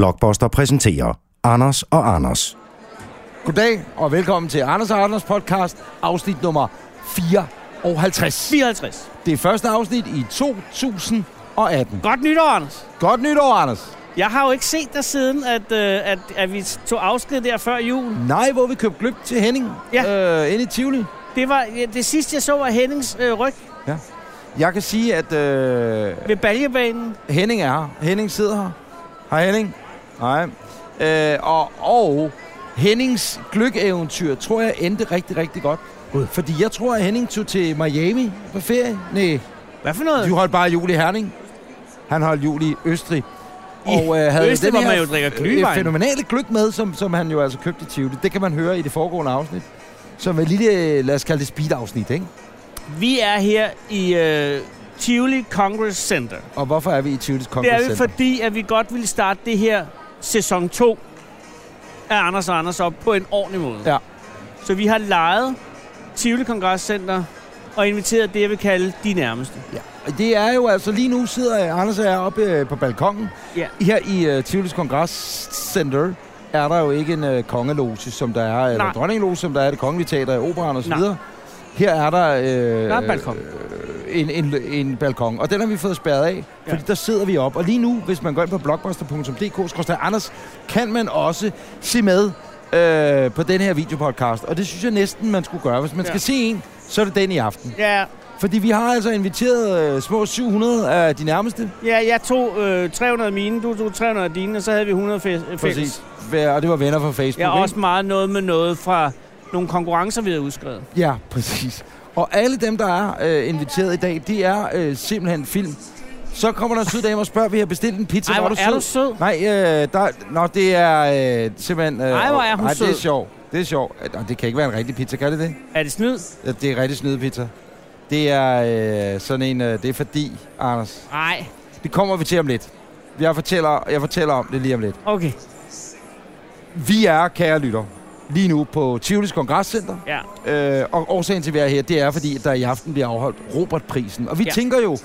Blockbuster præsenterer Anders og Anders. Goddag og velkommen til Anders og Anders podcast, afsnit nummer 54. 54. Det er første afsnit i 2018. Godt nytår, Anders. Godt nytår, Anders. Jeg har jo ikke set dig siden, at, øh, at, at vi tog afsked der før jul. Nej, hvor vi købte gløb til Henning øh, inde i Tivoli. Det var ja, det sidste, jeg så var Hennings øh, ryg Jeg kan sige, at øh, ved baljebanen. Henning er her. Henning sidder her. Hej Henning. Hej. Øh, og, og Hennings gløk-eventyr tror jeg endte rigtig, rigtig godt. God. Fordi jeg tror, at Henning tog til Miami på ferie. Nej, Hvad for noget? Du holdt bare jul i Herning. Han holdt jul i Østrig. Og øh, havde Østrig, den hvor her, øh, man jo drikker glühwein. fænomenale gløk med, som, som han jo altså købte i Tivoli. Det kan man høre i det foregående afsnit. Som er lille, øh, lad os kalde det speed-afsnit, ikke? Vi er her i øh, Tivoli Congress Center. Og hvorfor er vi i Tivolis Det Congress er vi, Center? fordi at vi godt ville starte det her sæson 2 af Anders og Anders op på en ordentlig måde. Ja. Så vi har lejet Tivoli Congress Center og inviteret det, jeg vil kalde de nærmeste. Ja. Det er jo altså, lige nu sidder Anders og jeg oppe øh, på balkongen. Ja. Her i uh, Tivolis Congress Center er der jo ikke en uh, kongeloge, som der er, eller Nej. dronningeloge, som der er i det kongelige teater, i operaen osv. Nej. Her er der... Øh, Der er en balkon. en, en, en balkon, og den har vi fået spærret af, fordi Ja. der sidder vi op. Og lige nu, hvis man går ind på blogbuster.dk, Anders, kan man også se med øh, på den her videopodcast. Og det synes jeg næsten, man skulle gøre. Hvis man Ja. skal se en, så er det den i aften. Ja, Fordi vi har altså inviteret øh, små 700 af de nærmeste. ja jeg tog øh, 300 af mine, du tog 300 af dine, og så havde vi 100 fæ- fælles. Hver- Og det var venner fra Facebook, Jeg er ikke? også meget noget med noget fra nogle konkurrencer, vi havde udskrevet. Ja, præcis. Og alle dem, der er øh, inviteret i dag, det er øh, simpelthen film. Så kommer der en sød dame og spørger, vi har bestilt en pizza. Ej, var hvor er sød? du sød. Nej, øh, der, nå, det er øh, simpelthen... Øh, Ej, hvor er hun nej, det er sød. sjovt. Det er sjovt. Øh, nå, Det kan ikke være en rigtig pizza, kan det det? Er det snyd? Ja, Det er rigtig snyde pizza. Det er øh, sådan en... Øh, det er fordi, Anders. Nej. Det kommer vi til om lidt. Jeg fortæller, jeg fortæller om det lige om lidt. Okay, Vi er, kære lytter, lige nu på Tivolis Kongresscenter. ja. Øh, og årsagen til, at vi er her, det er, fordi at der i aften bliver afholdt Robertprisen. Og vi ja. Ja. tænker jo,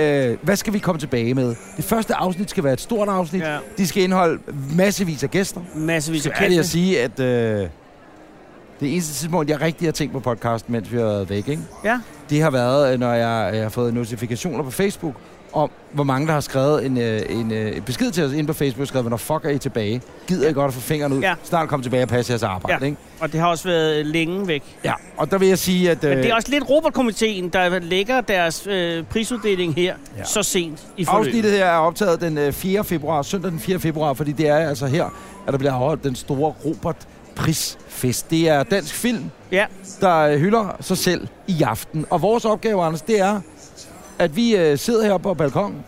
øh, hvad skal vi komme tilbage med? Det første afsnit skal være et stort afsnit. Ja. ja. De skal indeholde massevis af gæster. Massevis af Så kan jeg kendte. sige, at øh, det eneste tidspunkt, jeg rigtig har tænkt på podcasten, mens vi har været væk, ikke? Ja. det har været, øh, når jeg, jeg har fået notifikationer på Facebook, om hvor mange, der har skrevet en, øh, en øh, besked til os inde på Facebook, og skrevet, hvornår fuck er I tilbage? Gider I godt at få fingrene ud? Ja. Snart kom tilbage og passe jeres arbejde, Ja. ikke? Og det har også været øh, længe væk. Ja, og der vil jeg sige, at... Øh, Men det er også lidt Robotkomiteen, der lægger deres øh, prisuddeling her Ja. ja. så sent i forløbet. Afsnittet her er optaget den øh, 4. februar, søndag den 4. februar, fordi det er altså her, at der bliver afholdt den store Robert Prisfest. Det er dansk film, Ja. der øh, hylder sig selv i aften. Og vores opgave, Anders, det er, at vi øh, sidder heroppe på balkongen,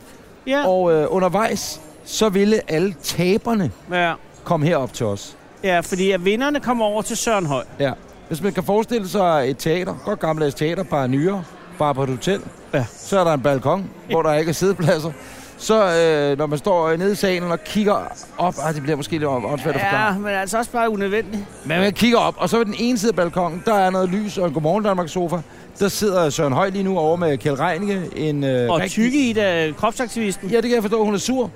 Ja. og øh, undervejs, så ville alle taberne ja. komme herop til os. Ja, fordi at vinderne kommer over til Søren Høj. Ja. Hvis man kan forestille sig et teater, godt gammeldags teater, bare nyere, bare på et hotel, Ja. så er der en balkon, hvor der ikke er siddepladser. Så øh, når man står nede i salen og kigger op, ah, det bliver måske lidt åndssvagt at forklare, Ja, men altså også bare unødvendigt. men man kigger op, og så ved den ene side af balkonen, der er noget lys og en Godmorgen Danmark sofa. Der sidder Søren Høj lige nu over med Kjeld Reinicke, en øh, Og rigtig- tykke i det, kropsaktivisten. Ja, det kan jeg forstå, hun er sur. Og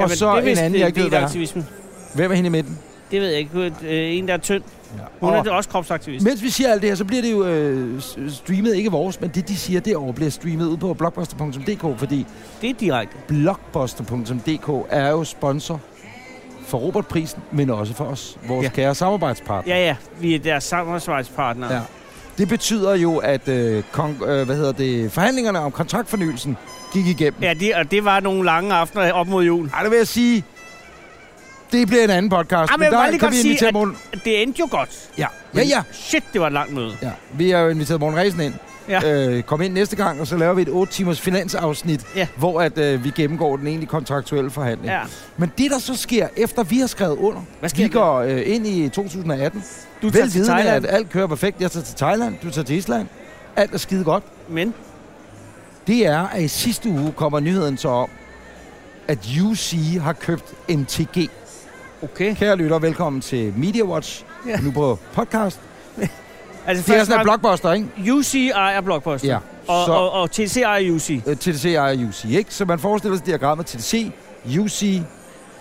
Jamen, så det er en vist, anden, øh, jeg ikke ved, hvad er. aktivisme. Hvem er hende i midten? Det ved jeg ikke. Øh, En, der er tynd. Ja. Hun Og, er også kropsaktivist. mens vi siger alt det her, så bliver det jo øh, s- streamet, ikke vores, men det de siger derovre, bliver streamet ud på blogbuster.dk, fordi Det er direkte. blogbuster.dk er jo sponsor for Robertprisen, men også for os, vores ja. Ja. kære samarbejdspartner. Ja, ja. Vi er deres samarbejdspartnere. Ah, Ja. Det betyder jo, at øh, kong, øh, hvad hedder det, forhandlingerne om kontraktfornyelsen gik igennem. Ja. Ja, det, og det var nogle lange aftener op mod jul. Ej, det vil jeg sige, det bliver en anden podcast, Ej, men jeg vil bare lige Altså, kan godt vi sige, invitere at- Morten... Det endte jo godt. Ja, ja, ja. Shit, det var et langt møde. ja. Vi har jo inviteret Morten Ræsen ind. Ja. Ja. Øh, kom ind næste gang, og så laver vi et 8-timers finansafsnit, Ja. hvor at, øh, vi gennemgår den egentlig kontraktuelle forhandling. Ja. Men det, der så sker, efter vi har skrevet under, Hvad sker vi der? går øh, ind i 2018. Du Vel tager til vidende, Thailand, at alt kører perfekt. Jeg tager til Thailand, du tager til Island. Alt er skide godt. men Det er, at i sidste uge kommer nyheden så om, at UC har købt MTG. okay. Kære lytter, velkommen til Media Watch, ja. Ja. nu på podcast. Altså, Det er først sådan en var- blockbuster, ikke? UC ejer Blockbuster. Ja. Og, så og, og TC ejer UC. øh, TDC ejer UC, ikke? Så man forestiller sig diagrammet TDC, UC,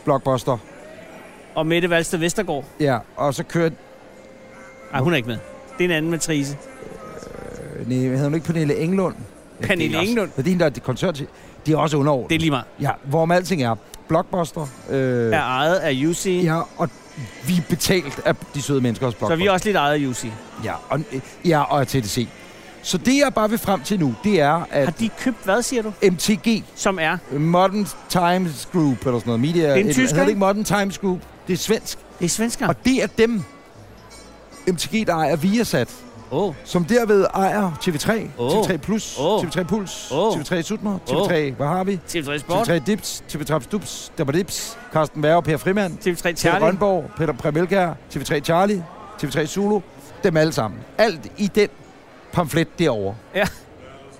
blockbuster. og Mette Valsted Vestergaard. Ja, og så kørte... Nej, hun er ikke med. Det er en anden matrice. Øh, nej, havde hun ikke Pernille Englund? Ja, Pernille det er også- Englund? Det er din, der er dit koncert til. De er også underordnet. Det er lige meget. Ja, hvorom alting er. Blockbuster. Øh, Er ejet af UC. Ja, Ja, og vi er betalt af de søde mennesker hos så Blockbuster. vi er også lidt ejet af UC. Ja, og, ja, og af TDC. Så det, jeg bare vil frem til nu, det er, Har at de købt hvad, siger du? MTG, Som er? Modern Times Group, eller sådan noget, media... en et- tysker, hedder det ikke? ikke Modern Times Group? Det er svensk. Det er svensker. Ja. Og det er dem, MTG, der ejer Viasat, Åh, oh, som derved ejer TV3, Åh. TV3 Plus, Åh. TV3 Puls, Åh. TV3 Sutner, TV3... Hvad har vi? TV3 Sport. TV3 Dips, TV3 Traps Dups, Dabba Dips, Carsten Værge, Per Frimand, TV3 Peter Charlie. Rønborg, Peter Premelkær, TV3 Charlie, TV3 Zulu, dem alle sammen. Alt i den pamflet derovre. Ja.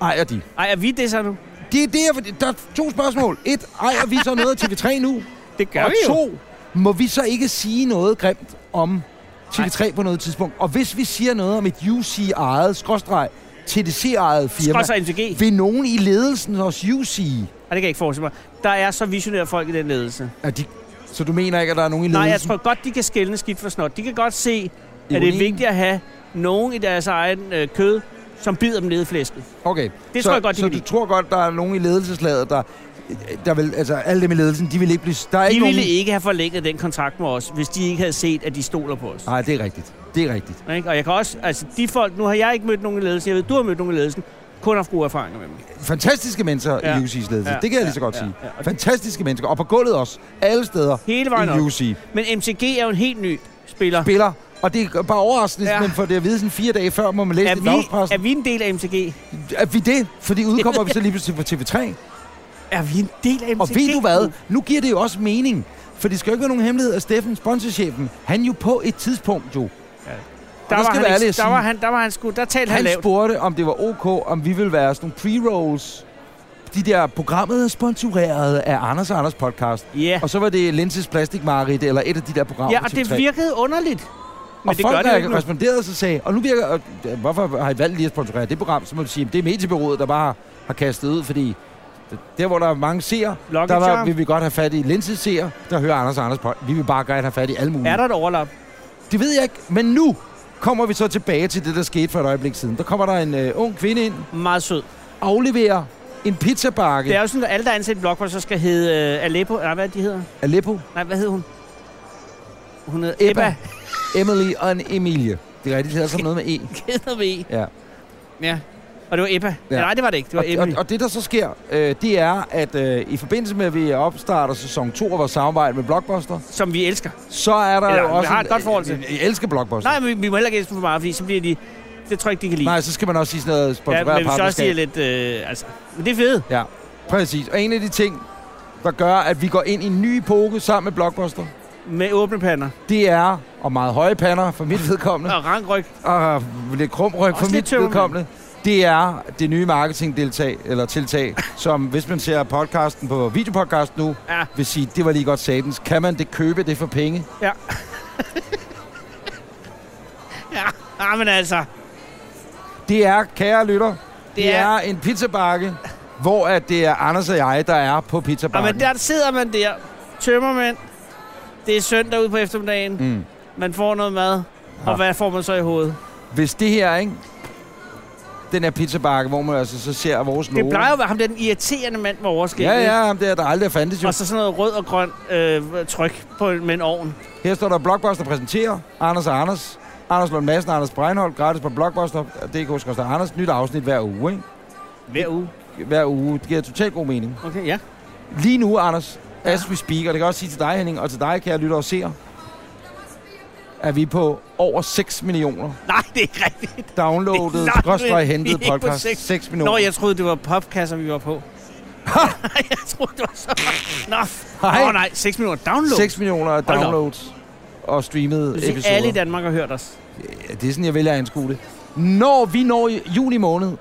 Ejer de. Ej, er vi det så nu? Det er det, jeg, vil- der er to spørgsmål. Et, ejer vi så noget af TV3 nu? Det gør og vi jo. to, må vi så ikke sige noget grimt om TV3 på noget tidspunkt? Og hvis vi siger noget om et UC-ejet, skråstreg, TDC-ejet firma, Skrås og MTG. vil nogen i ledelsen hos UC, Ej, det kan jeg ikke forestille mig. Der er så visionære folk i den ledelse. at de, så du mener ikke, at der er nogen i ledelsen? Nej, jeg tror godt, de kan skælne skidt for snot. De kan godt se, at det er Ironien? vigtigt at have nogen i deres egen øh, kød, som bider dem ned i flæsket. Okay. Det så, tror jeg godt, de Så kan du lide. tror godt, der er nogen i ledelseslaget, der, der vil, altså alle dem i ledelsen, de vil ikke blive... Der er De ikke ville nogen... ikke have forlænget den kontrakt med os, hvis de ikke havde set, at de stoler på os. Nej, det er rigtigt. Det er rigtigt. Ikke? Og jeg kan også, altså de folk, nu har jeg ikke mødt nogen i ledelsen, jeg ved, du har mødt nogen i ledelsen, kun haft gode erfaringer med dem. Fantastiske mennesker Ja. ja. i UC's ledelse. Ja, Ja. Det kan jeg lige så ja, godt ja, sige. ja. Og- Fantastiske mennesker. Og på gulvet også. Alle steder Hele vejen i op. UC. Men MCG er jo en helt ny spiller. Spiller. Og det er bare overraskende, Ja. ja. men for det at vide sådan fire dage før, må man læse Er det i dagspressen. vi, er vi en del af MCG? Er vi det? Fordi udkommer vi så lige pludselig på TV3. Er vi en del af MCG? Og ved du hvad? Nu giver det jo også mening. For det skal jo ikke være nogen hemmelighed, at Steffen, sponsorchefen, han jo på et tidspunkt jo Der skal var, han, være ærlig ikke- at der sige- var han, der var han sgu, der talte han, Han lavt. spurgte, om det var ok, om vi ville være sådan nogle pre-rolls. De der programmet er sponsoreret af Anders og Anders podcast. Ja. Og så var det Lenses Plastikmarit eller et af de der programmer. ja, på og det TV3. virkede underligt. Men og det folk, gør det jo der ikke nu. responderede, så sagde, og nu virker, og, ja, hvorfor har I valgt lige at sponsorere det program? Så må vi sige, at det er mediebyrået, der bare har kastet ud, fordi der, hvor der er mange seere, Lucky der var, Charm. vil vi godt have fat i Lenses seer, der hører Anders og Anders på. Vi vil bare gerne have fat i alle mulige. Er der et overlap? Det ved jeg ikke, men nu kommer vi så tilbage til det, der skete for et øjeblik siden. Der kommer der en øh, ung kvinde ind, Meget sød. afleverer en pizzabakke Det er jo sådan, at alle, der er ansat i Blockbuster, skal hedde uh, Aleppo. Nej, hvad er det, de hedder? Aleppo, Nej, hvad hed hun? Hun hed Ebba. Ebba. Emily og en Emilie. Det er rigtigt, det er sådan noget med E. Keder vi i. Ja. Ja. Og det var Ebba. Ja. Ja. Nej, det var det ikke. Det var Og, og, Emily. og det, der så sker, øh, det er, at øh, i forbindelse med, at vi opstarter sæson 2 af vores samarbejde med Blockbuster, Som vi elsker. så er der Eller, jo vi også... har et en- godt forhold til. en- Jeg elsker Blockbuster. Nej, men vi, vi må heller ikke elske for meget, fordi så bliver de... Det tror jeg ikke, de kan lide. Nej, så skal man også sige sådan noget ja, sponsoreret men vi skal også partnerskab. sige lidt... Øh, altså. Men det er fedt. Ja, præcis. Og en af de ting, der gør, at vi går ind i en ny epoke sammen med Blockbuster, Med åbne pander. det er, og meget høje pander for mit vedkommende, Og rangryg. og lidt krumryg Også for lidt mit tømmermænd. vedkommende, det er det nye marketingdeltag, eller tiltag, som hvis man ser podcasten på videopodcast nu, Ja. vil sige, det var lige godt satens. Kan man det købe det for penge? Ja. ja. Ah, men altså. Det er, kære lytter, det, det er- er... er en pizzabakke, hvor at det er Anders og jeg, der er på Ah, pizzabakken. men der sidder man der. Tømmermænd. Det er søndag ude på eftermiddagen. Mm. Man får noget mad. Og Ja. hvad får man så i hovedet? Hvis det her, ikke? Den her pizzabakke, hvor man altså så ser vores logo. Det plejer jo at være ham, der den irriterende mand med overskæg. Ja, ja, ham der, der aldrig fandtes jo. Og så sådan noget rød og grøn øh, tryk på, med en ovn. Her står der Blockbuster præsenterer Anders og Anders. Anders Lund Madsen og Anders Breinholt, gratis på Blockbuster. DK der Anders, nyt afsnit hver uge, ikke? Hver uge. Hver uge. Det giver totalt god mening. Okay, ja. Lige nu, Anders, as we speak, og det kan jeg også sige til dig, Henning, og til dig, kære lytter og seer, er vi på over 6 millioner Nej, det er ikke rigtigt. downloadet, Nej, skråstreg hentet vi er ikke på podcast. seks. 6 millioner. Nå, jeg troede, det var popkasser, vi var på. jeg troede, det var så... Nå, Nej. Nå nej, 6 minutter download. 6 millioner da op. downloads og streamede det vil sige, episoder. alle i Danmark har hørt os. Ja, det er sådan, jeg vælger at anskue det. Når vi når i juni måned,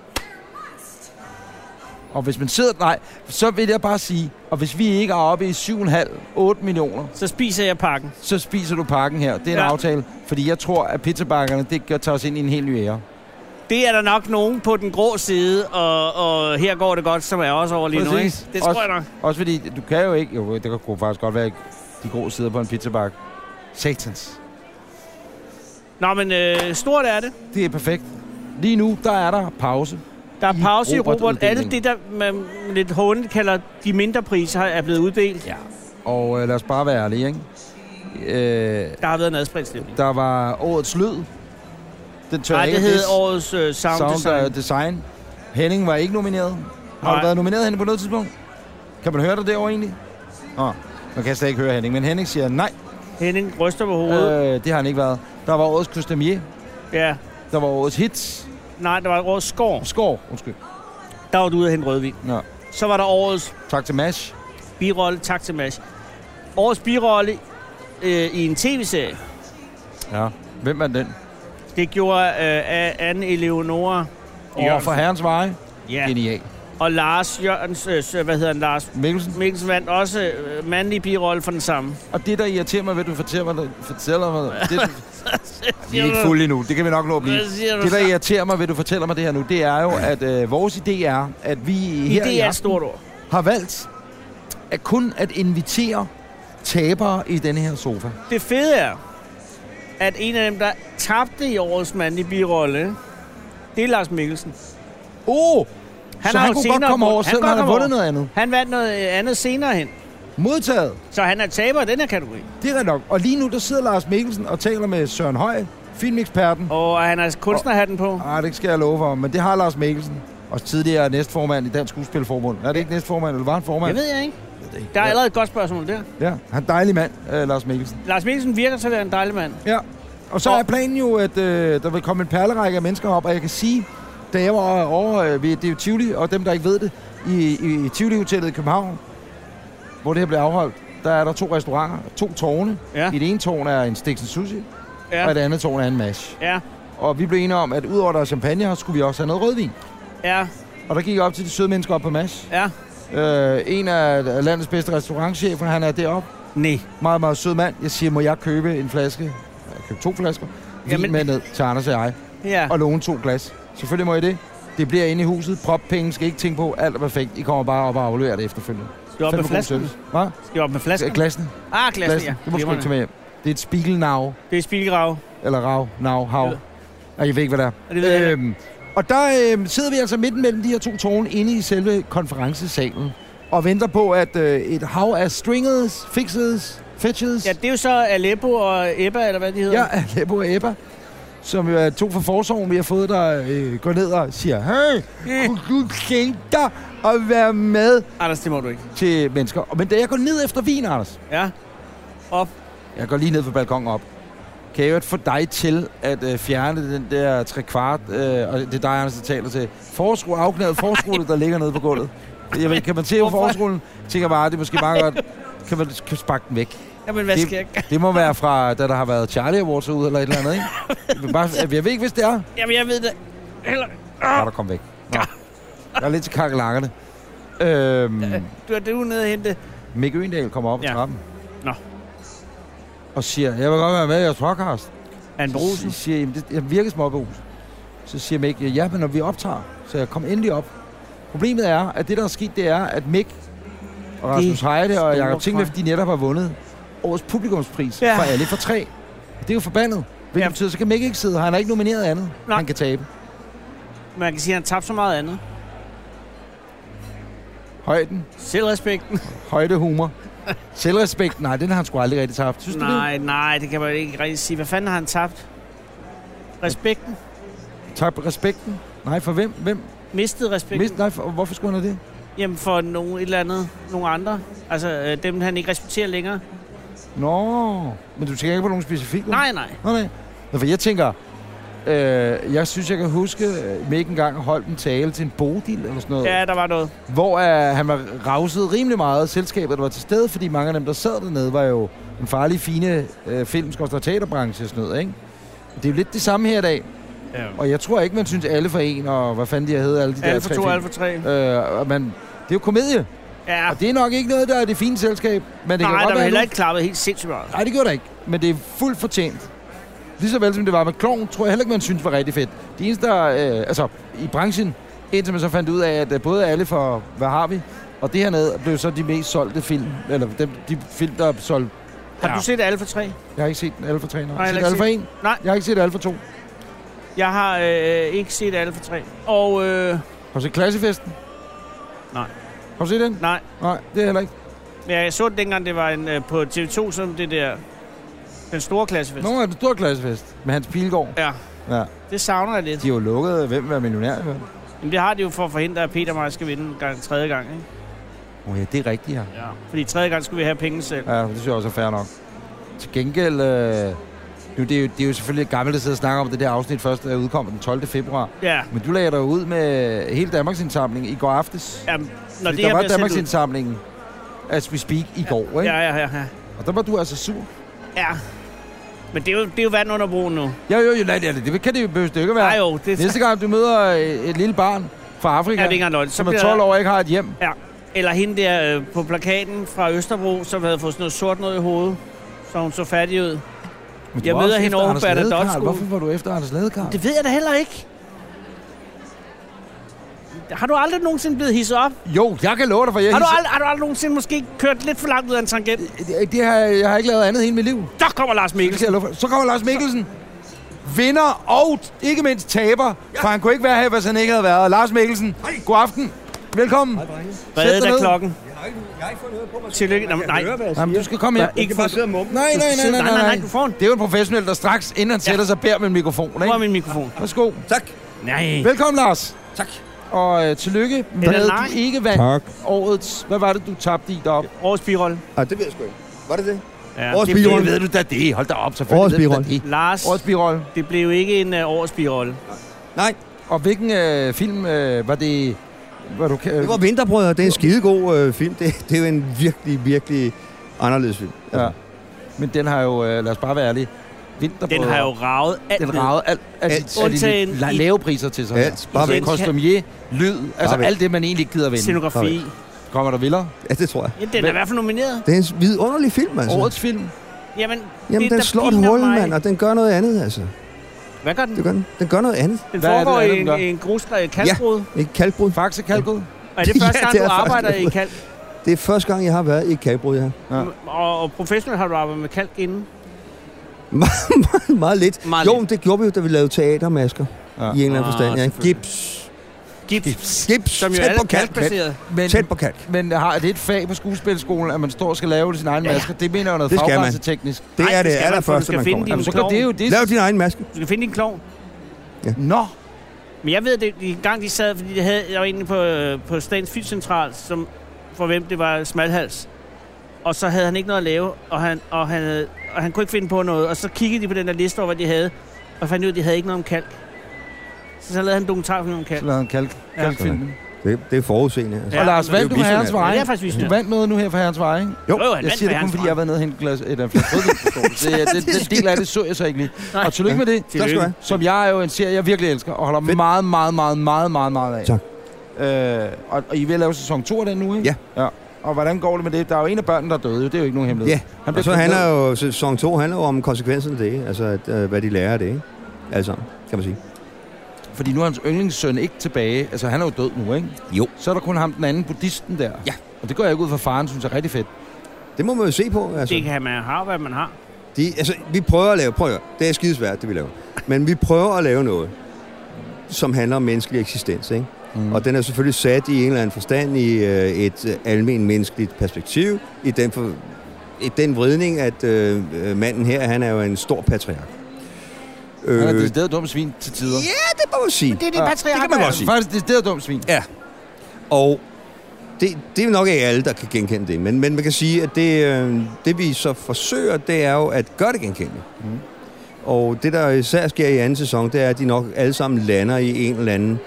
og hvis man sidder... Nej, så vil jeg bare sige, og hvis vi ikke er oppe i 7,5-8 millioner, Så spiser jeg pakken. så spiser du pakken her. Det er en Ja. ja. aftale, fordi jeg tror, at pizzabakkerne, det gør- tager os ind i en helt ny ære. Det er der nok nogen på den grå side, og, og her går det godt, som er også over lige nu, ikke? Præcis. Det Også- tror jeg nok. Også fordi, du kan jo ikke... Jo, det kunne faktisk godt være, de grå sider på en pizzabakke. Satans. Nå, men øh, stort er det. Det er perfekt. Lige nu, der er der pause. Der er I pause i Robert. Robert-uddelingen. Alt det, der man lidt håndet kalder de mindre priser, er blevet uddelt. Ja. Og øh, lad os bare være ærlige, ikke? Øh, Der har været en adspredsstemning. der var årets lyd. Den tør Nej, jeg det ikke hed at disse. årets øh, sound, sound Sound design. øh, design. Henning var ikke nomineret. Har Nej. du været nomineret, Henning, på noget tidspunkt? Kan man høre dig derovre egentlig? Nå, man kan slet ikke høre Henning, men Henning siger nej. Henning ryster på Øh, hovedet. Øh. det har han ikke været. Der var årets costumier. Ja. Der var årets hits. Nej, der var årets skår. Skår, undskyld. Der var du ude at hente rødvin. Nå. Så var der årets Tak til Mash. birolle. Tak til Mads. Årets birolle øh, i en tv-serie. Ja. Hvem er den? Det gjorde øh, Anne Eleonora Over for Jørgensen. herrens veje. Ja. Genial. Og Lars Jørgens, øh, sø- hvad hedder han, Lars Mikkelsen. Mikkelsen vandt også øh, mandlig birolle for den samme. Og det, der irriterer mig ved, at du fortæller mig, fortæller mig det, du- vi er ikke fulde endnu. Det kan vi nok nå at blive. Hvad siger du Det, der så? irriterer mig ved, at du fortæller mig det her nu, det er jo, at øh, vores idé er, at vi her i Idé er et aften stort ord. har valgt at kun at invitere tabere i denne her sofa. Det fede er, at en af dem, der tabte i årets mandlige birolle, det er Lars Mikkelsen. Oh, Han så har han jo kunne godt senere komme på- over, han selvom kan han godt har komme vundet over. noget andet. Han vandt noget øh, andet senere hen, Modtaget. så han er taber i den her kategori. Det er rigtig nok. Og lige nu, der sidder Lars Mikkelsen og taler med Søren Høj, filmeksperten. Og han har kunstnerhatten på. Ah, det skal jeg love for, men det har Lars Mikkelsen. Også tidligere næstformand i Dansk Skuespilforbund. Er det ikke næstformand, eller var han formand? Jeg ved jeg ikke. ved Der er ja. allerede et godt spørgsmål der. ja, han er en dejlig mand, øh, Lars Mikkelsen. Lars Mikkelsen virker til at være en dejlig mand. Ja, og så Og- er planen jo, at øh, der vil komme en perlerække af mennesker op, og jeg kan sige, da jeg var over øh, ved, det er jo Tivoli, og dem, der ikke ved det, i, i, i Tivoli-hotellet i København, hvor det her blev afholdt, der er der to restauranter, to tårne. Ja. I det ene tårn er en Stiksen Sushi, ja. og i Ja, det andet tårn er en mash. ja, Og vi blev enige om, at udover der er champagne her, skulle vi også have noget rødvin. ja, Og der gik jeg op til de søde mennesker op på mash. ja. Øh, en af landets bedste restaurantchefer, han er deroppe. Nej. Meget, meget sød mand. Jeg siger, må jeg købe en flaske? Jeg købte to flasker. Vin Jamen- med ned til Anders og jeg. Ja. Og låne to glas. Selvfølgelig må I det. Det bliver inde i huset. Prop penge skal I ikke tænke på. Alt er perfekt. I kommer bare op og afleverer det efterfølgende. Skal op med Fandme god flasken? service. Hvad? Skal op med Ja, flasken? Glassene. Ah, glasen, ja. Glassene. Det må du ikke tage med hjem. Det er et spiegelnav. Det er spilgrav. Eller rav. Nav. Hav. Ja. Og jeg ved ikke, hvad det Og det ved jeg er. ikke. Øhm, og der øhm, sidder vi altså midt mellem de her to tårne inde i selve konferencesalen. Og venter på, at øh, et hav af stringers, fixes, fetches... Ja, det er jo så Aleppo og Ebba, eller hvad de hedder. Ja, Aleppo og Ebba, som jo er to fra forsorgen, vi har fået, der øh, går ned og siger, hey, Øh. kunne du tænke dig at være med Anders, det må du ikke. til mennesker? Og- Men da jeg går ned efter vin, Anders, Ja. Op. jeg går lige ned fra balkongen op, kan jeg i øvrigt få dig til at øh, fjerne den der trekvart, øh, og det er dig, Anders, der taler til, forskru, afknæret forskrulle, der ligger nede på gulvet. Jeg ved, ikke, kan man se på Hvorfor? forskrullen? Tænker bare, "Ah, det er måske meget godt. Kan man kan sparke den væk? Jamen, hvad Det- skal jeg gøre? Det må være fra, da der har været Charlie Awards ud eller et eller andet, ikke? Bare, jeg ved ikke, hvis det er. Jamen, jeg ved det. Heller... Bare der kom væk. Nå. Ah. Jeg er lidt til kakkelakkerne. Øhm, Du er du nede og hente. Mick Øendal kommer op ad Ja. trappen. Nå. Og siger, jeg vil godt være med i jeres podcast. Anne Brosen. Så siger, jeg, "Jamen, det, jeg virker småbrus. Så siger Mick, ja, men når vi optager, så jeg kom endelig op. Problemet er, at det, der er sket, det er, at Mick og Rasmus Heide og store Jacob Tingleff, fejl. de netop har vundet årets publikumspris Ja. ja. for alle for tre. Det er jo forbandet. Hvilket Ja. ja. betyder, så kan Mick ikke sidde her. Han er ikke nomineret andet. Nej. Han kan tabe. Man kan sige, at han tabte så meget andet. Højden. Selvrespekten. Højdehumor. Selvrespekt, nej, den har han sgu aldrig rigtig tabt. Synes du nej, nej, det kan man ikke rigtig sige. Hvad fanden har han tabt? Respekten. det? Tabt respekten? Nej, for hvem? hvem? Mistet respekten. Mist, nej, for, hvorfor skulle han have det? Jamen, for nogen, et eller andet. Nogle andre. Altså, øh, dem han ikke respekterer længere. Nå, men du tænker ikke på nogen specifikke? Nej, nej. Nå, nej. Nå, for jeg tænker, øh, jeg synes, jeg kan huske, at Mick engang holdt en tale til en bodil eller sådan noget, Ja, der var noget. hvor øh, han var ravset rimelig meget af selskabet, der var til stede, fordi mange af dem, der sad dernede, var jo en farlig, fine øh, film og teaterbranche og sådan noget, ikke? Det er jo lidt det samme her i dag, Ja. og jeg tror ikke, man synes alle for en, og hvad fanden de har heddet, alle de der Alfa tre 2, film. Alfa 3. Øh, og man, det er jo komedie, Ja. og det er nok ikke noget, der er det fine selskab. Men det kan Nej, godt der var være heller nu- ikke klappet helt sindssygt meget. Nej, det gjorde der ikke. Men det er fuldt fortjent. Lige så vel som det var med klovn, tror jeg heller ikke, man synes var rigtig fedt. Det eneste, der, øh, altså i branchen, indtil man så fandt ud af, at øh, både alle for Hvad har vi, og det hernede blev så de mest solgte film, eller dem, de film, der solgte Har Ja. ja. du set Alfa 3? Jeg har ikke set Alfa 3 nu. Nej, Har jeg set har ikke Alfa 1? Nej. Jeg har ikke set Alfa 2. Jeg har øh, ikke set Alfa 3. Og øh, Har du set Klassefesten? Nej. Har du set den? nej, Nej, det er heller ikke. men jeg så det dengang, det var en, øh, på TV2, som det der, den store klassefest. Nogen er det stor klassefest med Hans Pilgaard. Ja. Ja. Det savner jeg lidt. De er jo lukket. Hvem vil være millionær? Vel? Men det har de jo for at forhindre, at Peter og mig skal vinde gang, tredje gang, ikke? Oh, ja, det er rigtigt, ja. Ja. Fordi tredje gang skulle vi have penge selv. Ja, det synes jeg også er fair nok. Til gengæld... Øh, nu, det, er jo, det er jo selvfølgelig gammelt at sidde og snakke om det der afsnit først, der udkom den 12. februar. Ja. Men du lagde dig ud med hele Danmarks indsamling i går aftes. Jamen, når det, der her var bliver sendt Danmarks ud... indsamlingen, as we speak, i går, ikke? Ja, ja, ja, ja. Og der var du altså sur. ja. Men det er jo, det er jo vand under broen nu. Ja, jo, jo, nej, det, er det. det kan det jo behøves det ikke at være. Nej, jo, det er, Næste gang, du møder øh, et, et lille barn fra Afrika, er det ikke engang løgn. Så som er bliver 12 år og ikke har et hjem. Eller hende der øh, på plakaten fra Østerbro, som havde fået sådan noget sort noget i hovedet, så hun så fattig ud. Men du Jeg var møder også hende efter over Anders på Ladekarl. Adadotskolen. Hvorfor var du efter Anders Ladekarl? Det ved jeg da heller ikke. Har du aldrig nogensinde blevet hisset op? Jo, jeg kan love dig, for jeg Har du, hisser- aldrig, har du aldrig nogensinde måske kørt lidt for langt ud af en tangent? Det, det har, jeg jeg har ikke lavet andet hele mit liv. Det Der kommer Lars skal Mikkelsen. jeg love for. Så kommer Lars Mikkelsen. Vinder og t- ikke mindst taber. For han kunne ikke være her, hvis han ikke havde været. Lars Mikkelsen, god aften. Velkommen. Reddet dig af ned. klokken. Jeg har ikke, jeg har ikke fået noget på mig. Tillykke. Nå, Man kan nej. Høre, hvad jeg Jamen, siger. du skal komme her. Jeg kan bare sidde og mumle. Nej, nej, nej, nej, Nej, nej, nej, du får en. Det er jo en professionel, der straks, inden han sætter sig, bærer med en mikrofon. Hvor er Ikke? min mikrofon? Værsgo. Tak, Nej. Velkommen, Lars. tak. Og øh, tillykke med, Eller at nej. du ikke vandt tak. årets... Hvad var det, du tabte i deroppe? Årets birolle. Ah, det ved jeg sgu ikke. Var det det? Ja, Årets det birolle. blev- ved du da det. Hold da op, selvfølgelig Årets ved du da det. Lars, Årets birolle. det blev ikke en uh, årets birolle. Nej, Og hvilken øh, film øh, var det... Var du, det var Vinterbrødre. Det er en skidegod øh, film. Det, det er jo en virkelig, virkelig anderledes film. Altså. Ja. Men den har jo, øh, lad os bare være ærlige, vinterbrød. Den har jo ravet alt den ned. ravet alt, altså, alt, Alt. alt, alt, Undtagen alt, i- alt lave priser til sig. Alt. Bare væk. Kostumier, lyd, altså væk. alt det, man egentlig ikke gider vinde. Scenografi. Kommer der vildere? Ja, det tror jeg. Ja, den er i hvert fald nomineret. Det er en vidunderlig film, altså. Årets film. Jamen, Jamen, det, den der slår et piner hul, mig. mand, og den gør noget andet, altså. Hvad gør den? Det gør den. Den gør noget andet. Den Hvad er det, foregår hvad er i det, den en, gør? en grusgræd kalkbrud. Ikke kalkbrud. Faxe Kalkud. Og er det første Ja, gang, det du er faktisk arbejder i noget. kalk? Det er første gang, jeg har været i et kalkbrud, ja. Ja. Og, og professionelt har du arbejdet med kalk inden? Meget lidt. Meget Jo, lidt. men det gjorde vi jo, da vi lavede teatermasker. Ja. I en eller anden Ah, forstand, ja. ikke? selvfølgelig. Gips. Gips. Gips. Som jo Tæt er på kalk. kalkbaseret. Men, Tæt på kalk. men har, er det et fag på skuespilskolen, at man står og skal lave sin egen Ja, ja. masker? Det mener jeg er noget Det skal man. faggrænseteknisk. Det Nej, er det det skal man, for du allerførste, skal man finde kommer. din- Jamen, så går klovn. det jo det. Lav din egen maske. Du skal finde din klovn. Nå, Men jeg ved, at det- i gang de sad, fordi de havde, jeg var egentlig på, øh, på Statens Fysiocentral, som for hvem det var smalhals. Og så havde han ikke noget at lave, og han, og han, havde- og han kunne ikke finde på noget. Og så kiggede de på den der liste over, hvad de havde, og fandt ud af, at de havde ikke noget om kalk. Så, så lavede han en dokumentarfilm om kalk. så lavede han kalk, Ja. kalkfilmen. Det, det er forudseende. Altså. Og Lars, det er jo vandt du med herrens visionært. Ja, veje? det er faktisk Du vist. vandt noget nu her for herrens veje, ikke? Jo, jo, han Jeg vandt siger for det kun, hans fordi jeg vej. har været nede og hentet et glas, et, øh, et, et, det, det, det del af det så jeg så ikke lige. Nej. Og tillykke med det, Tak skal du have. som jeg er jo en serie, jeg virkelig elsker, og holder Fedt. meget, meget, meget, meget, meget, meget af. Tak. Øh, og, og I vil lave sæson 2 af den nu, ikke? Ja. ja. Og hvordan går det med det? Der er jo en af børnene, der er døde. jo. Det er jo ikke nogen hemmelighed. Ja, han Og så kørt handler ned. jo, sæson 2 handler jo om konsekvensen af det, altså at, øh, hvad de lærer af det, ikke? Alle sammen, kan man sige. Fordi nu er hans yndlingssøn ikke tilbage. Altså, han er jo død nu, ikke? Jo. Så er der kun ham, den anden buddhisten der. Ja. Og det går jeg ikke ud fra faren, synes jeg er rigtig fedt. Det må man jo se på, altså. Det kan man have, hvad man har. De, altså vi prøver at lave, prøv at høre, det er skidesvært, det vi laver. Men vi prøver at lave noget, som handler om menneskelig eksistens, ikke? Mm. Og den er selvfølgelig sat i en eller anden forstand i øh, et øh, almen menneskeligt perspektiv, i den, for, i den vridning, at øh, øh, manden her, han er jo en stor patriark. Han er Øh, det dumt svin til tider. ja, det må man sige. Det er det patriark. kan man godt sige. Faktisk, det er dumt svin. Og det, det er nok ikke alle, der kan genkende det, men, men man kan sige, at det, øh, det vi så forsøger, det er jo at gøre det genkendeligt. Mm. Og det, der især sker i anden sæson, det er, at de nok alle sammen lander i en eller anden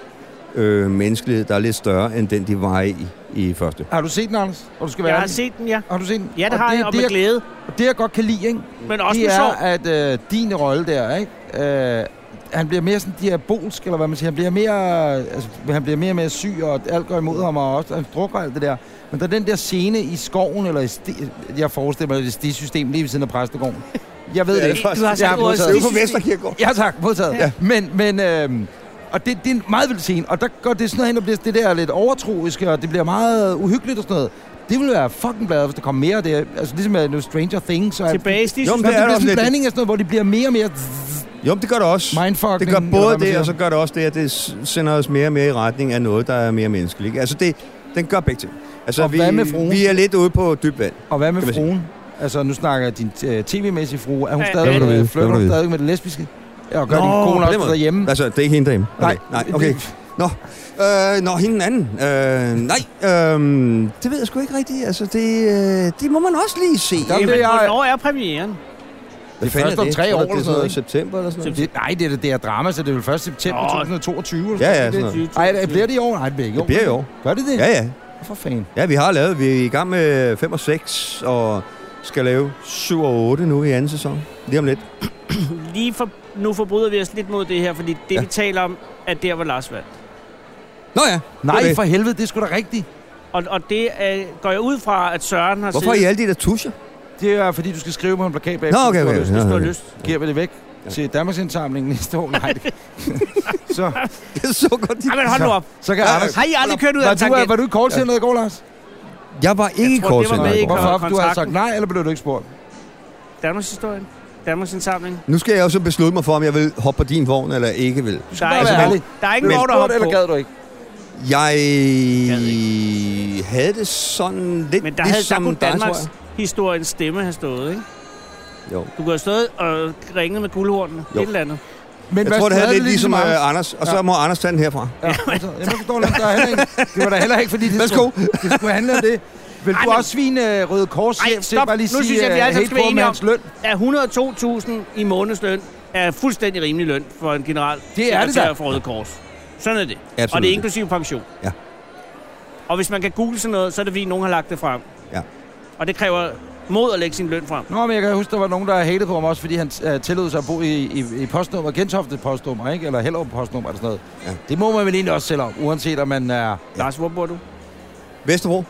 øh, menneskelighed, der er lidt større end den, de var i i første. Har du set den, Anders? Og du skal være Jeg har ærlig. set den, ja. Har du set den? Ja, det Og har jeg, og det, med jeg, glæde. det, jeg godt kan lide, ikke? Men også med det er, sorg. at øh, din rolle der, ikke? Øh, han bliver mere sådan diabolsk, eller hvad man siger. Han bliver mere, altså, han bliver mere og mere syg, og alt går imod ham, og også, han drukker alt det der. Men der er den der scene i skoven, eller i sti, jeg forestiller mig, det er stisystem lige ved siden af præstegården. Jeg ved Ja, det det ikke. er faktisk- Du har sagt Jeg har ordet modtaget. sidst. Vesterkirkegård. Ja tak, modtaget. Ja. Ja. Men, men øh, og det, det er en meget vild scene, og der går det sådan noget hen og bliver det der lidt overtroiske, og det bliver meget uhyggeligt og sådan noget. Det ville være fucking bladet, hvis der kom mere af det. Altså ligesom med nu Stranger Things. Og alt. Tilbage i Jo, men Nå, det det bliver er også sådan en lidt... blanding af sådan noget, hvor det bliver mere og mere Jo, men det gør det også. mindfucking. Det gør eller hvad både man det, siger. og så gør det også det, at det s- sender os mere og mere i retning af noget, der er mere menneskeligt. ikke? Altså, det, den gør begge ting. Altså, Og vi, hvad med fruen? vi er lidt ude på dyb vand. Og hvad med kan man sige. fruen? Altså, nu snakker jeg din øh, tv-mæssige frue. Er hun Ja, stadig, det vil du øh, vide. flirter Det vil du hun vide. stadig med det lesbiske? Ja, og gør Nå, din på kone den også måde. derhjemme? Altså, det er ikke hende derhjemme. Okay. Nej, okay. Nå, øh, nå hende den anden. Øh, nej, øh, det ved jeg sgu ikke rigtigt. Altså, det, øh, det må man også lige se. Jamen, Jamen, det er- hvornår er premieren? Hvad først fanden er om tre Tror du, år det er eller sådan noget, ikke? september eller sådan Det, nej, det er det, det er drama, så det er vel først september Nå. 2022. eller Ja, sådan ja, noget. sådan noget. Ej, det- bliver det i år? Nej, det bliver ikke Det bliver i år. Gør det det? Ja, ja. For fanden. Ja, vi har lavet. Vi er i gang med 5 og 6, og skal lave 7 og 8 nu i anden sæson. Lige om lidt. Lige for, nu forbryder vi os lidt mod det her, fordi det, Ja. ja. vi taler om, er der, hvor Lars vandt. Nå ja, det er Nej, det. for helvede, det er sgu da rigtigt. Og, og det øh, går jeg ud fra, at Søren har Hvorfor er I siddet, alle de der tuscher? Det er, fordi du skal skrive på en plakat bag. Nå, okay, okay. hvis du har okay. lyst. Giver vi det væk til Danmarksindsamlingen næste år? Nej, det... så, Det er så godt. De... Ej, men hold nu op. så kan Ja, Anders... Har I aldrig kørt ud af Var en du, øh, tangent? var du i callcenteret i går, Lars? Jeg var ikke i tror, det var callcenteret med i i går. Hvorfor? Hvorfor? Du har sagt Kontrakten. nej, eller blev du ikke spurgt? Danmarks historie. Danmarks indsamling. Nu skal jeg jo så beslutte mig for, om jeg vil hoppe på din vogn eller ikke vil. Der bare er, være altså, ærlig. der er Blev ingen du lov, der spurgt, eller hopper på. gad du ikke? Jeg Jeg ved havde det sådan lidt Men der havde der ligesom kunne dig, tror Danmarks jeg. historiens stemme have stået, ikke? Jo. Du kunne have stået og ringet med guldhornene. Jo. Et eller andet. Men Jeg hvad tror, det havde havde lidt ligesom Anders? øh, Anders, og så Ja. må Anders tage den herfra. Ja, altså, jeg forstår lidt, der er heller ikke, det var da heller ikke, fordi det, Værsgo. skulle, det skulle handle om det. Vil Ej, du men- også svine øh, Røde Kors Ej, chef til stop. bare lige Nu sige, synes jeg, vi øh, alle sammen hate skal være på enige med hans Er løn? 102.000 i månedsløn er fuldstændig rimelig løn for en general Det er det sekretær da. for Røde Kors. Sådan er det. Absolut. Og det er inklusive pension. Ja. Og hvis man kan google sådan noget, så er det fordi, nogen har lagt det frem. Ja. Og det kræver mod at lægge sin løn frem. Nå, men jeg kan huske, der var nogen, der hatede på ham også, fordi han øh, tillod sig at bo i, i, i postnummer, Gentofte postnummer, ikke? Eller Hellerup postnummer eller sådan noget. Ja. Det må man vel egentlig også selv om, uanset om man er... Ja. Lars, hvor bor du? Vesterbro.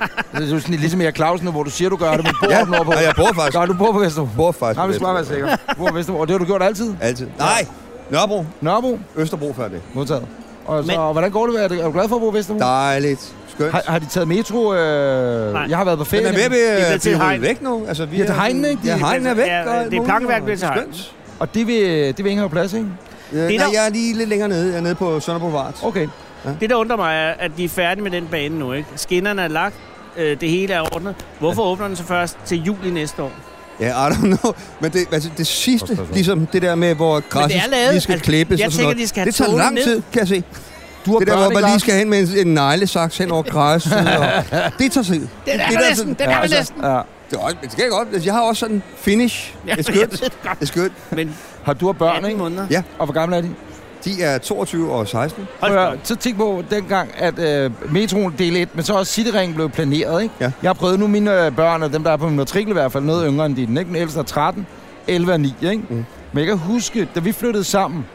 Det er jo sådan, lidt ligesom Erik Clausen, hvor du siger, du gør det, men bor Ja, ja. du på. og jeg bor faktisk. Nå, du bor på Vesterbro. Jeg bor faktisk Nej, på vi skal bare være Vesterbro. sikre. Du bor på Vesterbro, og det har du gjort altid. Altid. Nej, Nørrebro. Nørrebro, Østerbro før det. modtaget. Og, så, Men- og hvordan går det? Er du er du glad for at bo i Vesterbro? Dejligt. Skønt. Har, har de taget metro? Øh... Nej. Jeg har været på ferie. Den er ved at blive, Det er blive til rullet hegn. væk nu. Altså, vi Ja, til hegnen, ikke? Ja, Det- hegnen er væk. Altså, ja, og alt det er muligt, plankeværk og bliver til hegn. skønt. Og det vil, det vil ingen have plads, ikke? Øh, Det er nej, der- jeg er lige lidt længere nede. Jeg er nede på Sønder Boulevard. Okay. Det, der undrer mig, er, at de er færdige med den bane nu, ikke? Skinnerne er lagt, øh, det hele er ordnet. Hvorfor åbner den så først til juli næste år? Ja, I don't know. Men det, altså, det sidste, Forstår så. ligesom det der med, hvor græsset lavet. lige skal Altså, klippes jeg og sådan tænker, noget. de skal have det tager tålen lang ned. tid, kan jeg se. Du har Det der, hvor man lige skal hen med en, en neglesaks hen over græsset. og, det tager tid. Det er der næsten, sådan- det er næsten. Altså, Ja. Det, er også, det skal jeg godt. Altså, Jeg har også sådan en finish. Ja, Det er jeg skønt. ved det godt. Det er skønt. Men Har du og børn, 18 ikke? måneder. Ja. Og hvor gamle er de? De er 22 og 16. Hold Prøv da at, op. høre, så tænk på dengang, at øh, metroen del 1, men så også Cityringen blev planeret, ikke? Ja. Jeg har prøvet nu mine øh, børn, og dem, der er på min matrikel i hvert fald, noget yngre end dine, ikke? Den ældste er 13, 11 er 9, ikke? Mm. Men jeg kan huske, da vi flyttede sammen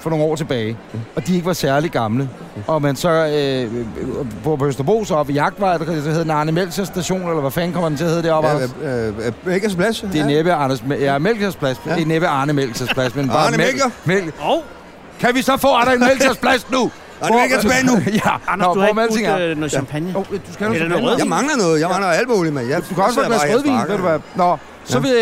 for nogle år tilbage, Mm. og de ikke var særlig gamle, og man så øh, øh, bor på Østerbro, så oppe i Jagtvej, der hedder den Arne Melcher station, eller hvad fanden kommer den til at hedde deroppe? Anders? Ja, øh, øh, Mælkers Plads. Det er ja. næppe Anders Me- ja, Melchers plads. Ja. Ja. Det er næppe Arne Melchers plads, men bare Arne Melcher? Mel- Og Kan vi så få Arne Melchers plads nu? Arne Melcher tilbage nu. ja. Anders, Nå, du hvor har ikke man brugt tænker- øh, noget champagne. Åh, øh, du skal have Eller noget noget rødvin. Jeg mangler noget. Jeg mangler alt muligt, mand. Jeg, Du kan også jeg være glas sidder rødvin, bare her og ved du hvad? Nå, så Ja. vil,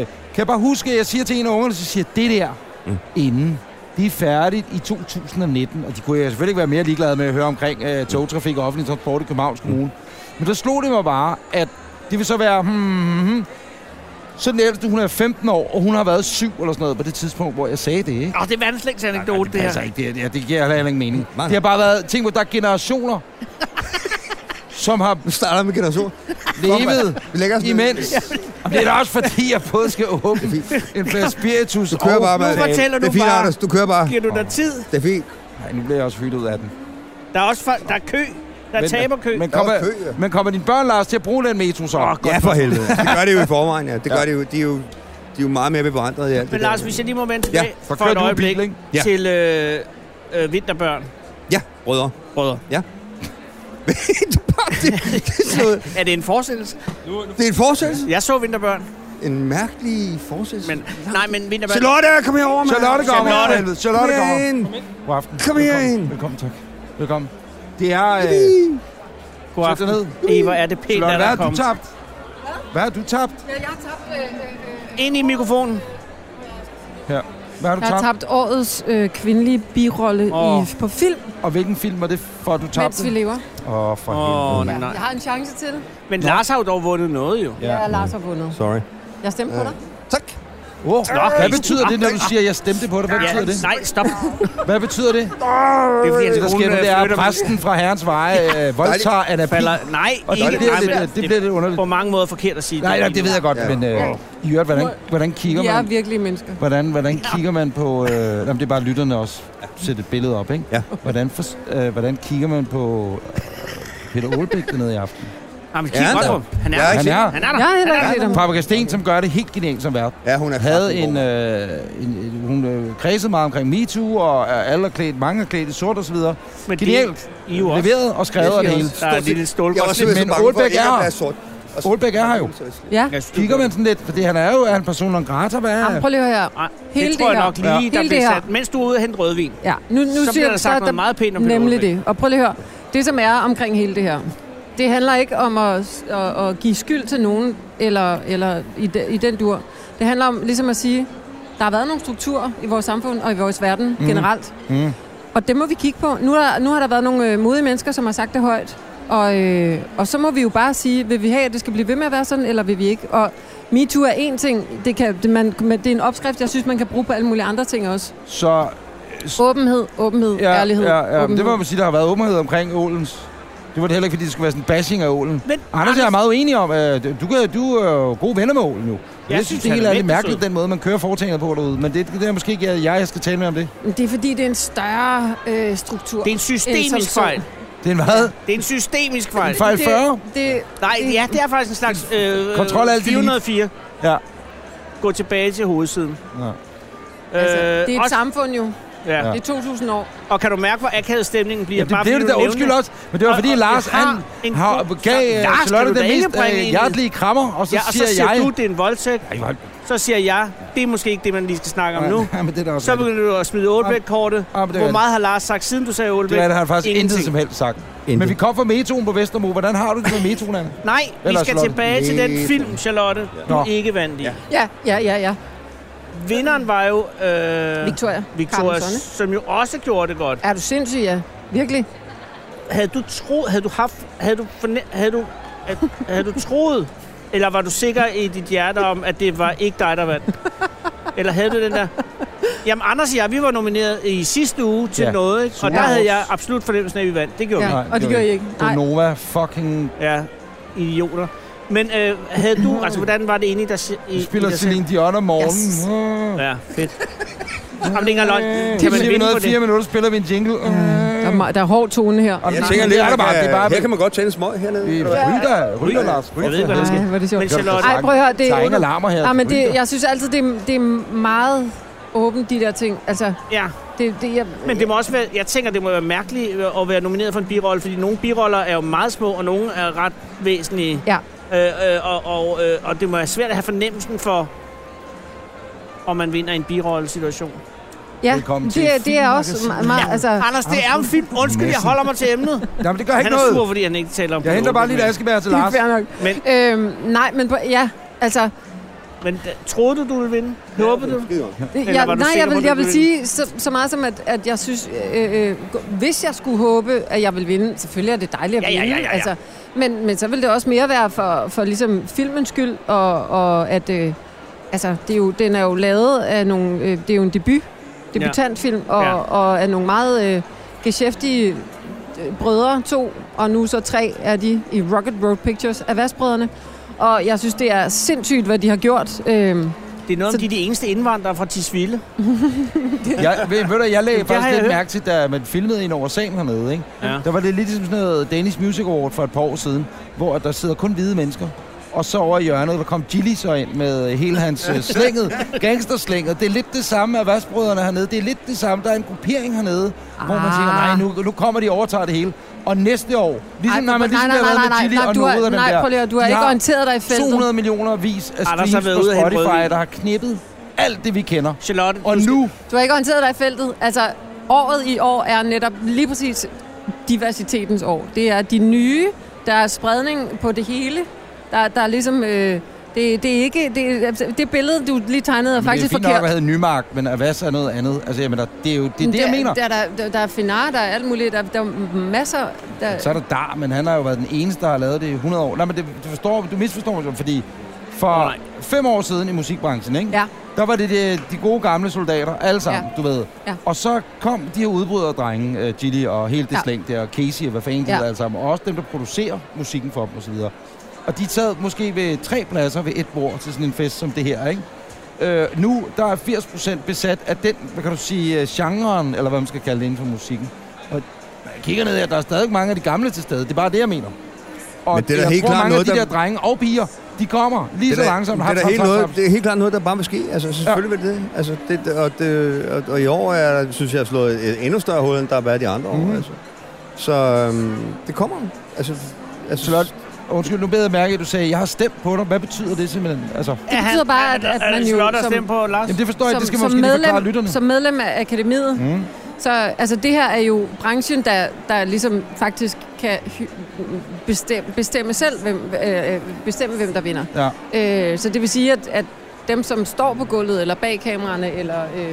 øh, kan jeg bare huske, at jeg siger til en af ungerne, så siger jeg, det der Mm. inden, det er færdigt i 2019. Og de kunne jeg selvfølgelig ikke være mere ligeglade med at høre omkring øh, togtrafik og offentlig transport i Københavns Mm. Kommune. Men der slog det mig bare, at det vil så være... Hmm, hmm, hmm. Så den ældste, hun er 15 år, og hun har været syv eller sådan noget på det tidspunkt, hvor jeg sagde det, ikke? Åh, det er verdens længste anekdote, det det her. passer ikke, det, her, det, her, det giver heller ikke mening. Nej, nej. Det har bare været, tænk på, der er generationer, som har Nu starter jeg med generation. levet Vi lægger os ned. imens. Det er da også fordi, jeg både skal åbne en flaske spiritus Du kører bare, og... mand. nu fortæller Det er du fint, bare. Anders. Du kører bare. Giver du dig tid? Det er fint. Nej, nu bliver jeg også fyldt ud af den. Der er også folk, der er kø. Der er Men- taberkø. Men Der er kommer, kø, ja. men kommer dine børn, Lars, til at bruge den metro så? Åh, godt. Ja, for helvede. Det gør det jo i forvejen, ja. Det gør det jo. De er jo, de er jo meget mere bevandrede i alt Men det der. Lars, hvis jeg lige må vende Ja, tilbage så for, kører et du bil, øjeblik ikke? Ja. til øh, øh, vinterbørn. Ja, rødder. Brødre. det, er bare- det, det, er sådan noget. Er det en forestillelse? det er en fortsættelse. Jeg så vinterbørn, En mærkelig fortsættelse. men... Nej, men vinterbørn... Charlotte, kom herover, mand. Charlotte kommer. Charlotte. Helvede, Charlotte Kom kommer. ind. God aften. Kom Velkommen. herind. Velkommen, tak. Velkommen. Det er... Øh, Yippee. God Sæt aften. dig ned. I, hvor er det pænt, Lotte, at hvad der er har du kommet. tabt? Hvad har du tabt? Ja, jeg har tabt, øh, øh, øh, Ind i mikrofonen. Hvad har du jeg har tabt? tabt årets øh, kvindelige birolle Åh. oh. i, på film, Og hvilken film var det for, at du mens tabte? vi lever. Åh, oh, for Åh, helvede. nej. Jeg har en chance til. Ja, Men Lars har jo dog vundet noget, jo. Ja. ja Lars har vundet. Sorry. Jeg stemte på dig. Tak. Oh, hvad Christen. betyder det, når du siger, at jeg stemte på dig? Hvad betyder det? Nej, stop. Hvad betyder det? Det er fordi, hans Det, der sker, kone nu, det er, at flytter- præsten fra herrens veje øh, voldtager Anna Pihl. falder. Nej, Og det ikke. bliver Nej, lidt, men øh, det bliver lidt underligt. På mange måder forkert at sige Nej, nej, det ved jeg godt, Ja. men øh, i øvrigt, hvordan, hvordan kigger Vi er man? virkelige mennesker. Hvordan, hvordan kigger man på... Øh, jamen, det er bare lytterne også. Sæt et billede op, ikke? Ja. Hvordan, for, øh, hvordan kigger man på øh, Peter Olbæk dernede i aften? Jamen, Ja, kig godt der. på ham. Han er Jeg har der. Han ikke er Han er der. Jeg har heller ikke set ham. Paprika Sten, som gør det helt genialt som vært. Ja, hun er havde kraftig en, god. øh, en, en hun øh, kredsede meget omkring MeToo, og øh, alle er klædt, mange er klædt i sort og så videre. Men Genialt. det er I jo også. Leveret og skrevet og det hele. Der er en lille Jeg var stålgård. simpelthen men så bange for Aalbæk ikke er at her. være sort. Og så- Aalbæk er her jo. Ja. Kigger man sådan lidt, fordi han er jo er en persona non grata, hvad Jamen, er prøv lige at høre her. Nej, Hele det tror det jeg her. nok lige, Ja. der Hele blev det her. sat. Mens du er ude og hente rødvin, Ja, nu, nu så siger bliver der sagt noget meget pænt om Peter Nemlig Olbæk. det. Og prøv lige at høre. Det, som er omkring hele det her, det handler ikke om at, at, at give skyld til nogen, eller, eller i, de, i den dur. Det handler om ligesom at sige, der har været nogle strukturer i vores samfund og i vores verden mm. generelt. Mm. Og det må vi kigge på. Nu, er, der- nu har der været nogle øh, modige mennesker, som har sagt det højt. Og, øh, og så må vi jo bare sige, vil vi have, at det skal blive ved med at være sådan, eller vil vi ikke? Og MeToo er en ting. Det, kan, det, man, men det er en opskrift, jeg synes, man kan bruge på alle mulige andre ting også. Så Åbenhed, åbenhed, ja, ærlighed. ja, ja. men åbenhed. det må man sige, der har været åbenhed omkring ålens. Det var det heller ikke, fordi det skulle være sådan en bashing af ålen. Men Anders, jeg er meget uenig om, at du, kan, du er jo gode venner med ålen jo. Jeg, synes, jeg synes, han det hele er er lidt mægtig mærkeligt, sød. den måde, man kører foretagendet på derude. Men det, det er måske ikke jeg, jeg skal tale med om det. Men Det er fordi, det er en større øh, struktur. det er en end systemisk som så. fejl. Det er en hvad? Det er en systemisk fejl. En fejl Det- 40? Det, Nej, det- ja, det er faktisk en slags... Øh, Kontrol alt delete. 404. Ja. Gå tilbage til hovedsiden. Ja. altså, Øh, det er et også- samfund jo. Ja. Ja. Det er 2.000 år. Og kan du mærke, hvor akavet stemningen bliver? Ja, det Bare blev fordi det du der nævner undskyld også, men det var Og- fordi og Lars, jeg har han en har, god- gav Lars, øh, kan Charlotte du da den ikke mest bringe øh, en- hjertelige krammer, og så Ja, og så siger siger jeg... du, det er en voldtægt. Ej, hvor- Så siger jeg, det er måske ikke det, man lige skal snakke om nu. Ja, men det er da også Så rigtigt. begynder du at smide Aalbæk-kortet. Ja, men det Hvor er rigtigt. meget har Lars sagt, siden du sagde Aalbæk? Det er det, han faktisk Ingenting. intet som helst sagt. Intet. Men vi kom fra metroen på Vesterbro. Hvordan har du det med metroen, Anna? Nej, vi Eller skal Charlotte. tilbage til den Lidt. film, Charlotte, du Nå. ikke vandt i. Ja, ja, ja, ja. Vinderen var jo øh, Victoria. Victoria, Carmen Sonne. som jo også gjorde det godt. Er du sindssyg, ja? Virkelig? Havde du tro, havde du haft, havde du, forne, havde du, havde, havde du troet, eller var du sikker i dit hjerte om, at det var ikke dig, der vandt? Eller havde du den der... Jamen, Anders og jeg, vi var nomineret i sidste uge til ja. Ja. noget, ikke? og der Superhorse. havde jeg absolut fornemmelsen af, at vi vandt. Det gjorde ja. Ja. vi. og det gør I ikke. Nej. Donova fucking... Ja, idioter. Men øh, havde du... Altså, hvordan var det inde i dig se- i, Vi spiller i dig selv? Celine Dion om morgenen. Yes. Yes. Ja, fedt. Jamen, det er ikke engang løgn. Kan Kan man man Øh, vi vinde noget på i fire det? minutter, spiller vi en jingle. Øh. Der er, meget- der er hård tone her. Og Jeg nej, tænker det lidt, er der bare. Det er bare... her kan man godt tænde smøg hernede. Vi eller hvad? rytter, rytter, Lars. Jeg ved ikke, hvad der Nej, sker. hvor er det Men sjovt. Charlotte, Ej, prøv at høre, det er Der er ingen under- alarmer her. Ja, men det, Rytter. jeg synes altid, det er, det er meget åbent, de der ting. Altså, ja. det, det, jeg, Men det må også være, jeg tænker, det må være mærkeligt øh, at være nomineret for en birolle, fordi nogle biroller er jo meget små, og nogle er ret væsentlige. Ja. Øh, øh, og, og, øh, og det må være svært at have fornemmelsen for, om man vinder en birolle-situation. ja, Velkommen til det, det er også Filmmagasinet. me- meget... Altså, Anders, det er en film. Undskyld, jeg Madsen. holder mig til emnet. Nå, men det gør Han ikke er sur, noget. fordi han ikke taler om Jeg henter Peter bare lige et Olbæk, askebær til det er Lars. fair nok. Men- øhm, nej, men på- ja, altså... Men men, øh, troede du, du ville vinde? Håbede du? Skide godt. Det- Eller Jeg, var du nej, sikker jeg på, vil, du jeg vil ville sige så, så meget som, at, at jeg synes, øh, øh, gå- hvis jeg skulle håbe, at jeg ville vinde, selvfølgelig er det dejligt at Ja, ja, vinde. ja, ja, ja. Altså, men, men så vil det også mere være for, for ligesom filmens skyld, og, og at øh, altså, det er jo, den er jo lavet af nogle, øh, det er jo en debut, debutantfilm, og, Ja. ja. og af nogle meget øh, geschæftige øh, brødre, to, og nu så tre af de i Rocket Road Pictures, af Vasbrødrene. Og jeg synes, det er sindssygt, hvad de har gjort. Øhm, Det er noget om, Så- de er de eneste indvandrere fra Tisvilde. Jeg, ved, ved du, jeg lagde Det har faktisk jeg lidt hørt. mærke til, da man filmede en over sagen hernede, ikke? Ja. Der var det lidt ligesom sådan noget Danish Music Award for et par år siden, hvor der sidder kun hvide mennesker. Og så over i hjørnet, der kom Gilly så ind med hele hans øh, slænget, gangsterslænget. Det er lidt det samme af Vasbrødrene hernede. Det er lidt det samme. Der er en gruppering hernede, ah. hvor man tænker, nej, Ah. nu, nu kommer de og overtager det hele. Og næste år, ligesom Ej, når man ligesom nej, har nej, været nej, med nej, Gilly nej, og du har, noget af dem nej, der. prøv lige, at- du De har ikke har orienteret dig i feltet. 200 millioner vis af Anders har streams været på ude at hente Spotify, rødvin. der har knippet alt det, vi kender. Charlotte, Og du skal- nu Du har ikke orienteret dig i feltet. Altså, året i år er netop lige præcis diversitetens år. Det er de nye Der er spredning på det hele. Der, der er ligesom... Øh, det, det er ikke... Det, det billede, du lige tegnede, er Men det er faktisk fint nok forkert. at have Nymark, men Avas er noget andet. Altså, jamen, der, det er jo det, er det jeg mener. Der, er- der, er- der, der er finar, der er alt muligt. Der, der er masser... Der, Så er der Dar, men han har jo været den eneste, der har lavet det i 100 år. Nej, men det, du, forstår, du misforstår mig, fordi for Nej. Nej. fem år siden i musikbranchen, ikke? ja, der var det de, de gode gamle soldater, alle sammen, Ja. ja. du ved. Ja. Og så kom de her udbrydere drenge, uh, Gilly og hele det Ja. ja. slæng der, og Casey og hvad fanden de Ja. ja. alle sammen. Og også dem, der producerer musikken for dem osv. Og de sad måske ved tre pladser ved et bord til sådan en fest som det her, ikke? Øh, nu der er 80% besat af den, hvad kan du sige, øh, genren, eller hvad man skal kalde det inden for musikken. Og når jeg kigger ned her, der er stadig mange af de gamle til stede. Det er bare det, jeg mener. Og Men det er da jeg helt tror, klart mange noget, af de der- der drenge og piger, de kommer lige det så er da- langsomt. Det Hap, er, da hap, helt hap, noget, hap. det er helt klart noget, der bare vil ske. Altså, selvfølgelig ja. vil det. Altså, det og, det, og, og i år, er, der, synes jeg, er slået et endnu større hul, end der har været de andre mm. år. Mhm. Altså. Så øhm, det kommer. Altså, altså, Charlotte, Undskyld, nu beder jeg mærke, at du sagde, at jeg har stemt på dig. Hvad betyder det simpelthen? Altså, det betyder bare, at, at man jo... Slot at stemme på, Lars. jamen det forstår jeg, ikke. det skal man måske lige forklare medlem, lytterne. som medlem af akademiet, Mm. Så altså, det her er jo branchen, der, der ligesom faktisk kan hy- bestemme, bestemme selv, hvem, øh, øh, bestemme, hvem der vinder. Ja. Øh, så det vil sige, at, at dem, som står på gulvet, eller bag kameraerne, eller øh,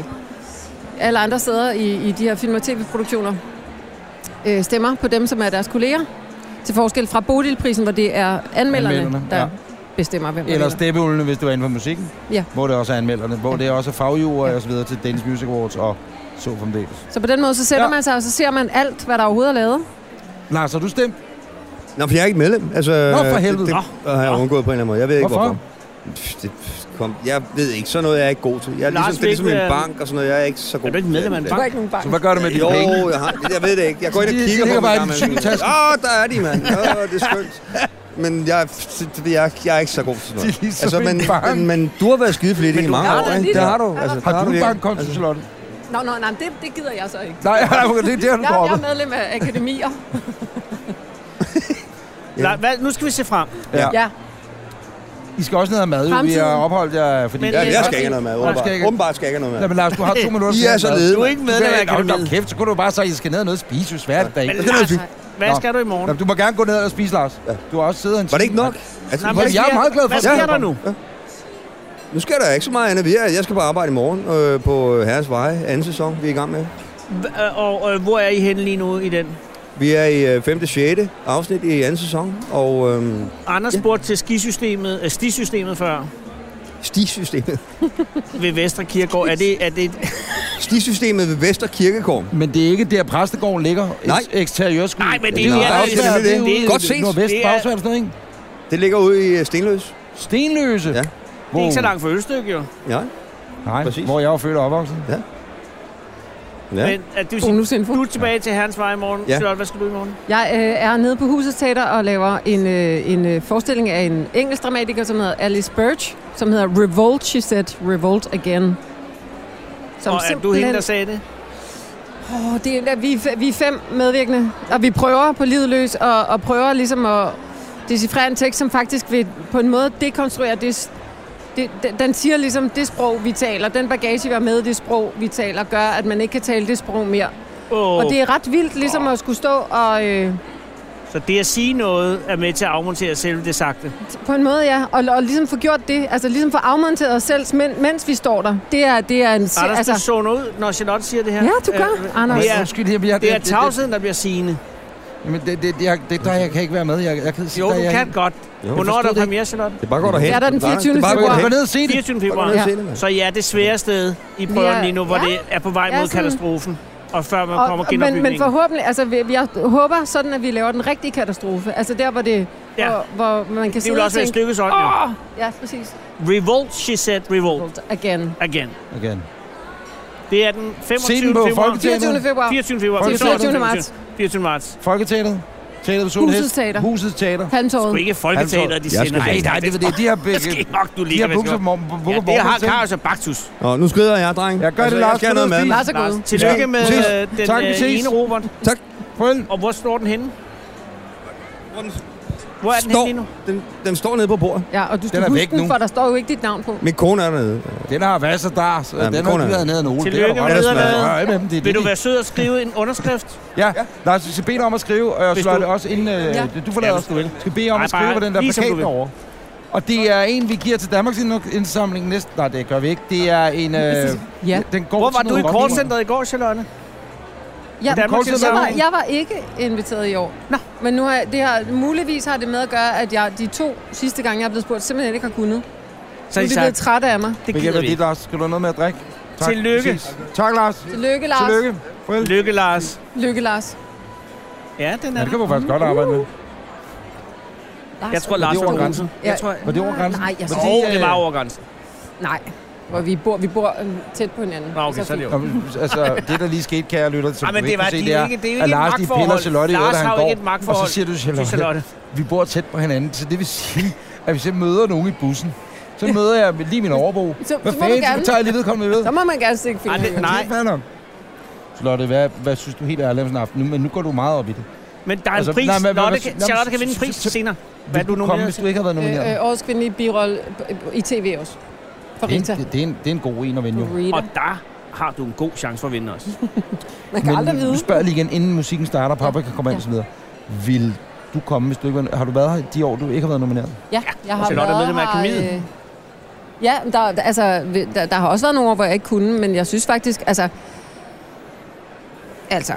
alle andre steder i, i de her film- og tv-produktioner, øh, stemmer på dem, som er deres kolleger. Til forskel fra Bodilprisen, hvor det er anmelderne, Anmelderne, der ja. bestemmer, hvem der Eller vinder. steppeulene, hvis det var inden for musikken. Ja. Hvor det også er anmelderne. Hvor det også er fagjurer Ja. og så videre til Danish Music Awards og så fremdeles. Så på den måde, så sætter ja. Ja. man sig, og så ser man alt, hvad der overhovedet er lavet. Lars, har du stemt? Nå, for jeg er ikke medlem. Altså, Nå, for helvede. Det, det og har jeg undgået på en eller anden måde. Jeg ved ikke, Hvorfor? hvorfor. Pff, Det, pff, kom. Jeg ved ikke. Sådan noget er jeg ikke god til. Jeg er Lars ligesom, det er ligesom Mikkel, øh, en bank og sådan noget. Jeg er ikke så god du ikke medlem af en Du bank? har ikke nogen bank. Så hvad gør du med dine Jo, penge? jeg, har, jeg ved det ikke. Jeg går ind og De- de kigger ligger på bare i gamle- din sygetaske. Åh, oh, der er de, mand. Åh, oh, det er skønt. Men jeg, det- jeg, jeg er ikke så god til sådan noget. Altså, De er ligesom en men, bank. men, men du har været skideflittig i mange har da år, en ikke? lille- Det har du. Har der Har du en virkelig. bankkonto, altså. Charlotte? Nå, nå, nej, det, det gider jeg så ikke. Nej, nej, okay, det er der, Jeg, du jeg er dropper. medlem af akademier. La- hvad, nu skal vi se frem. Ja. ja. I skal også ned og have mad, jo. Vi Fremtiden. har opholdt jer, fordi... Men- Ja, jeg skal ikke have noget med, Nej, du skal åbenbart. ikke. Åbenbart skal jeg ikke have Nej, noget med. men Lars, du har to minutter. I til er at så lave mad. lede. Du er ikke medlem af Hold da akademiet. kæft, så kunne du bare sige, at I skal ned og noget at spise, jo svært dag. Men Det er noget Lars, fint. hvad Nå. skal du i morgen? Nå, Du må gerne gå ned og spise, Lars. Du har også siddet en Var det ikke nok? Altså, Nej, var hvad det ikke- jeg er sker- meget glad for, Hvad at jeg sker er der kommet. nu? nu skal der ikke så meget andet. Vi er- Jeg skal på arbejde i morgen øh, på Herres Veje, anden sæson, vi er i gang med. Hva- Og, og hvor er I henne lige nu i den? Vi er i øh, 5. 6. afsnit i anden sæson, og øhm, Anders spurgte til skisystemet, øh, stisystemet før stisystemet. ved Vestre Kirkegård. Er det, er det, Stisystemet ved Vester Kirkegård. Men det er ikke der, præstegården ligger. Nej. Eks- Eksteriørskud. Nej, men det er jo- jo det er jo- det er jo- ude i Godt ses. Nordvest, Det er- Bagsværd og sådan noget, ikke? Det ligger ude i øh, Stenløs. Stenløse. Ja. det er ikke så langt for Ølstykke, jo. Ja. Nej, Præcis. hvor jeg var født og opvokset. ja. Men at Oh, du, siger, Bonusinfo. du er tilbage til Herrens Vej i morgen. Ja. Ja. Charlotte, hvad skal du i morgen? Jeg øh, er nede på Huset Teater og laver en, øh, en øh, forestilling af en engelsk dramatiker, som hedder Alice Birch, som hedder Revolt, She Said, Revolt Again. Som og er du hende, der sagde det? Åh, det er, vi, er fe- vi er fem medvirkende, og vi prøver på livet løs, og, og prøver ligesom at decifrere en tekst, som faktisk vil på en måde dekonstruere det, s- det, den- den siger ligesom det sprog, vi taler, den bagage, vi har med i det sprog, vi taler, gør, at man ikke kan tale det sprog mere. Oh, Og det er ret vildt ligesom at skulle stå og... Øh, Så det at sige noget er med til at afmontere selve det sagte. På en måde, ja. Og, og ligesom få gjort det, altså ligesom få afmonteret os selv, men, mens vi står der. Det er, det er en... se- Anders, altså, du altså, zoner ud, når Charlotte siger det her. Øh, Ja, du gør, Anders. Det er, Undskyld, jeg, jeg, Ah, det er det- det- tavsheden, der bliver sigende. Jamen, det, det, det, jeg, det, der, jeg kan ikke være med. Jeg, jeg kan sige, Jo, der, du jeg, kan godt. Hvornår er forstod der det ikke. premiere, Charlotte? Det er bare godt at Det hente. er der den Nej, 24. Det er bare Gå godt at gå hente. ned og se det. 24. Gå ned og februar. se det, mand. Så ja, det svære sted i prøven Ja. lige nu, hvor Ja. det er på vej Ja, mod sådan- katastrofen. Og før man kommer og, men, men genopbygningen. forhåbentlig, altså vi- jeg håber sådan, at vi laver den rigtige katastrofe. Altså der, hvor, det, Ja. ja. hvor, hvor man kan Det sidde vil og også være et tænke... stykke sådan, jo. Ja, præcis. Revolt, she said, revolt Again. again. Again. Det er den 25. den på februar. Folketinget. 24. februar. 24. februar. Til 24. marts. 24. marts. Folketeater. Teater ved Sol Husets Hest. Teater. Husets Teater. Du er Halmtorvet. ikke folketeater, Altså, de sender. Nej, nej, det er det. De har Det skal begge... nok, du De lige har bukser om Ja, morgenen. det har Karius og Baktus. Nå, nu skrider jeg, dreng. Altså, Jeg gør det, jeg Lars. skal have Gå noget ned og mad. spis. Lars er Lars, god. tillykke Ja. med Ses. øh, den Tak, vi øh, ses. ene Robert. Tak. Prøv en- Og hvor står den henne? Hvor er den henne står, lige nu? den, den står nede på bordet. Ja, og du skal er huske væk den, nu. for der står jo ikke dit navn på. Min kone er dernede. Den har vasser der, så Ja, ja, den men har ikke kun- været nede af nogen. Tillykke det er med der godt. videre. Rør af med dem, det er Vil det, du de- være sød og skrive en underskrift? Ja, nej, så skal bede dig om at skrive, og jeg Hvis slår du- det også inden, øh, Ja. ja. du forlader Ja, os, hvis du vil. Skal bede om Nej, at skrive bare på den der lige som du plakat vil. derovre. Og det er en, vi giver til Danmarks indsamling næste... Nej, det gør vi ikke. Det er en... Øh, Ja. Den går Hvor var til du i noget rådgivning. callcenteret i går, Charlotte? Ja, Danmark jeg, skal være var, med. jeg var ikke inviteret i år. Nå. Men nu har jeg, det har, muligvis har det med at gøre, at jeg de to sidste gange, jeg er blevet spurgt, simpelthen ikke har kunnet. Så Så har er de de blevet sagt, trætte af mig. det Det gider giver vi det, ikke. Lars. Skal du have noget med at drikke? Tillykke. Præcis. Tak, Lars. Lykke, Lars. Tillykke. Farvel. Lykke, Lars. Lykke, Lars. Ja, den Ja, er det kan du faktisk godt arbejde med. Lars Jeg tror, Lars over var grænsen? grænsen. Jeg tror, Var det over grænsen? Nej, jeg Var synes, øh, det- Åh, det var over grænsen. nej. Hvor vi bor, vi bor øhm, tæt på hinanden. Nå, okay, så er det jo. Nå, men, altså, det der lige skete, kære lytter, som Ej, men du det, ikke var, kan de se, er det jo er, ikke, det er jo at ikke Lars, et de piller magtforhold. Charlotte i øret, Lars da har jo ikke et han går, og magtforhold så siger du til Charlotte, Charlotte. vi bor tæt på hinanden, så det vil sige, at hvis jeg møder nogen i bussen, så møder jeg lige min overbo. Så, Hvad så, må du fanden, så gerne, tager jeg lige vedkommende ved. så må man gerne stikke Ej, fingeren. det- i øjet. nej. Det er fair nok. Charlotte, hvad, hvad synes du helt ærligt om sådan en aften? Nu, men nu går du meget op i det. Men der er en Altså, pris. nej, men- Lotte men- kan- men- men- Charlotte kan vinde en pris så- så- senere. Hvad er Vil du du komme, hvis nomineret du ikke har været nomineret? Øh, øh, årets kvindelige birolle øh, i tv også. For det, Rita. er en, det, det, er en, det er en god en at vinde, jo. Rita. Og der har du en god chance for at vinde også. Man kan aldrig nu vide. spørger jeg lige igen, inden musikken starter, Papa kan komme ind Ja. og så videre. Vil du komme, hvis du ikke var, Har du været her de år, du ikke har været nomineret? Ja, jeg har Charlotte Altså, er været medlem af her, Akademiet. øh, Ja, men der, der- altså, vi- der, der har også været nogle år, hvor jeg ikke kunne, men jeg synes faktisk, altså... Altså,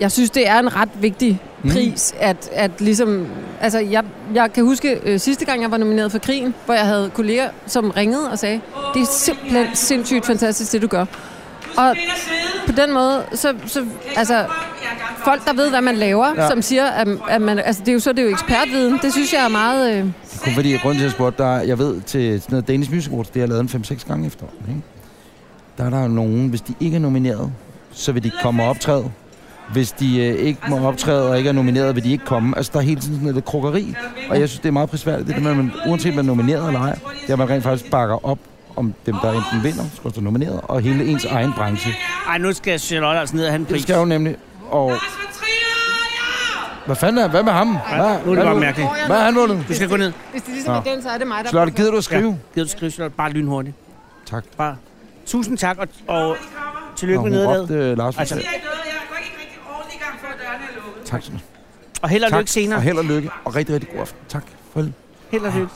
jeg synes, det er en ret vigtig pris, mm. at, at ligesom... Altså, jeg, jeg kan huske øh, sidste gang, jeg var nomineret for krigen, hvor jeg havde kolleger, som ringede og sagde, det er simpelthen sindssygt fantastisk, det du gør. Og på den måde, så, så altså, folk, der ved, hvad man laver, ja. Ja. som siger, at, at man, altså, det er jo så det er jo ekspertviden, det synes jeg er meget... Øh, Kun fordi, grunden til, at jeg spurgte dig, jeg ved til sådan noget Danish Music Awards, det har jeg lavet en 5-6 gange efter. Ikke? Der er der jo nogen, hvis de ikke er nomineret, så vil de ikke komme og optræde. Hvis de øh, ikke må optræde og ikke er nomineret, vil de ikke komme. Altså, der er hele tiden sådan lidt krukkeri. Og jeg synes, det er meget prisværdigt, det der med, at man, uanset om man er nomineret eller ej, det er, at man rent faktisk bakker op om dem, der enten vinder, skal stå nomineret, og hele ens egen branche. Ej, nu skal Charlotte altså ned og have en Det pris. skal jo nemlig. Og hvad fanden er, hvad med ham? Hvad, nu er det hvad bare nu? mærkeligt. Hvad har han vundet? Du skal gå ned. Hvis det ligesom Nå. er den, så er det mig, der... Charlotte, gider du at skrive? Gider du skrive, Charlotte? Bare lynhurtigt. Tak. Bare. Tusind tak, og, og tillykke Nå, med hun nederlaget. råbte, øh, Lars. Altså, Tak skal du have. Og held og Tak, lykke senere. og held og lykke, og rigtig, rigtig god aften. Tak. Farvel. Held og lykke.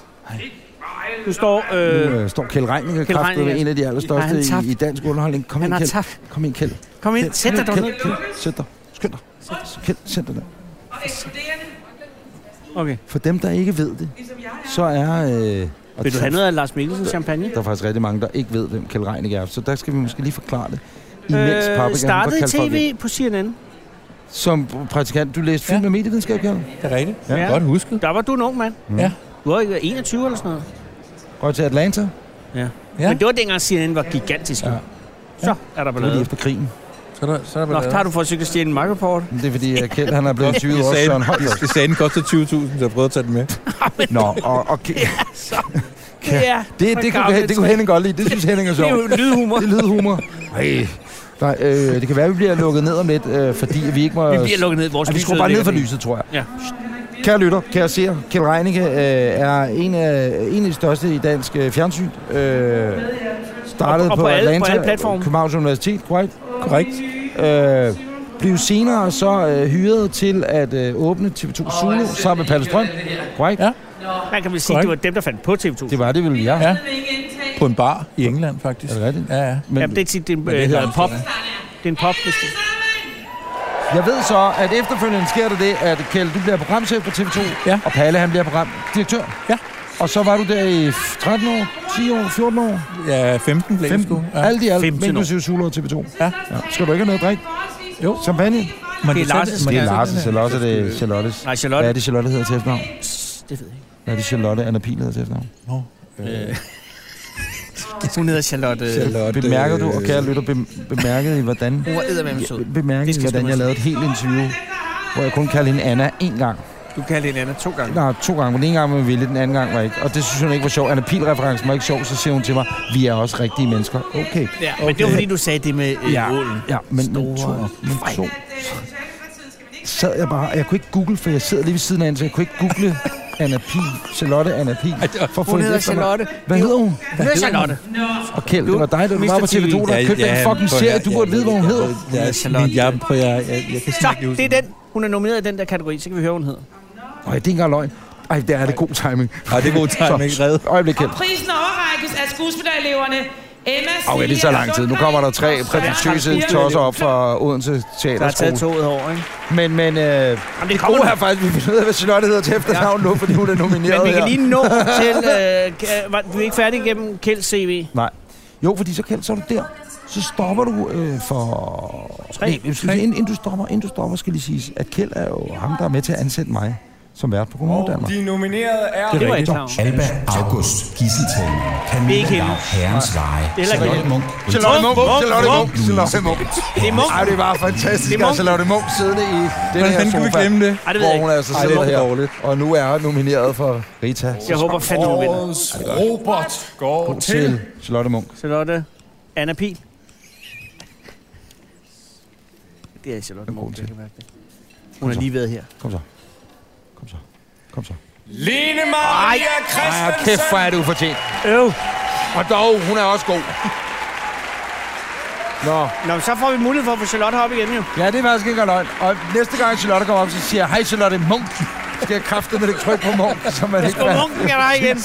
Du står... Øh, Nu øh, står Kjeld Reininger, Kjeld kraftet Reinicke. øh, en af de Har han allerstørste tabt? i, i dansk underholdning. Kom han ind, har Kjeld. tabt. Kom ind, Kjeld. Kom ind, Kjeld, sæt dig Kjeld, dernede. Kjeld, Kjeld, Sæt dig. Skynd dig. Kjeld, sæt dig der. Okay. For dem, der ikke ved det, så er... Øh, og Vil du have noget af Lars Mikkelsen champagne? Der er faktisk rigtig mange, der ikke ved, hvem Kjeld Reininger er. Så der skal vi måske lige forklare det. Imens øh, Øh, startede i tv på CNN. Som praktikant, du læste film og medievidenskab, Kjeld. Det er rigtigt. Ja. Ja. Godt husket. Der var du en ung mand. Ja. Du var ikke 21 eller sådan noget. Røg til Atlanta. Ja. Men det var dengang CNN var gigantisk. Ja. Ja. Så er der Det var lige ballade. efter krigen. Så er der, så er der Nå, ballade. der har du forsøgt at stjæle en markerport. Men Det er fordi, at Kjeld han er blevet 20 Jeg år sagde, Søren Holger. jeg sagde, den koster 20.000, så jeg prøvede at tage den med. Nå, og, og Kjeld, Ja, Det, det, kunne, det kunne Henning godt lide. Det synes Henning er Det er sjovt. jo lydhumor. Det er lydhumor. Ej. Nej, øh, det kan være, at vi bliver lukket ned om lidt, øh, fordi vi ikke må... Vi bliver lukket ned i vores Altså, vi lys skruer bare ned ødelægger for det. lyset, tror jeg. Ja. Kære lytter, kære seer, Kjeld Reinicke øh, er en af, en af de største i dansk øh, fjernsyn. Øh, startede Og- og på, på alle- på Atlanta, alle platforme. Københavns Universitet, korrekt? Korrekt. Øh, blev senere så øh, hyret til at øh, åbne TV2 Zulu sammen med Palle Strøm, korrekt? Ja. Man kan vel sige, at det var dem, der fandt på TV2. Det var det, vel jeg. Ja. På en bar i England, faktisk. Er det rigtigt? Ja, ja. Men, Jamen, det er tit, det, det, hedder det er en pop. det. Det er en pop. hvis det- Jeg ved så, at efterfølgende sker der det, at Kjeld, du bliver programchef på TV2, Ja. og Palle, han bliver programdirektør. Ja. Og så var du der i 13 år, 10 år, 14 år, Ja, 15 blev 15. det sgu. Ja. Alt i alt, 15 år. inklusive Sula og TV2. Ja. ja. Skal du ikke have noget at drikke? Jo. Champagne? Men Det er Lars' men Det er så- Lars' eller også er det Charlottes. Nej, Charlotte. Hvad er det, Charlotte hedder til efternavn? Det ved jeg ikke. Hvad er det, Charlotte Anna Pil hedder til efternavn? Nå, øh, Hun hedder Charlotte. Charlotte, Bemærkede du, og øh, kære lytter, bem, bemærkede I, hvordan, Hun var eddermame sød. Det bemærkede I, skal hvordan sgu være. jeg lavede et helt interview, hvor jeg kun kaldte hende Anna én gang. Du kaldte hende Anna to gange. Nej, to gange. Den ene gang var med vilje, den anden gang var ikke. Og det synes hun ikke var sjov. Anna Pil-referencen var ikke sjov, så siger hun til mig, vi er også rigtige mennesker. Okay. Ja, men det var fordi, du sagde det med øh, Ja, ålen. ja men, men to, Store men to. Så sad jeg bare, og jeg kunne ikke google, for jeg sidder lige ved siden af hende, så jeg kunne ikke google Anna Pin. Charlotte Anna Pin. For at få Hun et hedder efternavn. Charlotte. Hvad hedder hun? Hvad hedder Charlotte. Og Kjeld, det var dig, der Mr. var på TV2, der Ja, købte ja, den fucking prøv at serie. høre, Du burde jeg vide, hvad hun ved- hedder. Jeg, Ja, jeg, Charlotte. jeg, jeg, prøv, jeg, jeg, jeg kan Så, simpelthen ikke det huske er den. Hun er nomineret i den der kategori, så kan vi høre, hvad hun hedder. Nej, det er ikke engang løgn. Ej, der er det god timing. Ej, det er god timing. Så, Red. Øjeblik, Kjeld. Prisen overrækkes af skuespillereleverne Emma Okay, det tager lang tid. Nu kommer der tre prætentiøse tosser op fra Odense Der er taget Teaterskole. toget over, ikke? Men, men, øh, Jamen, det det kommer gode nu. er faktisk, at vi finder ud af, hvad Charlotte hedder til efternavn nu, fordi hun er nomineret Men vi kan her. lige nå til... Øh, k- øh, var- vi er ikke færdige gennem Kjelds CV. Nej. Jo, fordi så, kan, så er du der. Så stopper du øh, for... Tre. Nej, jeg synes, Tre. inden, inden, du stopper, inden du stopper, skal lige siges, at Kjeld er jo ham, der er med til at ansætte mig som vært på Godmorgen Danmark. de nominerede er... Det var ikke klar over. Alba August Gisseltalen, Vi er ikke Camilla hende. Lav, Herrens Veje, er heller ikke Charlotte Munk, Charlotte Munk, Munk, Charlotte Munk. Munk, Charlotte Munk. Det er Munk. Ej, det var fantastisk, Det er at Munk. Charlotte Munk siddende i den her Hvordan kan vi sofa, glemme det? Ej, det ved jeg hvor hun ikke. altså Ej, det sidder er her. dårligt. Og nu er nomineret for Rita. Jeg håber fandme, hun vinder. Årets Robert går Til til... Charlotte Munk. Charlotte Anna Pil. Det er Charlotte Morgen, jeg kan mærke det. Hun er lige ved her. Kom så. Kom så. Kom så. Lene Maria Ej, kæft, hvor Christensen! er det ufortjent. Øv. Og dog, hun er også god. Nå, Nå, men så får vi mulighed for at få Charlotte op igen, jo. ja, det er faktisk ikke løgn. Og næste gang Charlotte kommer op, så siger jeg, hej Charlotte Munk. Skal jeg kræfte med det tryk på Munk, så man ikke... På munken er der igen.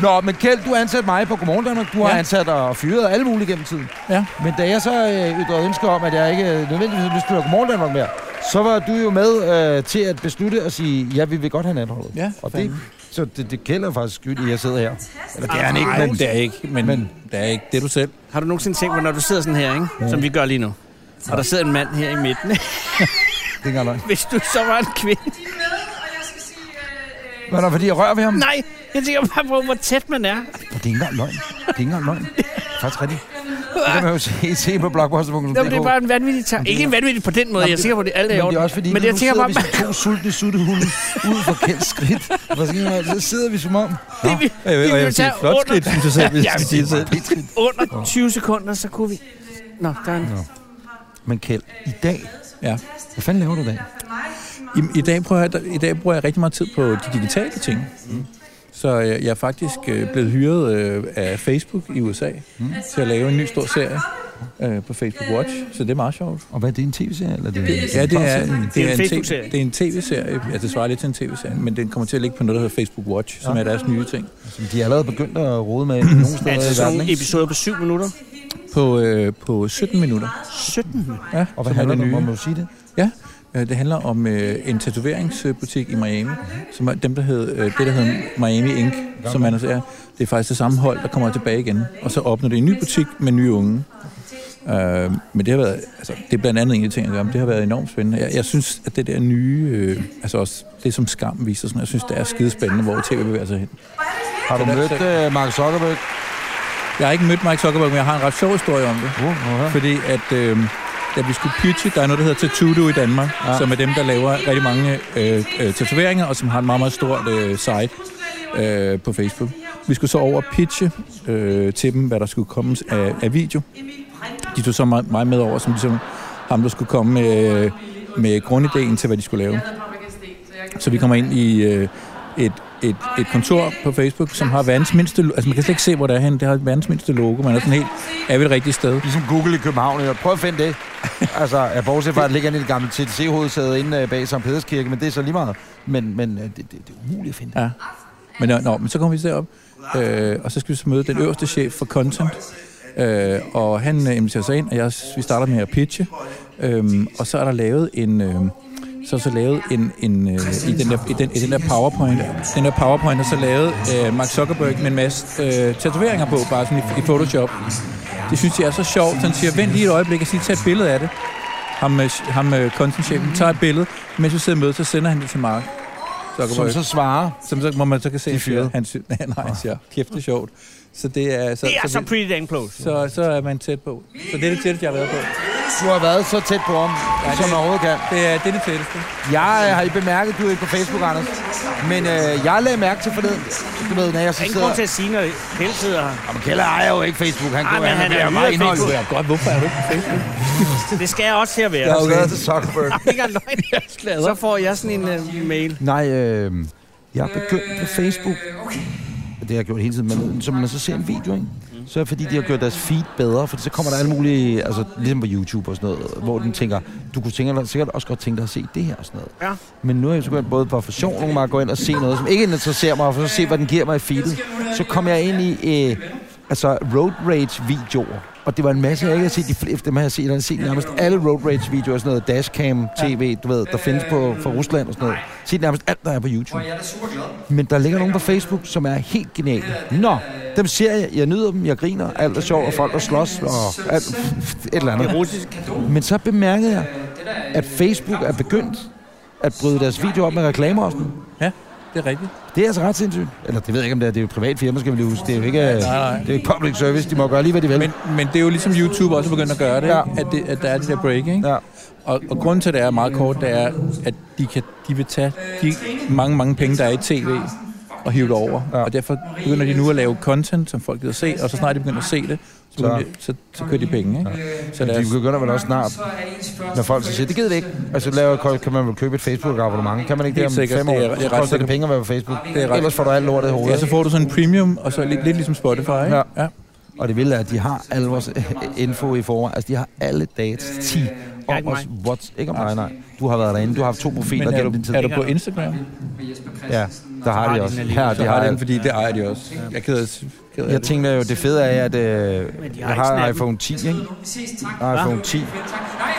Nå, men Kjeld, du ansatte mig på Godmorgen Danmark. Du har Ja. ansat og fyret alle mulige gennem tiden. Ja. Men da jeg så øh, ytrede ønske om, at jeg ikke øh, nødvendigvis ville spille Godmorgen Danmark mere, så var du jo med øh, til at beslutte at sige, ja, vi vil godt have natholdet. Ja, og det, fanden. så det, det kælder faktisk skyld, i, at jeg sidder her. Eller det er han ikke, Nej, men... det er ikke, men, men det er ikke. Det er du selv. Har du nogensinde tænkt på, når du sidder sådan her, ikke? Som vi gør lige nu. Og der sidder en mand her i midten. Det er ikke engang løgn. Hvis du så var en kvinde. Var der, fordi jeg rører ved ham? Nej, jeg tænker bare på, hvor tæt man er. Det er ikke engang løgn. Det er ikke engang løgn. Det er faktisk rigtigt. Det kan man jo se, se på blockbuster.dk. Jamen, det er bare en vanvittig tanke. Ikke en vanvittig på den måde, jeg er sikker på, at det alt er i Men det orden. er også fordi, Men nu jeg tænker sidder bare, vi som to sultne suttehunde ud for kendt skridt. Hvor skal man- Så sidder vi som om... det vi, Jeg vil, vi og jeg vil vil sige, tage flot under, skridt, synes jeg selv, hvis jeg skal sige det selv. under 20 sekunder, så kunne vi... Nå, der er en... Men Kjeld, i dag... Ja. Hvad fanden laver du i dag? I, i, dag prøver jeg, I dag bruger jeg rigtig meget tid på de digitale ting. Mm. Så jeg, jeg er faktisk øh, blevet hyret øh, af Facebook i USA mm. til at lave en ny stor serie øh, på Facebook Watch, så det er meget sjovt. Og hvad er det, en tv-serie? Eller er det Ja, det er, Det er en det er, en, te- Facebook-serie. det er en tv-serie. Ja, det svarer lidt til en tv-serie, men den kommer til at ligge på noget, der hedder Facebook Watch, som er deres nye ting. Som Altså, de er allerede begyndt at rode med nogle Altså steder i verden, sådan en ikke? episode på 7 minutter. På, øh, på 17 minutter. 17 minutter. Ja, Og hvad som er handler det det nye. om? Må du sige det? Ja, øh, det handler om øh, en tatoveringsbutik i Miami, som er dem, der hed, øh, det, der hedder Miami Inc., som man er, altså, det er faktisk det samme hold, der kommer tilbage igen, og så opnår det en ny butik med nye unge. Øh, men det har været, altså, det er blandt andet en af de ting, jeg gør, men det har været enormt spændende. Jeg, jeg synes, at det der nye, øh, altså også det, som Skam viser, sådan, jeg synes, det er skidespændende, hvor tv bevæger sig hen. Har du Den er mødt sag. øh, Mark Zuckerberg? Jeg har ikke mødt Mark Zuckerberg, men jeg har en ret sjov historie om det. Uh, Fordi at, øh, da vi skulle pitche, der er noget, der hedder Tatudo i Danmark, ja. som er dem, der laver rigtig mange øh, øh, tatoveringer, og som har en meget, meget stort øh, site øh, på Facebook. Vi skulle så over og pitche øh, til dem, hvad der skulle komme af, af video. De tog så mig, mig med over, som ligesom ham, der skulle komme med, øh, med grundideen til, hvad de skulle lave. Så vi kommer ind i øh, et, et, et kontor på Facebook, som har verdens mindste... lo- Altså, man kan slet ikke se, hvor det er henne. Det har verdens mindste logo. Man er sådan helt... Er vi det rigtige sted? ligesom Google i København, eller prøv at finde det. altså, jeg bortset fra, at det ligger inde i det gamle TTC-hovedsæde inde øh, bag St. Peders Kirke, men det er så lige meget. Men, men øh, det, det, det, er umuligt at finde. Ja. Men, nå, nå, men så kommer vi derop, øh, og så skal vi så møde den øverste chef for content. Øh, og han øh, inviterer sig ind, og jeg, vi starter med at pitche. Øhm, og så er der lavet en... Øh, så er så lavet en, en øh, i, den der, i, den, i den der PowerPoint. Den der PowerPoint er så lavet øh, Mark Zuckerberg med en masse øh, tatoveringer på, bare sådan i, i Photoshop. Det synes jeg er så sjovt. Så han siger, vent lige et øjeblik, og siger, tag et billede af det. Ham, øh, ham øh, contentchefen tager et billede, mens vi sidder med, så sender han det til Mark. Som Zuckerberg så svarer, som så, hvor man så kan se, De er fyret. at han sy- nej, nej, han siger, kæft, det er sjovt. Så det er, så, Det er så, så pretty dang close. så, så er man tæt på. Så det er det tætteste, jeg har været på. du har været så tæt på om, ja, som det- man overhovedet kan. Det er det, er det tætteste. Jeg øh, har I bemærket, du er ikke på Facebook, Anders. Men øh, jeg lagde mærke til forleden, du ved, når jeg så Der er ingen sidder... grund til at sige, når Kjeld sidder her. Jamen, Kjell ejer jo ikke Facebook. Han, Nej, kunne, men han er bliver ude meget af indholdt. Facebook. Det er godt, hvorfor er du ikke på Facebook? Det skal jeg også til at være. Jeg har jo været til Zuckerberg. øh, Ikke engang løgn. Så får jeg sådan en uh, mail. Nej, øh, Jeg er begyndt på Facebook. Det har jeg gjort hele tiden, men så man så ser en video, ikke? Så er det fordi, de har gjort deres feed bedre, for så kommer der alle mulige, altså ligesom på YouTube og sådan noget, hvor den tænker, du kunne tænke dig, sikkert også godt tænke dig at se det her og sådan noget. Ja. Men nu er jeg så begyndt både på for sjov, nogle gange at gå ind og se noget, som ikke interesserer mig, og så se, hvad den giver mig i feedet. Så kom jeg ind i øh, altså road rage videoer. Og det var en masse, jeg ikke har set de fleste, dem har jeg set, jeg har set nærmest alle road rage videoer, sådan noget dashcam, tv, du ved, der findes på, fra Rusland og sådan noget. Set nærmest alt, der er på YouTube. Men der ligger nogen på Facebook, som er helt geniale. Nå, dem ser jeg, jeg nyder dem, jeg griner, alt er sjovt, og folk der slås, og alt, et eller andet. Men så bemærkede jeg, at Facebook er begyndt at bryde deres video op med reklamer og sådan. noget. Ja, det er rigtigt. Det er altså ret sindssygt. Eller det ved jeg ikke, om det er. Det er jo et privat firma, skal vi lige huske. Det er jo ikke, det er jo ikke public service. De må gøre lige, hvad de vil. Men, men det er jo ligesom YouTube også er begyndt at gøre det, Ja. ja. at, det at der er det der break, ikke? Ja. Og, og grunden til, at det er meget kort, det er, at de, kan, de vil tage de mange, mange penge, der er i tv, og hive det over. Ja. Ja. Og derfor begynder de nu at lave content, som folk gider se, og så snart de begynder at se det, så, Så- så. De, så, så kører de penge, ikke? Ja. Så De deres, begynder vel også snart, når folk så siger, det gider vi ikke. Altså, laver, kan man vel købe et Facebook-abonnement? Kan man ikke det Helt om sikkert. fem år? Det er- jeg er ret Det koster det sikker på. penge at være på Facebook. Det er ret- Ellers får du alt lortet i ja, så hovedet. får du sådan en premium, og så lidt, lidt ligesom Spotify, ikke? Ja. ja. Og det vilde er, at de har al vores info i forvejen. Altså, de har alle dagens 10 om ikke os. What's, ikke om dig, nej. Du har været derinde. Du har haft to profiler Men er gennem du, din tid. er du på Instagram? Ja, der har de også. Her, Så de har har jeg den, fordi det ejer de også. Jeg er ked af, ked af Jeg det. tænker jo, det fede er, at øh, Men de har jeg ikke har snappen. iPhone 10, ikke? Jeg har iPhone 10.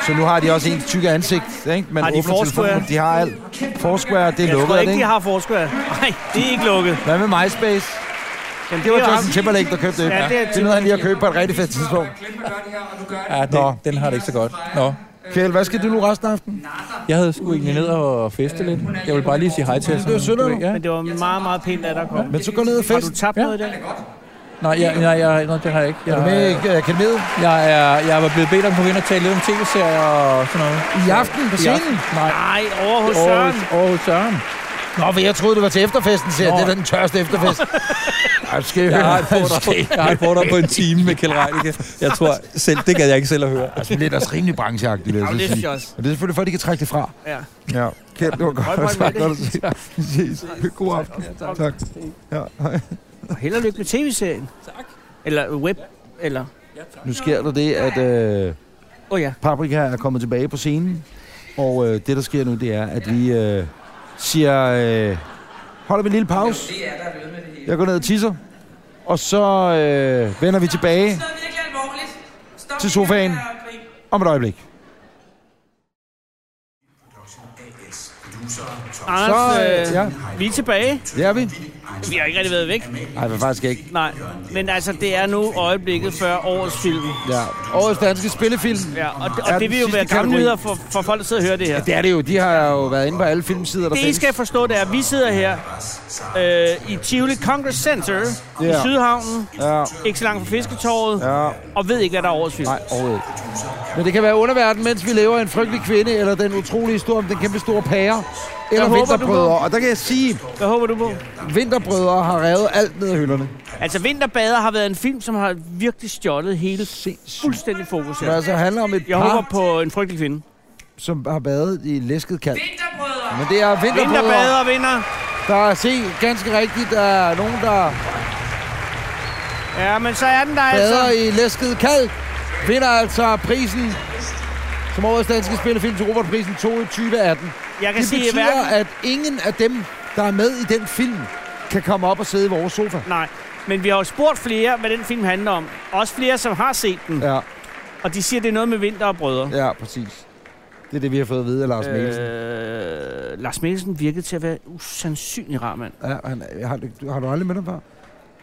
Så nu har de også en tykke ansigt, ikke? Men Har de åbner Foursquare? telefonen, De har alt. Foursquare, det er Jeg tror lukket, er det, ikke, de ikke? har Foursquare. Nej, det er ikke lukket. Hvad med MySpace? Jamen, Det var er jo Justin ham. Timberlake, der købte det. Ja, det er det er noget, han lige har købt på et rigtig fedt tidspunkt. Ja, Nå. den, den har det ikke så godt. Nå. Kjell, hvad skal du nu resten af aftenen? Jeg havde sgu egentlig ned og feste lidt. Jeg vil bare lige sige hej til jer. Det var synd af dig. Ja. Men det var meget, meget pænt, at der kom. Men så gå ned og Har du fest. tabt Ja. noget i dag? Nej, jeg, nej, jeg, nej, det har jeg ikke. Jeg, Er du med i øh, akademiet? jeg, er, jeg var blevet bedt om at komme ind og tale lidt om tv-serier og sådan noget. I aften på Ja. scenen? Nej, Nej, over hos Søren. Aarhus, Aarhus Søren. Nå, for jeg troede, det var til efterfesten, siger jeg. Nå. Det er da den tørste efterfest. Ej, du skal jeg Jeg har et høre. foredrag, jeg har et foredrag på en time med Kjell Reinicke. Jeg tror selv, det kan jeg ikke selv at høre. Altså, det er da rimelig brancheagtigt, vil jeg Ja, det så synes sige. jeg også. Og det er selvfølgelig for, at de kan trække det fra. Ja. Ja, Kjeld, det var Godt, godt. godt, Tak, godt at se. Vi ses. God aften. Tak. Ja. Og held og lykke med tv-serien. Tak. Eller web. Eller... Nu sker der det, at øh, Åh oh, ja. Paprika er kommet tilbage på scenen. Og øh, det, der sker nu, det er, at vi øh, siger... Øh, holder vi en lille pause. Jeg går ned og tisser. Og så øh, vender vi tilbage til sofaen om et øjeblik. Så, Anders, øh, ja, øh, vi er tilbage. det er vi. Vi har ikke rigtig været væk. Nej, men faktisk ikke. Nej, men altså, det er nu øjeblikket før årets film. Ja. Årets danske spillefilm. Ja, og, det- Er og det den vil jo sidste være gamle kategori. nyheder for, for folk, der sidder og hører det her. Det er det jo. De har jo været inde på alle filmsider, der Det, I skal forstå, det er, at vi sidder her øh, i Tivoli Congress Center i Ja. Sydhavnen, Ja, ikke så langt fra Fisketorvet, ja. og ved ikke, hvad der er årets film. Nej, overhovedet ikke. Men det kan være underverden, mens vi lever af en frygtelig kvinde, eller den utrolige historie om den kæmpe store pære, eller håber, du vinterbrødre. går- Og der kan jeg sige, Hvad håber du på? vinterbrødre har revet alt ned af hylderne. Altså, Vinterbader har været en film, som har virkelig stjålet hele fuldstændig fokus Det her. altså handler om et Jeg par, håber på en frygtelig kvinde. som har badet i læsket kald. Men det er vinterbrødre, Vinterbader vinder. der er se ganske rigtigt, der er nogen, der Ja, men så er den der bader altså. i læsket kald, vinder altså prisen som årets danske spillefilm til Robertprisen 2018. Jeg kan Det sige, at betyder, hverken... at ingen af dem, der er med i den film, kan komme op og sidde i vores sofa. Nej, men vi har jo spurgt flere, hvad den film handler om. Også flere, som har set den. Ja, Og de siger, det er noget med vinter og brødre. ja, præcis. Det er det, vi har fået at vide af Lars Mikkelsen. Øh, Lars Mikkelsen virkede til at være usandsynlig rar, mand. Ja, han, har, du- har du aldrig mødt ham før?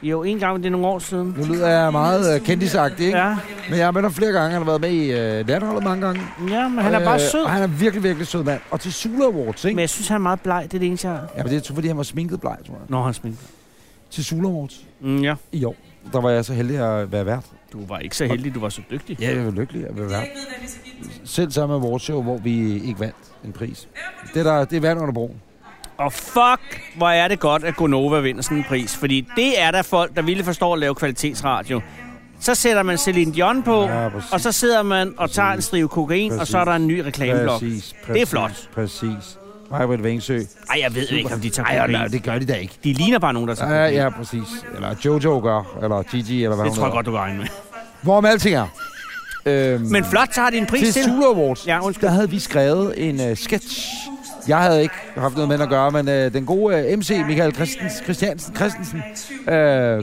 Jo, en gang, men det er nogle år siden. Nu lyder jeg meget øh, kendisagtig, ikke? Ja, Men jeg har mødt ham flere gange. Han har været med i øh, Natholdet mange gange. ja men han er bare Øh, sød. Og han er virkelig, virkelig sød mand. Og til Sula Awards, ikke? Men jeg synes, han er meget bleg. Det er det eneste, jeg har. Ja, men det er fordi, han var sminket bleg, tror jeg. Nå, han smilte. Til Sula Awards Mm, ja. i år. Der var jeg så heldig at være vært. Du var ikke så heldig, du var så dygtig. Ja, jeg var lykkelig at være vært. Selv sammen med vores show, hvor vi ikke vandt en pris. Det, er der, det er vand under broen. Og fuck, hvor er det godt, at Gonova vinder sådan en pris. Fordi det er der folk, der ville forstå at lave kvalitetsradio. Så sætter man Celine Dion på, Ja, ja, præcis. og så sidder man og tager en strive kokain, præcis. og så er der en ny reklameblok. Præcis, præcis, Det er flot. Præcis. Majbrit Vengsø. Ej, jeg ved ikke, om de tager Ej, nej, kokain. det gør de da ikke. De ligner bare nogen, der tager Ja, kokain. ja, præcis. Eller Jojo gør, eller Gigi, eller hvad Det hun tror jeg hedder. godt, du kan regne med. Hvorom alting er. Øhm, Men flot, så har de en pris til. til Zulu Awards, Ja, undskyld. der havde vi skrevet en uh, sketch. Jeg havde ikke haft noget med den at gøre, men uh, den gode uh, MC Michael Christens, Christiansen, Christensen, uh,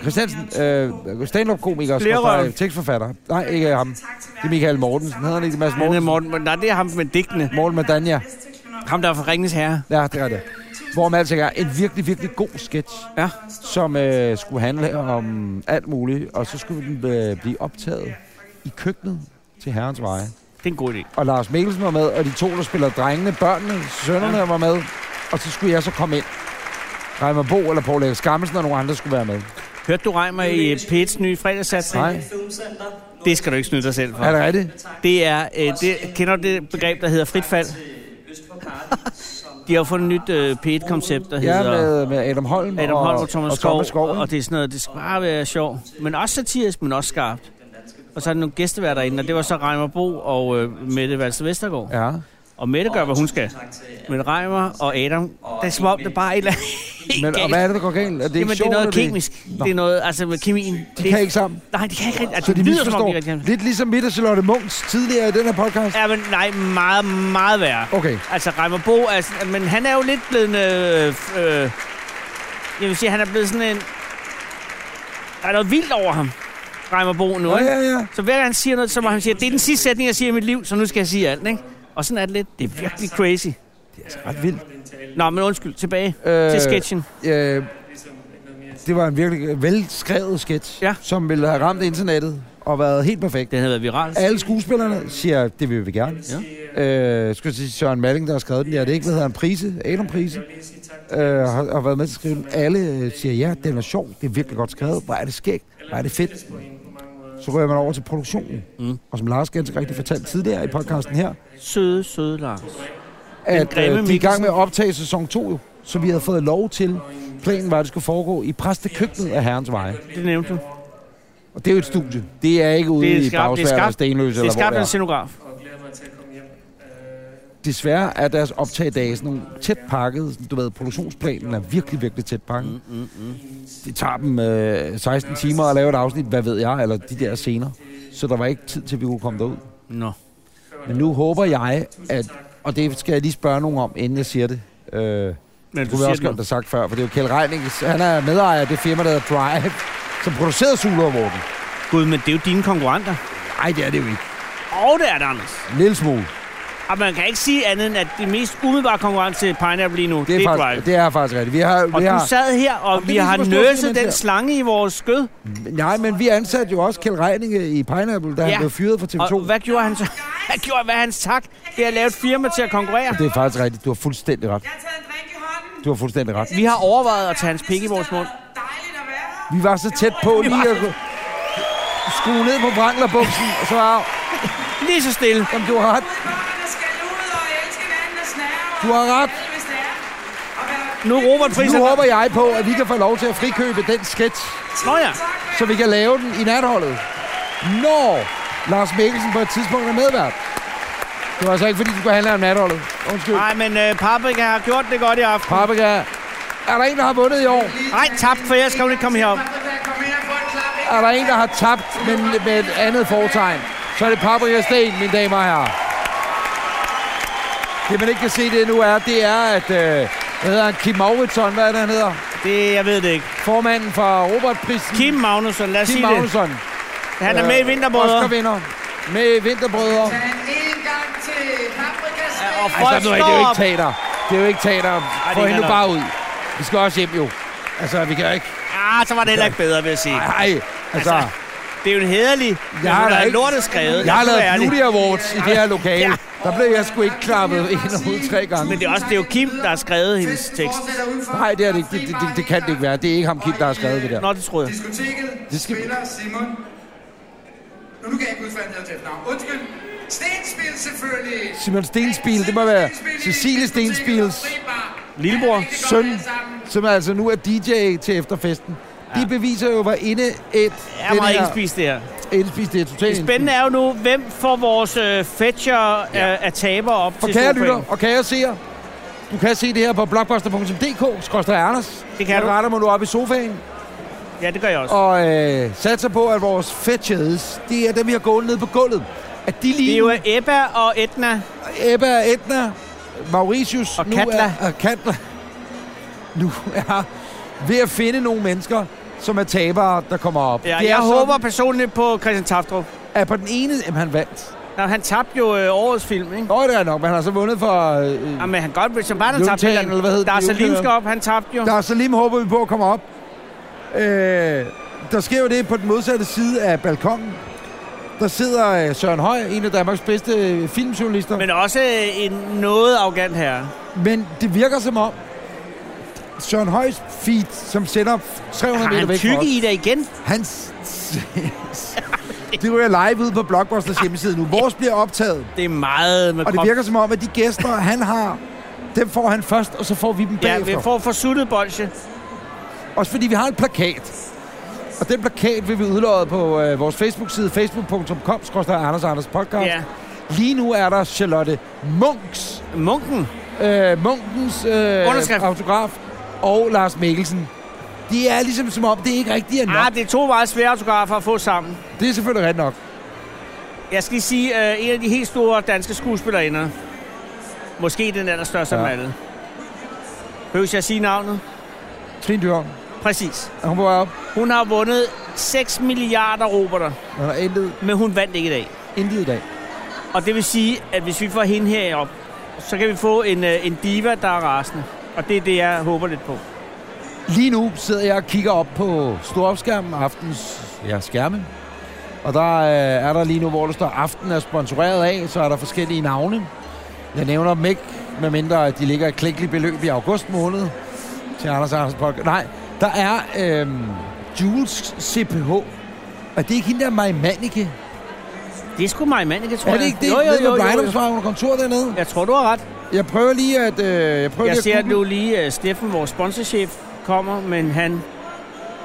Christiansen, uh, stand-up-komiker, skråstreg, tekstforfatter. Nej, ikke ham. Det er Michael Mortensen. Hedder han ikke Mads Han er Mortensen? Morten, nej, det er ham med digtene. Morten Madania. Ham, der er fra Ringens Herre. Ja, det er det. Hvorom alting er en virkelig, virkelig god sketch. Ja. som øh, skulle handle om alt muligt, og så skulle den øh, blive optaget i køkkenet til Herrens Veje. Det er en god idé. Og Lars Mikkelsen var med, og de to, der spiller drengene, børnene, sønnerne var med, og så skulle jeg så komme ind. Reimer Bo eller Paul Erik Skammelsen og nogle andre skulle være med. Hørte du Reimer i øh, P1's nye fredagssatsning? Nej, Det skal du ikke snyde dig selv for. er det rigtigt? Det er, øh, det, kender du det begreb, der hedder frit fald? De har jo fundet et nyt øh, P1-koncept, der Ja, hedder med, med Adam Holm, Adam Holm og Thomas Skov. Skov. Og det er sådan noget, det skal bare være sjov. Men også satirisk, men også skarpt. Og så er der nogle gæsteværter inde, og det var så Reimer Bo og øh, Mette Valse Vestergaard. Ja. Og Mette gør, hvad hun skal. Men Reimer og Adam, det er som om, det er bare et eller andet Men, og hvad er det, der går galt? Er Jamen, det ikke det er sjovt, noget eller kemisk. Nå. Det er noget, altså med kemien. De kan ikke sammen. Nej, de kan ikke rigtig. Altså, Så de det lyder som om, de misforstår. ikke rigtig kan. Lidt ligesom midt og Charlotte Munchs tidligere i den her podcast. Ja, men nej, meget, meget værre. Okay. Altså, Reimer Bo, er sådan- men han er jo lidt blevet en... Øh, f- øh, jeg vil sige, han er blevet sådan en... Der er noget vildt over ham, Reimer Bo nu, Ja, ikke? ja, ja. Så hver gang han siger noget, så må han sige, det er den sidste sætning, jeg siger i mit liv, så nu skal jeg sige alt, ikke? Og sådan er det lidt. Det er virkelig crazy. altså Ret vildt. Nå, men undskyld, tilbage Øh, øh, til sketchen. Øh, det var en virkelig velskrevet sketch, Ja. som ville have ramt internettet og været helt perfekt. Den havde været viral. Alle skuespillerne siger, det vil vi gerne. Ja. Øh, skulle jeg sige Søren Malling, der har skrevet den. Ja, det er ikke, hvad hedder en prise, Adam Prise. Øh, har, har, været med til at skrive den. Alle øh, siger, ja, den er sjov, det er virkelig godt skrevet. Hvor er det skægt, hvor er det fedt. Så rører man over til produktionen. Mm. Og som Lars ganske rigtig fortalte tidligere i podcasten her, Søde, søde Lars. at grimme øh, de er i gang Mikkelsen. med at optage sæson 2, jo, så vi havde fået lov til. Planen var, at det skulle foregå i præstekøkkenet af Herrens Veje. Det nævnte du. Og det er jo et studie. Det er ikke ude Det er i skarpt, det Bagsværd er eller skarpt. Stenløse Det er eller hvor skabt det af en er. scenograf. Desværre er deres optagedage sådan nogle tæt pakket. Sådan, Du ved, produktionsplanen er virkelig, virkelig tæt pakket. Mm, mm, mm. Det tager dem øh, 16 timer at lave et afsnit, hvad ved jeg, eller de der scener. Så der var ikke tid til, at vi kunne komme derud. Nå. Men nu håber jeg, at... Og det skal jeg lige spørge nogen om, inden jeg siger det. Øh, Men Det kunne vi også godt have sagt før, for det er jo Kjeld Reiningens. Han er medejer af det firma, der hedder Drive, som producerede Zulu Awarden. Gud, men det er jo dine konkurrenter. Nej, det er det jo ikke. Og det er det, Anders. En lille smule. Og man kan ikke sige andet end, at det mest umiddelbare konkurrence til Pineapple lige nu, det er, det er faktisk, Drive. det er faktisk rigtigt. Vi har, Og vi du har, sad her, og, det vi viser, har hvor stor nøset firmaet den er. slange i vores skød. nej, men vi ansatte jo også Kjeld Reininge i Pineapple, da ja. Ja. han blev fyret fra TV2. Og hvad gjorde han så? Han gjorde, hvad han tak. Det har lavet et firma til at konkurrere. Det er faktisk rigtigt. Du har fuldstændig ret. Jeg har taget en drink i hånden. Du har fuldstændig ret. Vi har overvejet at tage hans pik i vores mund. Dejligt at være her. Vi var så tæt på lige at skrue ned på branglerbuksen, og så var Lige så stille. jamen, du har ret. Børnene skal ud og elske vandet og snære. Du har ret. Hvis det er. Og være Nu er Robert Friis. Nu håber jeg på, at vi kan få lov til at frikøbe den sketch, Nå ja. så vi kan lave den i natholdet. Når Lars Mikkelsen på et tidspunkt er medvært. Det var altså ikke, fordi du skulle handle om natholdet. Undskyld. Nej, men øh, Paprika har gjort det godt i aften. Paprika, er der en, der har vundet i år? Nej, tabt, for jeg skal jo ikke komme herop. Er der en, der har tabt, men med et andet fortegn? Så er det Paprika Sten, mine damer og herrer. Det, man ikke kan se det nu er, det er, at... Øh, hvad hedder han? Kim Mauritsson, hvad er det, han hedder? Det, jeg ved det ikke. Formanden for Robertprisen. Kim Magnusson, lad os Kim sige det. Magnusson. Han er med i Vinterbrødre. Oscar-vinder. Med i Vinterbrødre. en gang til paprikas. Og Ej, folk så nu er det jo står ikke teater. Det er jo ikke teater. Få kan hende nu nok. bare ud. Vi skal også hjem, jo. Altså, vi kan jo ikke... Ah, så var det heller ikke bedre, vil jeg sige. Ej, altså... Altså, det er jo en hederlig, Jeg jeg har har da der er ikke- lortet skrevet. Jeg har lad os være lavet ærlig. Beauty Awards i det her lokale. Ja. Der blev jeg sgu ikke klappet ind og ud tre gange. Men det er også det er jo Kim, der har skrevet hendes tekst. Nej, det er det ikke. Det, det, det, det kan det ikke være. Det er ikke ham, Kim, der har skrevet det der. Nå, det troede jeg. Diskoteket Det skal- spiller Simon. Nå, nu kan jeg ikke huske, hvad han hedder til efternavn. Undskyld. Stenspil selvfølgelig. Simon Stenspil, det må være Cecilie Stenspils Lillebror. søn, som altså nu er DJ til efterfesten. De beviser jo, hvor inde et... Jeg Jeg er meget indspist, det her. Indspist, det er totalt Det spændende er jo nu, hvem får vores øh, fetcher øh, af taber op For til kære sofaen. lytter og kære seere, Du kan se det her på blogbuster.dk-anders. Det kan du. Der retter mig nu op i sofaen. Ja, det gør jeg også. Og øh, satser på, at vores fetches, det er dem, vi har gået ned på gulvet. At de Det lige er jo Ebba og Etna. Ebba, Edna, Mauritius... Og Katla. Er, og Katla. Nu er ved at finde nogle mennesker, som er tabere, der kommer op. Ja, Det er jeg sådan, håber personligt på Christian Taftrup. at på den ene... Jamen, han vandt. Nå, han tabte jo øh, årets film, ikke? Nå, det er nok, men han har så vundet for... Øh, øh, Jamen, han godt, hvis han bare havde tabt Jontan, eller hvad hedder Der er den? Salim Jontan. skal op, han tabte jo. der er så lige håber vi på at komme op. Øh, der sker jo det på den modsatte side af balkongen. Der sidder øh, Søren Høj, en af Danmarks bedste øh, filmjournalister. Men også øh, en noget arrogant herre. Men det virker som om, Søren Højs feed, som sender 300 Har meter han væk fra tykke os, i dig igen? hans... det ryger live ud på Blockbusters hjemmeside nu. Vores bliver optaget, Det er meget med og det krop. virker som om, at de gæster, han har, dem får han først, og så får vi dem Ja, bagefter. vi får forsuttet bolsje. Også fordi vi har en plakat. Og den plakat vil vi udlåde på øh, vores Facebook-side, facebook.com, Anders og Anders podcast. Ja. Lige nu er der Charlotte Munks, Munken. øh, Munkens øh, Underskrift. autograf og Lars Mikkelsen. De er ligesom som om, det ikke rigtigt er nok. Ah, det er to meget svære autografer at få sammen. Det er selvfølgelig ret nok. Jeg skal lige sige, øh, en af de helt store danske skuespillerinder. Måske den allerstørste ja. Ja. af dem alle. Behøver jeg sige navnet? Trine Dyrholm, Præcis. er hun på vej op? Hun har vundet 6 milliarder roboter, Hun har intet, men hun vandt ikke i dag. intet i dag. Og det vil sige, at hvis vi får hende herop, så kan vi få en, øh, en diva, der er rasende. Og det er det, jeg håber lidt på. Lige nu sidder jeg og kigger op på storopskærmen, aftens ja, skærme. Og der øh, er der lige nu, hvor der står, aften er sponsoreret af, så er der forskellige navne. Jeg nævner dem ikke, medmindre at de ligger et klækkeligt beløb i august måned. Til Anders Andersen Podcast. Nej, der er øh, Jules CPH. Og det er ikke hende der Maja Mannicke. Det er sgu mig, mand, ikke, tror Er jeg. det ikke det? Jo, jo, jo, jo, jo. Var under kontor dernede. Jeg tror, du har ret. Jeg prøver lige at... Øh, jeg prøver Jeg lige ser at google. nu lige, at Steffen, vores sponsorchef, kommer, men han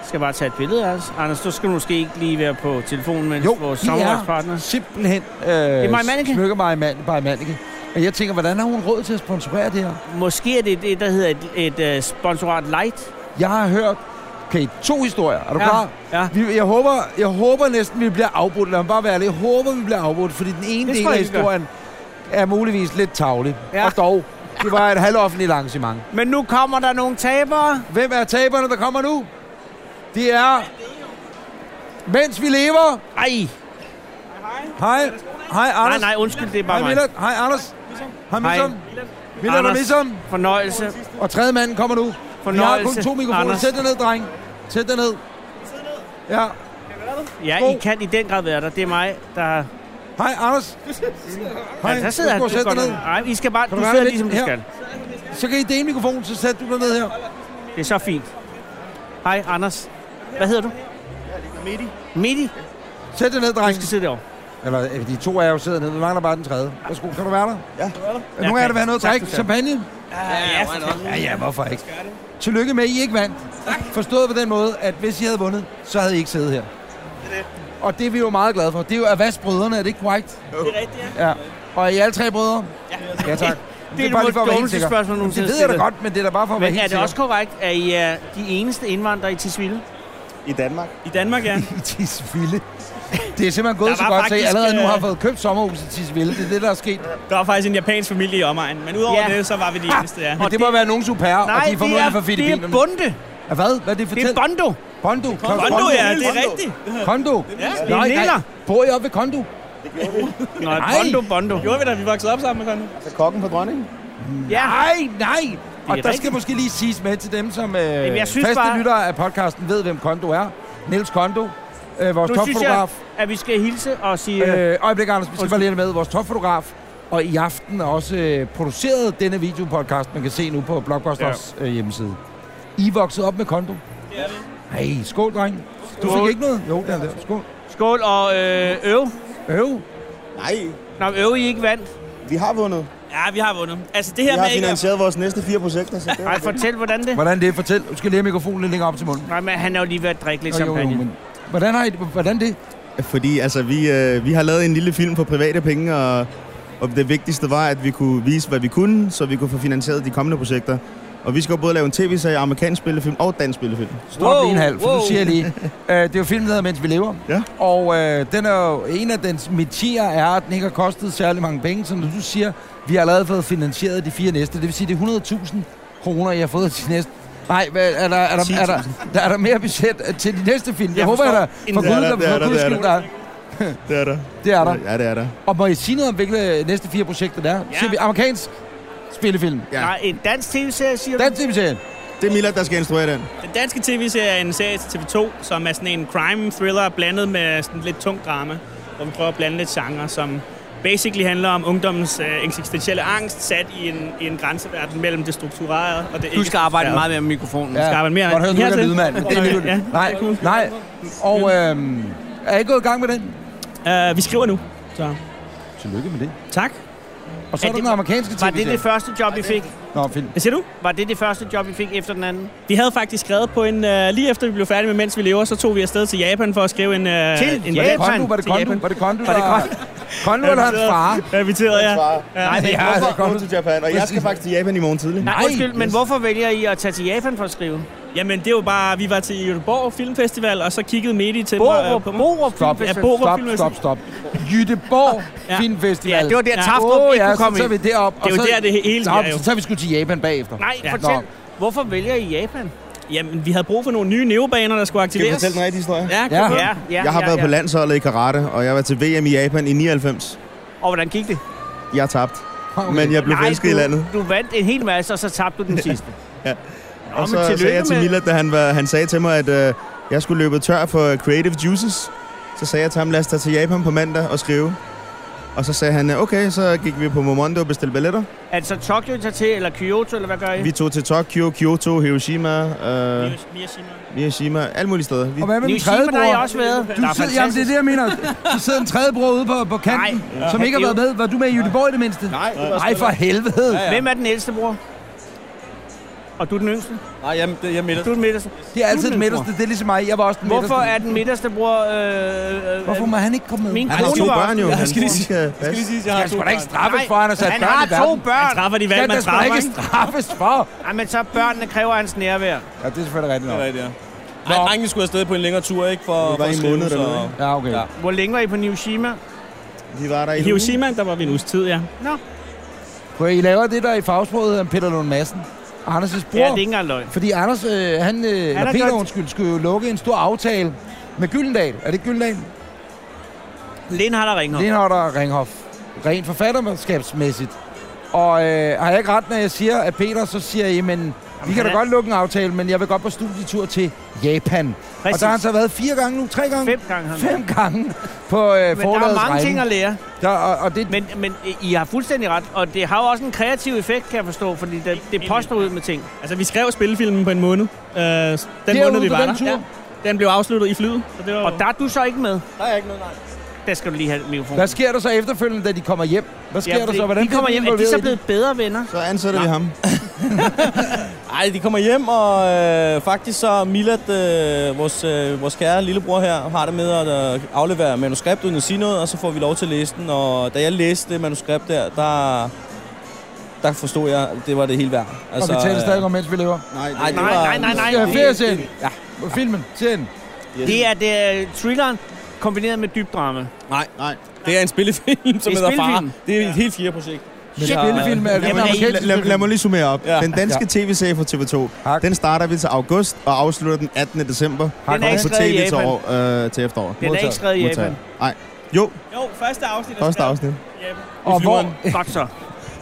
skal bare tage et billede af os. Anders, du skal måske ikke lige være på telefonen med Jo, vores de samarbejdspartner. er simpelthen øh, det er Maja Mannicke. smykker mig mand, by Mannicke. Og jeg tænker, hvordan har hun råd til at sponsorere det her? Måske er det det, der hedder et, et uh, sponsorat light. Jeg har hørt, okay, to historier. Er du ja. klar? Ja. Vi, jeg, håber, jeg håber næsten, vi bliver afbrudt. Lad mig bare være ærlig. Jeg håber, vi bliver afbrudt, fordi den ene Det del tror af jeg ikke, vi gør. historien er muligvis lidt tavlig. Ja. Og dog, det var et halvoffentligt arrangement. Men nu kommer der nogle tabere. Hvem er taberne, der kommer nu? Det er... Mens vi lever... Ej, Hej. Hej, nej, Anders. nej, undskyld, det er bare Hej, mig. Milad. Hej, Anders. Hej, Milad. Milad og Anders. Missum. Fornøjelse. Og tredje manden kommer nu. Vi har kun Fornøjelse. to mikrofoner. Anders. Sæt dig ned, dreng. Sæt dig ned. Ja. Ja, I God. kan i den grad være der. Det er mig, der har... Hej, Anders. Hej, Ja, Altså, der sidder han. Husk at Du går sætte dig ned. ned. Nej, I skal bare... Du Kan du være sidder lidt ligesom du her? skal. Så kan I dele mikrofonen, så sæt du dig ned her. Det er så fint. Hej, Anders. Hvad hedder du? Midi. Midi? Sæt dig ned, Du dreng. skal sidde derovre. Eller, øh, de to er jo siddet nede. Vi mangler bare den tredje. Værsgo, kan du være der? Ja. Nu er kan. der været noget at Tak, drikke. du skal. Champagne? Ja, Ja, ja, hvorfor ikke? Tillykke med, at I ikke vandt. Forstået på den måde, at hvis I havde vundet, så havde I ikke siddet her. Og det er vi jo meget glade for. Det er jo Avas-brødrene, er det ikke korrekt? Det er rigtigt, ja. ja. Og er I alle tre brødre? Ja. Ja, tak. det er bare lige det for at most være helt dårligste sikker. spørgsmål, Jamen, nogensinde Det ved jeg da stillet. godt, men det er da bare for at være Men er helt det også sikker. korrekt, at I er de eneste indvandrere i Tisvilde? I Danmark. I Danmark, ja. I Tisvilde. Det er simpelthen gået Der så var godt, så jeg faktisk, allerede nu har øh, fået købt sommerhuset i Tisvilde. Det er det, der er sket. Der var faktisk en japansk familie i omegnen, men udover Ja. ja. det, så var vi de eneste, ja. Men det må være nogen super og de er formodentlig fra det er Filippinerne. Bunde. Ja, Hvad? Hvad er det for Det er Bondo. Bondo. Claus Kondo, ja, det er rigtigt. Kondo? Det Nej, er Niller. nej. Bor I oppe ved Kondo? Nå, Nej. Bondo, Bondo. Mm. Gjorde vi da, vi voksede op sammen med Kondo? Kokken på dronningen? Ja. Nej, nej. Og der rigtigt. skal måske lige siges med til dem, som øh, Jamen, jeg synes faste bare- lyttere af podcasten ved, hvem Kondo er. Niels Kondo, øh, vores Nu synes jeg, topfotograf. at vi skal hilse og sige... Øh, Øh, øjeblik, Anders, vi skal bare Undskyld. lige have det med. Vores topfotograf. Og i aften er også øh, produceret denne videopodcast, man kan se nu på Blockbusters ja. øh, hjemmeside. I er vokset op med Kondo? Ja. Hey, skål, dreng. Du fik Skål. ikke noget? Jo, der, der. Skål. skål og øh, øv. Øv. Nej, Nå, men øv I ikke vandt. Vi har vundet. ja, vi har vundet. Altså, det her med ikke... at- vores næste fire projekter, så det Nej, fortæl, hvordan det... Hvordan det er? Fortæl. Du skal lige have mikrofonen lidt længere op til munden. Nej, men han er jo lige ved at drikke lidt Nå, jo, jo, champagne. men hvordan, har I, hvordan det? Fordi altså, vi, øh, vi har lavet en lille film for private penge, og Og det vigtigste var, at vi kunne vise, hvad vi kunne, så vi kunne få finansieret de kommende projekter. Og vi skal jo både lave en tv-serie, amerikansk spillefilm og dansk spillefilm. Stop wow, en halv, for wow. nu siger jeg lige. Øh, det er jo filmen, der hedder Mens vi lever. Ja. Og øh, den er jo, en af dens metier er, at den ikke har kostet særlig mange penge. Som du siger, vi har allerede fået finansieret de fire næste. Det vil sige, det er 100.000 kroner, jeg har fået til næste. Nej, hvad, er, der, er, der, er, der, der, er der mere budget øh, til de næste film? Jeg, jeg håber, forstår. at der for Det er gud, der, der, det er for der, guds det er skyld, der. der er. Det er der. Det er der. Ja, det er der. Og må I sige noget om, hvilke næste fire projekter der er? Ja. Siger vi amerikansk spillefilm? Ja. Nej, en dansk tv-serie, siger Dansk tv-serie. Det er Milad, der skal instruere den. Den danske tv-serie er en serie til TV2, som er sådan en crime-thriller blandet med sådan lidt tung drama, hvor vi prøver at blande lidt genre, som basically handler om ungdommens øh, eksistentielle angst sat i en, i en grænseverden mellem det strukturerede og det Du skal arbejde strukturerede. meget mere med mikrofonen. Du skal arbejde mere Godt hørt, du ikke er hertil. lydmand. Det Ja, er ligegyldigt. Nej, nej. Og øhm, er I gået i gang med den? Uh, vi skriver nu. Så. Tillykke med det. Tak. Og så er, Er der det- den amerikanske Var det tv-serie. det første job, I fik? Nå, film. Hvad siger du? Var det det første job, I fik efter den anden? Vi havde faktisk skrevet på en... Øh, lige efter vi blev færdige med Mens vi lever, så tog vi afsted til Japan for at skrive en... Øh, Til en Japan? Kondo, var det Til Kondo? Japan. Var det Kondo, Var det der- Kondo? Kondo eller hans far? Jeg inviteret, ja. Nej, det er altså Hvorfor gå til Japan? Og jeg skal faktisk til Japan i morgen tidlig. Nej, undskyld, men hvorfor vælger I at tage til Japan for at skrive? Jamen, det er jo bare... Vi var til Göteborg Filmfestival, og så kiggede Medi til mig... Borup, øh, på mig. Borup Stop, Filmfestival. ja, Borup Stop, Filmfestival. stop, stop. Jytteborg ja. Filmfestival. Ja, det var der, Tafdrup Åh, ikke ja, kunne komme så tager vi ind. derop. Det er jo og så, der, det hele Nå, sker jo. Så tager vi sgu til Japan bagefter. Nej, Nå. fortæl. Hvorfor vælger I Japan? Jamen, vi havde brug for nogle nye neobaner, der skulle aktiveres. fortælle den rigtige historie? Ja, Ja. kom ja. ja, Ja, jeg har ja, været ja. på landsholdet i karate, og jeg var til VM i Japan i 99. Og hvordan gik det? Jeg tabte. Okay. Men jeg blev Nej, forelsket i du- landet. Du vandt en hel masse, og så tabte du den sidste. Ja. Nå, Og men så tillykke sagde jeg til med- Milad, da han, var, han sagde til mig, at øh, jeg skulle løbe tør for Creative Juices. Så sagde jeg til ham, lad os tage til Japan på mandag og skrive. Og så sagde han, øh, okay, så gik vi på Momondo og bestilte billetter. Altså Tokyo tager til, eller Kyoto, eller hvad gør I? Vi tog til Tokyo, Kyoto, Hiroshima, øh, Miyashima. Miyashima, alle mulige steder. Vi... Og hvad med den tredje bror? Du sidder, jamen, det er det, jeg mener. Du sidder en tredje bror ude på, på kanten, Nej. som ikke har været med. Var du med i Jytteborg i det mindste? Nej, det var Nej, for spillet. helvede. Ja, ja. Hvem er den ældste bror? Og du er den yngste? Nej, jeg, jeg er midterste. Du er den midterste. Det er altid Du er den midterste. Det er ligesom mig. Jeg var også den Hvorfor midterste. er den midterste bror... Øh, øh, Hvorfor må han ikke komme med? Min Han har kone to var børn også- jo. Jeg skal lige Han sige, skal- jeg skal lige sige, at jeg har skal to da ikke børn. straffes Nej, for, at han har sat han børn har i verden. to børn. Han træffer de valg, Skal man da sgu da træffer, ikke ikke? straffes for. Nej, men så børnene kræver hans nærvær. Ja, det er selvfølgelig rigtigt Det nok. er rigtigt, ja. Ej, drengene skulle afsted på en længere tur, ikke? For, var for i at en skrive, måned så- dernede, ikke? Ja, okay. Ja. Hvor længe var I på Hiroshima? Vi var der i I en Hiroshima, der var vi en uges tid, ja. Nå. Prøv, at I laver det der i fagsproget hedder en Peter Lund Madsen. Anders' bror. Ja, det er ikke engang løgn. Fordi Anders, øh, han, øh, eller har Peter, gjort- undskyld, skulle jo lukke en stor aftale med Gyldendal. Er det Gyldendal? Lindhardt og Ringholm. Lindhardt og Ringhoff. Rent forfatterskabsmæssigt. Og øh, har jeg ikke ret, når jeg siger, at Peter, så siger I, men vi kan han da er- godt lukke en aftale, men jeg vil godt på studietur til Japan. Præcis. Og Præcis. der har han så været fire gange nu, tre gange? Fem gange har han Fem gange på øh, Men der er forlagets mange regning. ting at lære. Der, og, og det, Men, men øh, I har fuldstændig ret, og det har jo også en kreativ effekt, kan jeg forstå, fordi det, det poster ud med ting. Altså, vi skrev spillefilmen på en måned. Øh, den måned, på vi var den der. tur? Ja. Den blev afsluttet i flyet. Så det var Og der er du så ikke med. der er ikke noget, nej. Der skal du lige have mikrofonen. hvad sker der så efterfølgende, da de kommer hjem? Hvad sker Ja, der fordi så? Hvordan de kommer bliver hjem. Er de involveret så i det? blevet bedre venner? Så ansætter vi ham. Ej, de kommer hjem, og øh, faktisk så Milad, øh, vores, øh, vores kære lillebror her, har det med at øh, aflevere manuskript uden at sige noget, og så får vi lov til at læse den. Og da jeg læste det manuskript der, der, der forstod jeg, at det var det hele værd. Altså, øh, og vi taler stadig om, mens vi lever. Nej, det Nej, var- nej, nej, nej. Ja, flere serien. Ja. Filmen, serien. Det er det er thrilleren kombineret med dyb drama. Nej, nej. Det er en spillefilm, som Det er hedder Far. spillefilm. Det er et helt fjerde projekt. Men spillefilm er Lad mig, den lige, amerikanske lad, lad mig lige summere op. Ja. Ja. Den danske tv-serie fra TV2, den starter vi til august og afslutter den 18. december. Den er ikke på skrevet i tv til, Japan. år, øh, til efteråret. Den er ikke skrevet i Japan. Nej. Jo, Jo, første afsnit første afsnit. Og hvor, Godt så.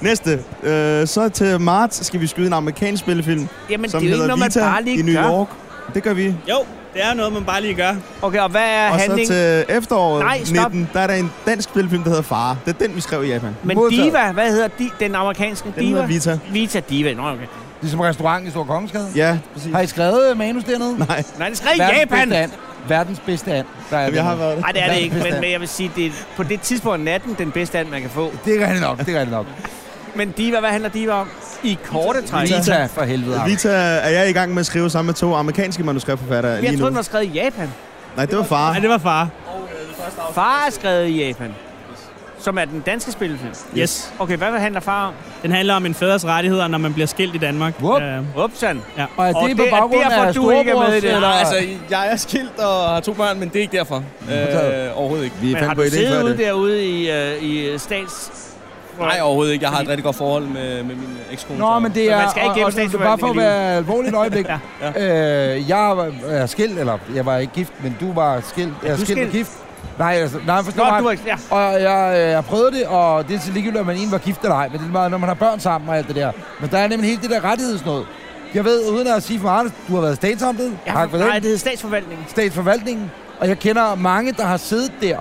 Næste. Øh, så til marts skal vi skyde en amerikansk spillefilm, Jamen, som det er jo ikke hedder noget, man Vita bare lige i New gør. York. Det gør vi. Jo, det er noget, man bare lige gør. Okay, og hvad er Og så handling? til efteråret Nej, stop. 19, der er der en dansk spillefilm, der hedder Far. Det er den, vi skrev i Japan. Men Modtaget. Diva, hvad hedder di- den amerikanske Den Diva? hedder Vita. Vita Diva, nå okay. ligesom restauranten i Stor Kongensgade. Ja, præcis. Har I skrevet øh, manus dernede? Nej, Nej, den skrev i Verdens Japan! bedste and. Verdens bedste and. Der er jamen, jeg har dernede. været det. Nej, det er det ikke, Verdens bedste men, and. men jeg vil sige, det er på det tidspunkt af natten den bedste and, man kan få. Det er rigtigt nok, det er rigtigt nok. Men Diva, hvad handler Diva om? I korte træk. Vita for helvede. Arne. Vita er jeg i gang med at skrive sammen med to amerikanske manuskriptforfattere Jeg lige nu. troede, den var skrevet i Japan. Nej, det var Far. Nej, det var Far. Far er skrevet i Japan. som er den danske spillefilm. Yes. Okay, hvad handler far om? Den handler om en fædres rettigheder, når man bliver skilt i Danmark. Øh, Whoop. Upsan. Ja. Og er det på baggrund af storebrors, eller? Nej, altså, jeg er skilt og har to børn, men det er ikke derfor. Øh, overhovedet ikke. Men har du siddet ude derude i, øh, i stats... Nej, overhovedet ikke. Jeg har et rigtig godt forhold med, med min ekskone. Nå, men det Så er... man skal ikke og- gennem og- Bare for at statsforvaltningen være alvorlig et øjeblik. ja. øh, jeg var er skilt, eller jeg var ikke gift, men du var skilt. Ja, jeg er du er skilt og skilt. gift. Nej, altså, nej, forstår Nå, mig. du er ikke- ja. Og jeg, øh, jeg prøvede det, og det er til ligegyldigt, om man egentlig var gift eller ej. Men det er meget, når man har børn sammen og alt det der. Men der er nemlig hele det der rettighedsnød. Jeg ved, uden at sige for meget, du har været statsamtet. Ja, tak for nej, det det hedder statsforvaltningen. statsforvaltningen, og jeg kender mange, der har siddet der,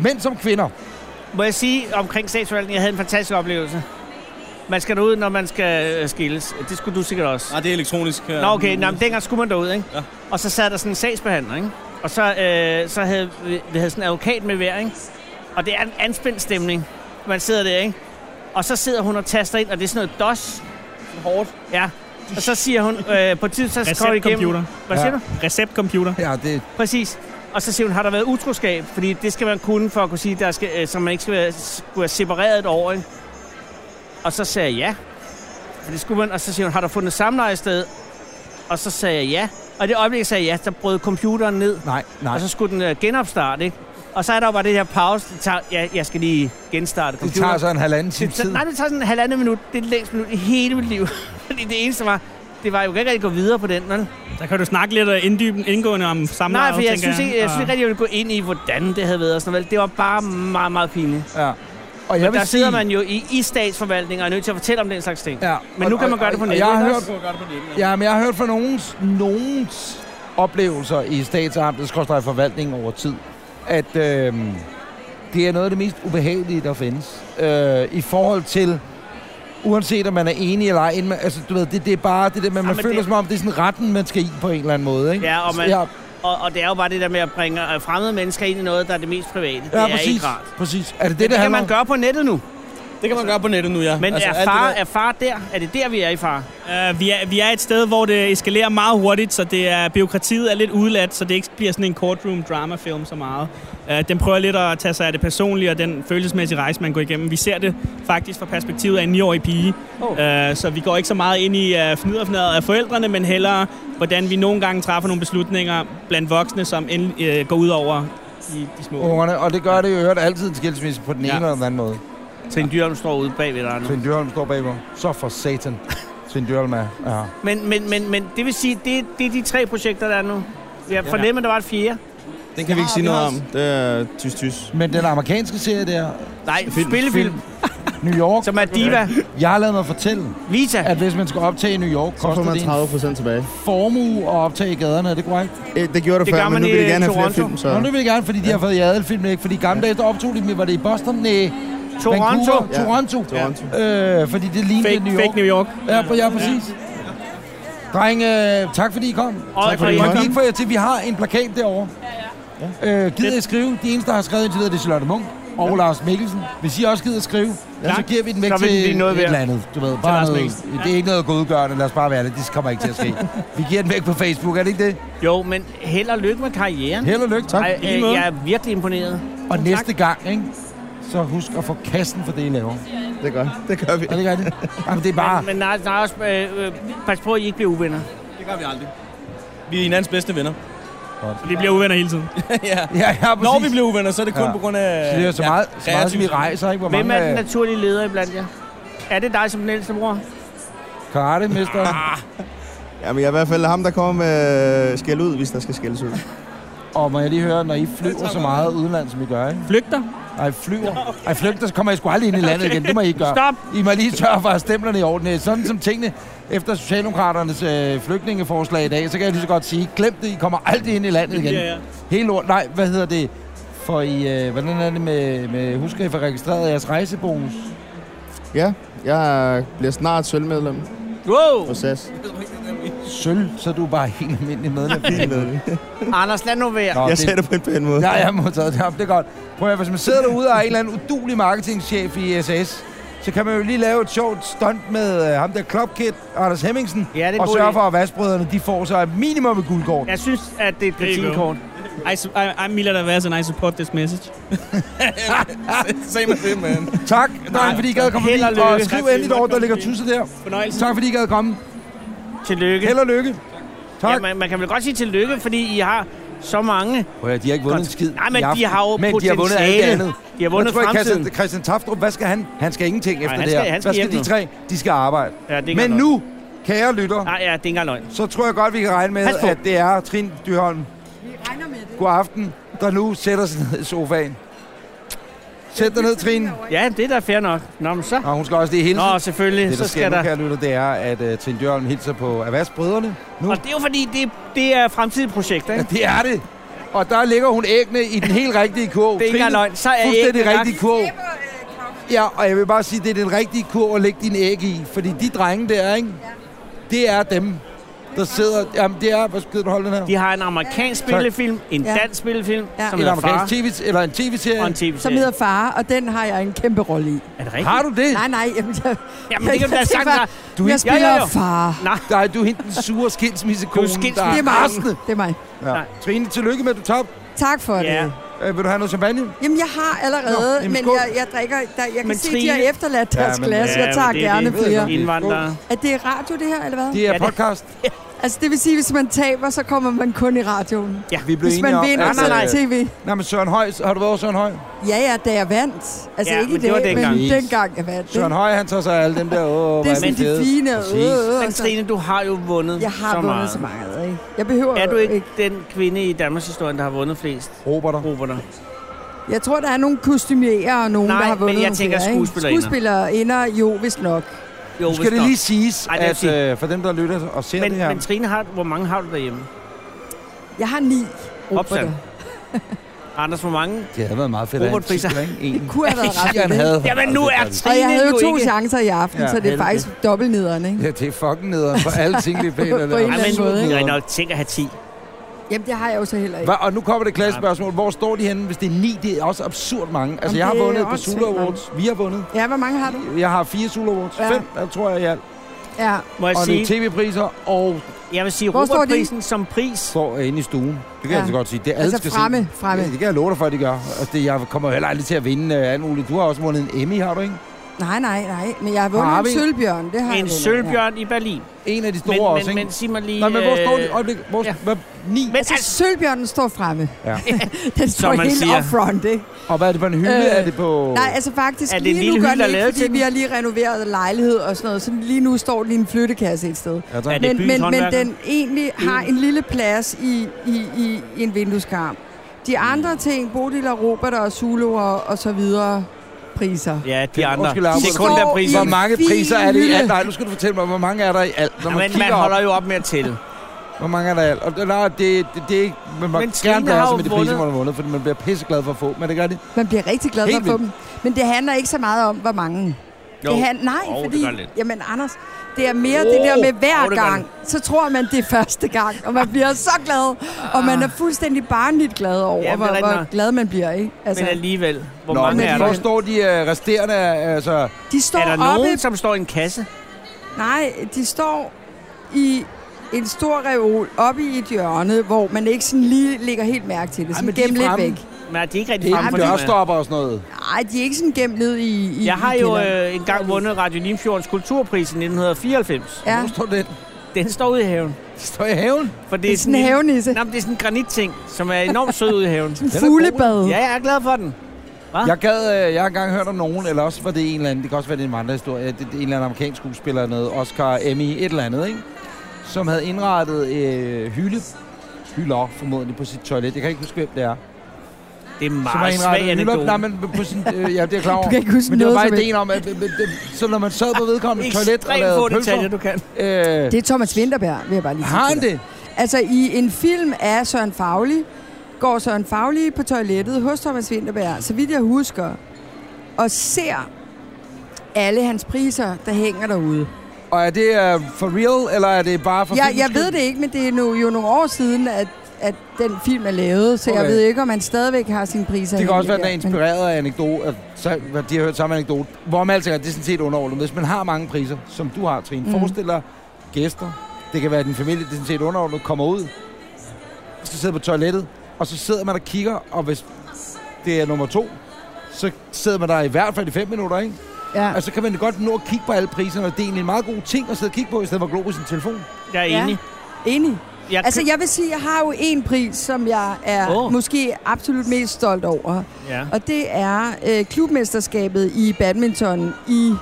mænd som kvinder. Må jeg sige omkring statsforvaltningen, jeg havde en fantastisk oplevelse. Man skal derud, når man skal øh, skilles. Det skulle du sikkert også. Nej, det er elektronisk. øh, Nå, okay. Nå, men dengang skulle man derud, ikke? Ja. Og så sad der sådan en sagsbehandler, ikke? Og så, øh, så havde vi, vi havde sådan en advokat med hver, ikke? Og det er en anspændt stemning. Man sidder der, ikke? Og så sidder hun og taster ind, og det er sådan noget DOS. Hårdt. Ja. Og så siger hun, øh, på et tidspunkt, så scroller jeg Receptcomputer. igennem. Hvad siger Ja. du? Receptcomputer. Ja, det... Præcis. Og så siger hun, har der været utroskab? Fordi det skal man kunne for at kunne sige, der skal, øh, så man ikke skal være, skulle være separeret et år. Ikke? Og så sagde jeg ja. For det skulle man, og så siger hun, har der fundet samleje sted? Og så sagde jeg ja. Og i det øjeblik, jeg sagde ja, så brød computeren ned. Nej, nej. Og så skulle den øh, genopstarte, ikke? Og så er der jo bare det her pause. Det tager, ja, jeg skal lige genstarte Det computeren. tager så en halvanden time Det tager- tid. Nej, det tager sådan en halvandet minut. Det er det længste minut i hele mit liv. Fordi det eneste var, det var, jeg kunne ikke rigtig gå videre på den, vel? Der kan du snakke lidt øh, inddyben, indgående om samleje, Nej, for jeg tænker synes, ikke, jeg og- synes ikke rigtig, jeg ville gå ind i, hvordan det havde været. og Sådan noget. vel. Det var bare meget, meget pinligt. Ja. Og Og jeg jeg Men vil der sige... sidder sige- man jo i, i statsforvaltningen og er nødt til at fortælle om den slags ting. Ja. Men nu kan man gøre det på nettet. Jeg har ikke hørt, også? ja, men jeg har hørt fra nogens, nogens oplevelser i statsamtets kostrej forvaltning over tid, at øh, det er noget af det mest ubehagelige, der findes. Øh, I forhold til, uanset om man er enig eller ej, inden man, altså, du ved, det, det er bare det der, man, man men føler det- som om, det er sådan retten, man skal i på en eller anden måde. Ikke? Ja, og, man, ja, og, og det er jo bare det der med at bringe øh, fremmede mennesker ind i noget, der er det mest private. det ja, er præcis, ikke rart. præcis. Er det det, Men det det kan handler man om? gøre på nettet nu. Det kan man gøre på nettet nu, ja. Men Altså, altså, alt det er, far, der- er far der? Er det der, vi er i far? Uh, vi, er, vi er et sted, hvor det eskalerer meget hurtigt, så det er, byråkratiet er lidt udladt, så det ikke bliver sådan en courtroom drama-film så meget. Uh, den prøver lidt at tage sig af det personlige og den følelsesmæssige rejse, man går igennem. Vi ser det faktisk fra perspektivet af en 9-årig pige, oh. uh, så vi går ikke så meget ind i uh, fniderfnadret af forældrene, men hellere, hvordan vi nogle gange træffer nogle beslutninger blandt voksne, som endelig, uh, går ud over de, de små. ungerne, og det gør det jo i øvrigt altid en skilsmisse på den Ja. ene eller den anden måde. Svend Dyrholm står ude bagved dig nu. Svend Dyrholm står bagved. Så for satan. Svend Dyrholm er ja. Men, men, men, men det vil sige, det, det er de tre projekter, der er nu. Jeg Ja. fornemmer, der var et fjerde. Den kan vi ikke sige vi noget har om. også- Det er tys, tys. Men den amerikanske serie der... Nej, spillefilm. New York. Som er diva. Jeg har lavet mig fortælle, Vita. at hvis man skal optage i New York, Så får koster man det en 30 procent tilbage. formue at optage i gaderne, er det korrekt? Eh, Det gjorde det, før, men nu vil de gerne have flere film, Nå, så... nu vil jeg gerne, fordi de har fået i Adel-film, ikke? Fordi i gamle dage, der optog de dem, i- var det i Boston? Nej. Toronto. Vancouver? Ja. Toronto. Toronto. Øh, fordi det lignede Fake- New York. fake New York. Ja, på, ja præcis. Dreng, øh, tak fordi I kom. Og- tak fordi og I I kom. kom. for jer til, vi har en plakat derovre. Ja, ja. Øh, gider I skrive? De eneste, der har skrevet indtil videre, det er Charlotte Munk og Lars Mikkelsen. Hvis I også gider skrive, ja. så giver vi den væk Så vil den til blive noget et værd. eller andet. Du ved, Til bare Lars noget, Mikkelsen. det er ikke noget godgørende, lad os bare være det. Det kommer ikke til at ske. vi giver den væk på Facebook, er det ikke det? Jo, men held og lykke med karrieren. Held og lykke, tak. Ej, Lige øh, måde. jeg er virkelig imponeret. Og næste gang, ikke? så husk at få kassen for det, I laver. Det gør, det gør vi. Ja, det gør det. Jamen, det er bare... Men nej, nej også, øh, øh, pas på, at I ikke bliver uvenner. Det gør vi aldrig. Vi er hinandens bedste venner. Vi bliver uvenner hele tiden. ja. Ja, ja, Når vi bliver uvenner, så er det kun ja. på grund af... Så det er så meget, så meget som I rejser, ikke? Hvor Hvem mange er den naturlige leder iblandt jer? Er det dig som den ældste bror? karate-mester? Ah. Jamen, jeg er i hvert fald ham, der kommer med øh, skæld ud, hvis der skal skældes ud. Og må jeg lige høre, når I flyver så meget udenlands, som I gør, ikke? Flygter? Nej, flyver. Ej, flygter, så kommer I sgu aldrig ind i landet igen. Det må I ikke gøre. Stop! I må lige sørge for at have stemplerne i orden. Sådan som tingene efter Socialdemokraternes øh, flygtningeforslag i dag, så kan jeg lige så godt sige, glem det, I kommer aldrig ind i landet igen. Ja, ja. Helt lort. Nej, hvad hedder det? For I, øh, hvordan er det med, med husk, at I får registreret jeres rejsebonus? Ja, jeg bliver snart sølvmedlem Wow! på SAS. Sølv, så er du bare helt almindelig medlem. Helt medlem. Anders, lad nu være. Nå, Jeg sagde det på en pæn måde. Ja, jeg har modtaget det op. Det er godt. Prøv at høre, hvis man sidder derude og er en eller anden udulig marketingchef i SAS, så kan man jo lige lave et sjovt stunt med øh, ham der Klopkid, Anders Hemmingsen, Ja, det er en og god sørge idé. for, at vasbrødrene de får sig et minimum et guldkort. Jeg synes, at det er et you go. kritikkort. I, su- I, I'm Milad Avaz, and I support this message. Same as him, man. Tak, dreng, fordi I gad komme Held og forbi. Og lykke. skriv endelig over, der ligger tusset der. Fornøjelse. Tak, fordi I gad komme. Tillykke. Held og lykke. Tak. Ja, man, man kan vel godt sige tillykke, fordi I har så mange. Prøv at, de har ikke vundet en skid Nej, i men aften. de har jo men de har vundet alt det potentiale. andet. De har vundet Jeg tror ikke, fremtiden. Christian, Christian Taftrup, hvad skal han? Han skal ingenting efter han det skal- her. han skal hvad skal hjem de tre? De skal arbejde. Ja, det er ikke men engang nu, kære lytter, Nej, Ah, ja, det er ikke engang løgn. så tror jeg godt, vi kan regne med, Pas på. at det er Trin Dyrholm. God aften, der nu sætter sig ned i sofaen. Sæt dig ned, Trine. Ja, det er da fair nok. Nå, men så... Nå, hun skal også lige hilse. Nå, selvfølgelig. Det, der så skal nu, der... kære lytter, det er, at uh, Trine Dyrholm hilser på erhvervsbrødrene. Nu. Og det er jo fordi, det, det er fremtidige projekter, Ja, ikke? det er det. Og der ligger hun ægne i den helt rigtige kurv. Det er ikke Trine, engang løgn. Så er Fuldstændig æggene lagt. rigtig kurv. Ja, og jeg vil bare sige, det er den rigtige kurv at lægge dine æg i. Fordi de drenge der, ikke? Det er dem, der sidder... Jamen, det er... Hvad skal du holde den her? De har en amerikansk Tak. spillefilm, en Ja. dansk spillefilm, Ja. som En hedder amerikansk Far. TV, eller en tv-serie. Og en tv-serie. Som hedder Far, og den har jeg en kæmpe rolle i. Er det rigtigt? Har du det? Nej, nej. Jamen, jeg, Jamen, det kan du da sagtens have. Du jeg Ja, ja, spiller ja. ja, ja, ja. Far. Nej. Nej, du er hende den sure skilsmissekone, Du er skilsmisse- der Det er mig. rasende. Det er mig. Ja. Trine, tillykke med, at du tabte. Tak for Ja. det. Øh, vil du have noget champagne? Jamen, jeg har allerede, Nå, Nå, jamen, men skål. jeg, jeg drikker... Der, jeg kan Men men se, de Trine- har efterladt Ja, deres men- glas. ja, jeg tager det er gerne det. flere. Indvandrere. Er det radio, det her, eller hvad? Det er podcast. Altså, det vil sige, hvis man taber, så kommer man kun i radioen. Ja, vi blev Hvis enige man om, vinder, at, så er det øh, tv. Nej, men Søren Høj, har du været over Søren Høj? Ja, ja, da jeg vandt. Altså, Ja, ikke men i det var dag, dengang. men dengang jeg vandt. Søren ikke? Høj, han tager sig af alle dem der. Åh, Det er sådan de fine. Øh, øh, Men Trine, du har jo vundet Jeg har så vundet meget. så meget, ikke? Jeg behøver Er du jo ikke, den kvinde i Danmarks historie, der har vundet flest? Roboter. Roboter. Jeg tror, der er nogle kostumerer og nogen, Nej, der har men vundet jeg nogle tænker flere, ikke? skuespillerinder. Skuespillerinder, jo, vist nok. Jo, Nu skal det lige siges, Ej, det er at fint. øh, for dem, der lytter og ser Men, det her... men Trine, har, hvor mange har du derhjemme? Jeg har ni. Opsat. Anders, hvor mange? Det havde været meget fedt. Robotpriser. Det kunne have været ret fedt, ikke? Jamen, nu er Og Trine jeg havde jo to ikke... chancer i aften, Ja, så det er helvede. faktisk dobbelt nederen, ikke? Ja, det er fucking nederen for alle ting, det er pænt. På en eller anden måde, ikke? Nej, nok, tænk at have 10. Jamen, det har jeg jo så heller ikke. Hva, og nu kommer det klassespørgsmål. Hvor står de henne, hvis det er 9? Det er også absurd mange. Altså, Jamen, jeg har det er vundet på også Sula helt Awards. Vi har vundet. Ja, hvor mange har du? Jeg har fire Sula Awards. Ja. Fem, jeg tror jeg, i alt. Ja. Må jeg Og nogle sige, tv-priser og... jeg vil sige Hvor står de? Robotprisen som pris. Står inde i stuen. Det Ja. kan jeg altså godt sige. Det er alle Altså skal fremme, se. fremme. Det, det kan jeg love dig for, at de gør. Altså, det, jeg kommer jo heller aldrig til at vinde øh, alt muligt. Du har også vundet en Emmy, har du ikke? Nej, nej, nej. Men jeg har Har vundet vi? en sølvbjørn, det har jeg En vundet, sølvbjørn i Berlin. En af de store men, også, men, ikke? men sig mig lige... Nej, men hvor står de? øh, Øjeblik, hvor, ja. hvad, ni? Ja. Altså, sølvbjørnen står fremme. Ja. Den står man helt siger. upfront, ikke? Og hvad er det for en hylde? Øh, er det på... Nej, altså faktisk Er det en lige lille nu gør hylde, den ikke, der er lavet fordi til vi den? har lige renoveret lejlighed og sådan noget. Så lige nu står den i en flyttekasse et sted. Ja, tak. Er det men, byens men, men håndværker? den egentlig har en lille plads i, i, i, i en vindueskarm. Mm. De andre ting, Bodil og Robert og Zulu og, og så videre, priser. Ja, de andre. Undskyld, Arbo, Sekunderpriser. Hvor mange Fin priser er det i alt? hylde. Nej, nu skal du fortælle mig, hvor mange er der i alt? Når Ja, man men man kigger holder op, jo op med at tælle. hvor mange er der i alt? Og, det- nej, det, det, det er ikke... Man må Men Trine gerne har blande sig jo med de priser, vundet. man har vundet, fordi man bliver pisseglad for at få. Men det gør det. Man bliver rigtig glad for Helt at få vildt. dem. Men det handler ikke så meget om, hvor mange. Jo. Det han, nej, Jo, det fordi... gør lidt. jamen, Anders, det er mere det der med hver jo, det gør gang. Så tror man, det er første gang, og man bliver så glad. Og man er fuldstændig barnligt glad over, Ah. Ja, ja, men hvor, rigtig hvor nok. glad man bliver, ikke? Altså. Altså, Men alligevel, hvor Nå, mange men er hvor der? står de øh, resterende? Altså, de står Er der oppe... nogen, som står i en kasse? Nej, de står i en stor reol oppe i et hjørne, hvor man ikke sådan lige lægger helt mærke til det. Sådan men de er gemt lidt fremme. væk. Men er de ikke rigtig det er fremme ikke for en dørstopper og sådan noget. Nej, de er ikke sådan gemt ned i, i Jeg har i jo kælderen. øh, engang vundet Radio Limfjordens kulturpris i 1994. Ja. Hvor står den? Den står ude i haven. De står i haven. For det Det er er sådan en en- havenisse. Nå, men det er sådan en granitting, som er enormt sød ude i haven. er god. Fuglebad. Ja, jeg er glad for den. Jeg, gad, øh, jeg har engang hørt om nogen, eller også var det en eller anden, det kan også være, det er en vandrehistorie, det, det er en eller anden amerikansk skuespiller, eller noget, Oscar, Emmy, et eller andet, ikke? som havde indrettet øh, hylde, hylder formodentlig på sit toilet. Jeg kan ikke huske, hvem det er. Det er en som har meget svag indrettet hylder. anekdote. Nej, men på sin, øh, ja, det er jeg klar over. Du kan ikke huske men det var noget som bare ideen om, at øh, øh, øh, så når man sad på vedkommende toilet og Ekstremt få lavede detaljer, pølser, du kan. øh, Det er Thomas Vinterberg, vil jeg bare lige sige har til han dig. det? Altså, i en film af Søren Fagli, går Søren Fagli på toilettet hos Thomas Vinterberg, så vidt jeg husker, og ser alle hans priser, der hænger derude. Og er det øh, for real, eller er det bare for Jeg, filmens jeg skyld? ved det ikke, men det er nu, jo nogle år siden, at, at den film er lavet, så okay. Okay. jeg ved ikke, om han stadigvæk har sine priser. Det kan også være, hængende at den er der, men- inspireret af anekdote, at så, hvad de har hørt samme anekdote. Hvor man alting er, det er sådan set underordnet. Hvis man har mange priser, som du har, Trine, mm. Mm. forestil dig gæster, det kan være din familie, det er sådan set underordnet, kommer ud, skal sidde på toilettet, og så sidder man og kigger, og hvis det er nummer to, så sidder man der i hvert fald i fem minutter, ikke? Ja. Og så kan man godt nå at kigge på alle priserne, og det er egentlig en meget god ting at sidde og kigge på, i stedet for at glo på sin telefon. Jeg er enig. Enig. Jeg altså, køb- jeg vil sige, jeg har jo en pris, som jeg er Åh. oh. måske absolut mest stolt over. Ja. Og det er øh, klubmesterskabet i badminton i...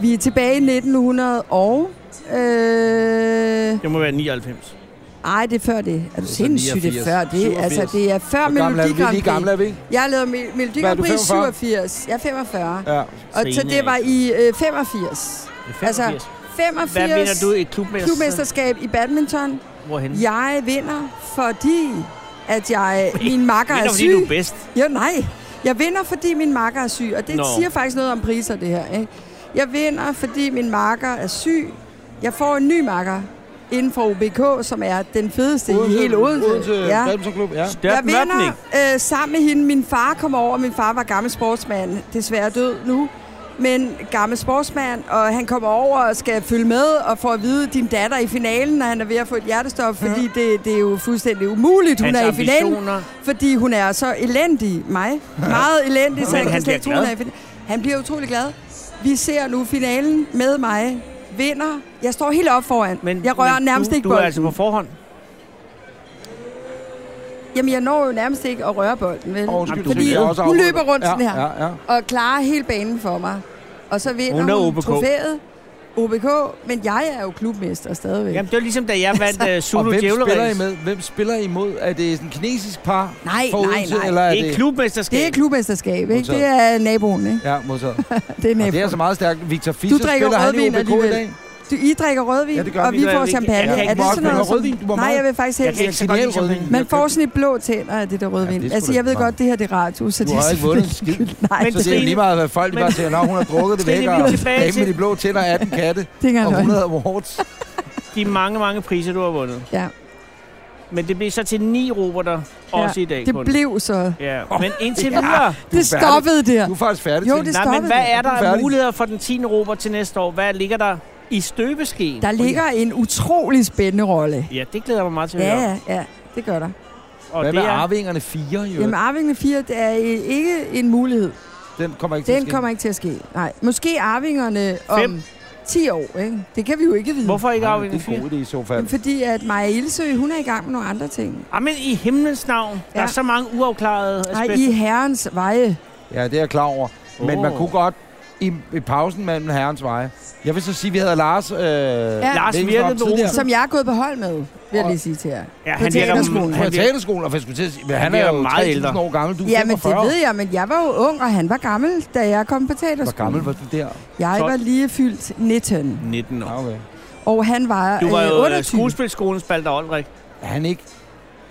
Vi er tilbage i 1900 og... Øh, Det må være 99. ej, det er før det. Er du så sindssyg, det er 89. før det. Altså, det er før Hvor gamle er vi? Melodi Vi er lige Grand Prix. gamle, er vi ikke? Jeg lavede Mel- Melodi Hvad er Grand du, Prix i 45? 87. Jeg er 45. Ja. Og så Sene, det var i øh, 85. Det er 85. 85. Hvad mener du, et klubmester- klubmesterskab i badminton? Hvorhenne? Jeg vinder, fordi at jeg, min makker Vinder, er fordi syg. du er bedst. Jo, nej. Jeg vinder, fordi min makker er syg. Og det Nå. Nå. siger faktisk noget om priser, det her. Ikke? Jeg vinder, fordi min makker er syg. Jeg får en ny makker inden for OBK, som er den fedeste i hele Odense. Odense ja. Badmintonklub, ja. Jeg vinder øh, sammen med hende. Min far kom over. Min far var gammel sportsmand. Desværre død nu. Men gammel sportsmand, og han kommer over og skal følge med og får at vide din datter i finalen, når han er ved at få et hjertestop, fordi det, det er jo fuldstændig umuligt, hun Hans er i finalen. ambitioner. Fordi hun er så elendig, mig. Meget elendig, så Men jeg han kan slet ikke tro, bliver hun er glad. i finalen. Han bliver utrolig glad. Vi ser nu finalen med mig. Vinder. Jeg står helt op foran. Men, jeg rører Men nærmest du, ikke Du er bolden. altså på forhånd. Jamen, jeg når jo nærmest ikke at røre bolden, vel? Åh, undskyld, Fordi det er også hun afbrudt. løber rundt Ja, sådan her, ja, ja. og klarer hele banen for mig. Og så vinder Hun er hun, OBK. trofæet. OBK, men jeg er jo klubmester stadigvæk. Jamen, det var ligesom, da jeg vandt uh, og Zulu hvem spiller I Djævleræs. med? Hvem spiller I imod? Er det sådan en kinesisk par? Nej, fra nej, Odense, nej. Eller er Det er det klubmesterskab. Det er klubmesterskab, ikke? Det Modtaget. er naboen, ikke? Ja, modtaget. det er Og det er altså meget stærkt. Victor Fischer Du drikker spiller han i rødvin OBK i alligevel. dag. Du, I drikker rødvin, Ja, det gør og vi. vi Det får er- champagne. jeg kan er ikke det meget- sådan noget, Men som- rødvin, du må Nej, meget- jeg vil faktisk Jeg helst kan ikke så godt lide rødvin. Man Jeg får sådan et blå tænder af det der rødvin. det er sgu altså, da jeg ved ikke godt, det her det er radio, så Du det har er ikke vundet en selvfølgelig- skid. Nej, så det er lige meget, hvad folk de bare siger, når hun har drukket det Trine, væk, vi og vil tilbage damen med de til- blå tænder, 18 katte engang og løgn. 100 awards. De mange, mange priser, du har vundet. Ja. Men det blev så til ni roboter, også i dag Det kun. blev så. Ja, men indtil Ja, videre... det stoppede der. Du er faktisk færdig, Jo, Trine. det Nej, men stoppede hvad er der. der Du er af færdig. muligheder for den 10. robot til næste år? Hvad ligger der i støbeskeen? Der ligger en utrolig spændende rolle. Ja, det glæder jeg mig meget til at Ja, høre. ja, ja. Det gør der. Og Hvad det med er- Arvingerne 4, jo? Jamen, Arvingerne 4, det er øh, ikke en mulighed. Den kommer ikke til at Den ske. kommer ikke til at ske. Nej, måske Arvingerne om Fem. 10 år, ikke? Det kan vi jo ikke vide. Hvorfor ikke Ej, Arvingerne Det er en 4? god idé i så fald. Jamen, fordi at Maja Ilsø, hun er i gang med nogle andre ting. Jamen, Ah, i himlens navn. Der Ja. er så mange uafklarede Nej, aspekter. i herrens veje. Ja, det er jeg klar over. Men Åh. man kunne godt i, i pausen mellem herrens veje. Jeg vil så sige, at vi havde Lars... Øh, ja. Som jeg er gået på hold med, vil jeg lige sige til jer. Ja, På han virker- teaterskolen. På teaterskolen, og for jeg skulle til at sige, men han, virker er jo meget 3000 ældre. år gammel, du er Ja, men 45. det ved jeg, men jeg var jo ung, og han var gammel, da jeg kom på teaterskolen. Hvor gammel var du der? Jeg var 12? lige fyldt 19, 19 år. Okay. og han var, Du var øh, jo øh, 28. skuespilskolens Balder Olrik. Er han ikke?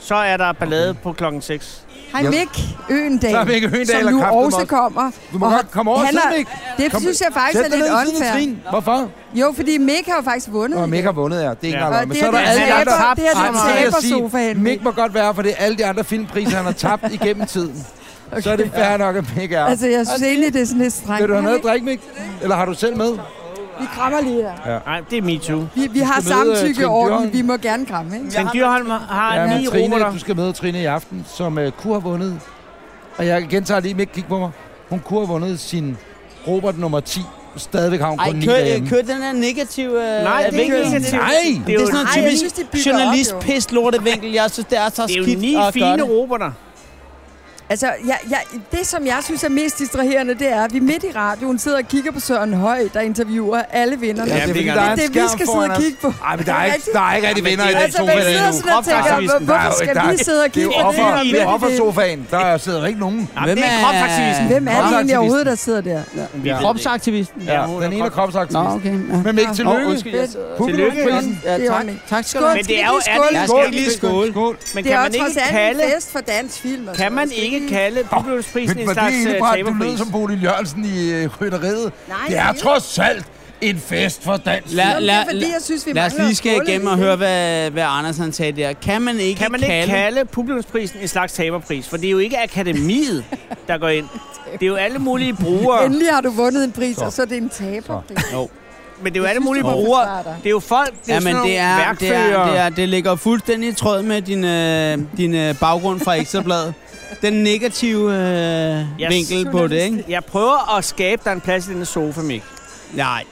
Så er der ballade på klokken 6. Hej Mick Øendal, Så er Mick Øgendahl som og nu Kraften også også. kommer. Du må Og godt komme over og han sidde, er- Mick. Det Kom- synes jeg faktisk sæt er dig lidt ned ved siden af Trine. unfair. Hvorfor? Jo, fordi Mick har jo faktisk vundet. Nå, Mick har vundet, ja. Det er ikke engang løgn. Men så er der det, alle de han andre. taber- det er den Ej, så vil jeg sige, tabersofa, Henrik. Mick må godt være, for det er alle de andre filmpriser, han har tabt igennem tiden. Så er det fair nok, at Mick er. Altså, jeg synes egentlig, det er sådan lidt strengt. Vil du have noget at Henrik, drikke, Mick? Eller har du selv med? Vi krammer lige her. Ja. Nej, det er me too. Vi, vi har skal møde, øh, samtykke Trine over, Dyrholm. vi må gerne kramme, ikke? Trine Dyrholm har Ja, ni men Trine, robotter. du skal møde Trine i aften, som uh, kunne have vundet. Og jeg gentager lige, Mick, kig på mig. Hun kunne have vundet sin robot nummer 10. Stadigvæk har hun Ej, kun 9 kør, derhjemme. kør den her negative... øh, Nej, det er ikke vinkel. negativt. Nej. Det er, jo- sådan noget Ej, jeg synes, det typisk bygger op, journalist jo. pis lortevinkel. Jeg synes, det er så Det er skidt jo ni at gøre fine det. roboter. Altså, jeg, jeg, det som jeg synes er mest distraherende, det er, at vi midt i radioen sidder og kigger på Søren Høj, der interviewer alle vinderne. Ja, det er fordi, der er en det, vi skærm skal sidde foran og os. kigge på. Ej, men der er ikke, der er ikke rigtig vinder i den Altså, sofa. man sidder sådan og tænker, hvor- hvorfor skal vi sidde og kigge på på det? her midt i det? er det? offersofaen. Der sidder ikke nogen. Jamen, det er kropsaktivisten. Hvem er det egentlig overhovedet, der sidder der? Ja. Kropsaktivisten. Ja, den ene er kropsaktivist. Nå, okay. Ja. Men ikke Nå, undskyld, tillykke. jeg sidder- Publikumsprisen. Ja, tak. Tak skal du have. Men det er jo ærligt. Skål. Men Det kan er man også trods ikke alt kalde... en fest for dansk film. og Kan sådan man noget. ikke kalde publikumsprisen Men en var det slags øh, egentlig bare, at du lød taberpris? som Bodil Jørgensen i øh, rytteriet? Nej, Det er det- trods alt en fest for dansk. Lad, film. lad, er fordi, jeg synes, vi lad os mangler lige at skal skåle igennem og lidt. høre, hvad, hvad Anders han sagde der. Kan man ikke, Kan man ikke kalde... kalde publikumsprisen en slags taberpris? For det er jo ikke akademiet, der går ind. Det er jo alle mulige brugere. Endelig har du vundet en pris, og så er det en taber. Jo. men det er jo alle synes, mulige du er brugere. overstarter. Det er jo folk, det er Ja, men sådan det nogle er, det, er, det, værkfører. er, det ligger fuldstændig i tråd med din, øh, din øh, baggrund fra Ekstrabladet. Den negative øh, Jeg- vinkel på det, ikke? Jeg prøver at skabe dig en plads i denne sofa, Mik. Nej.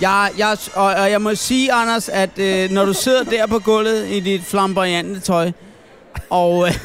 Jeg, jeg, og, og jeg må sige, Anders, at øh, når du sidder der på gulvet i dit flamboyante tøj, og... Øh,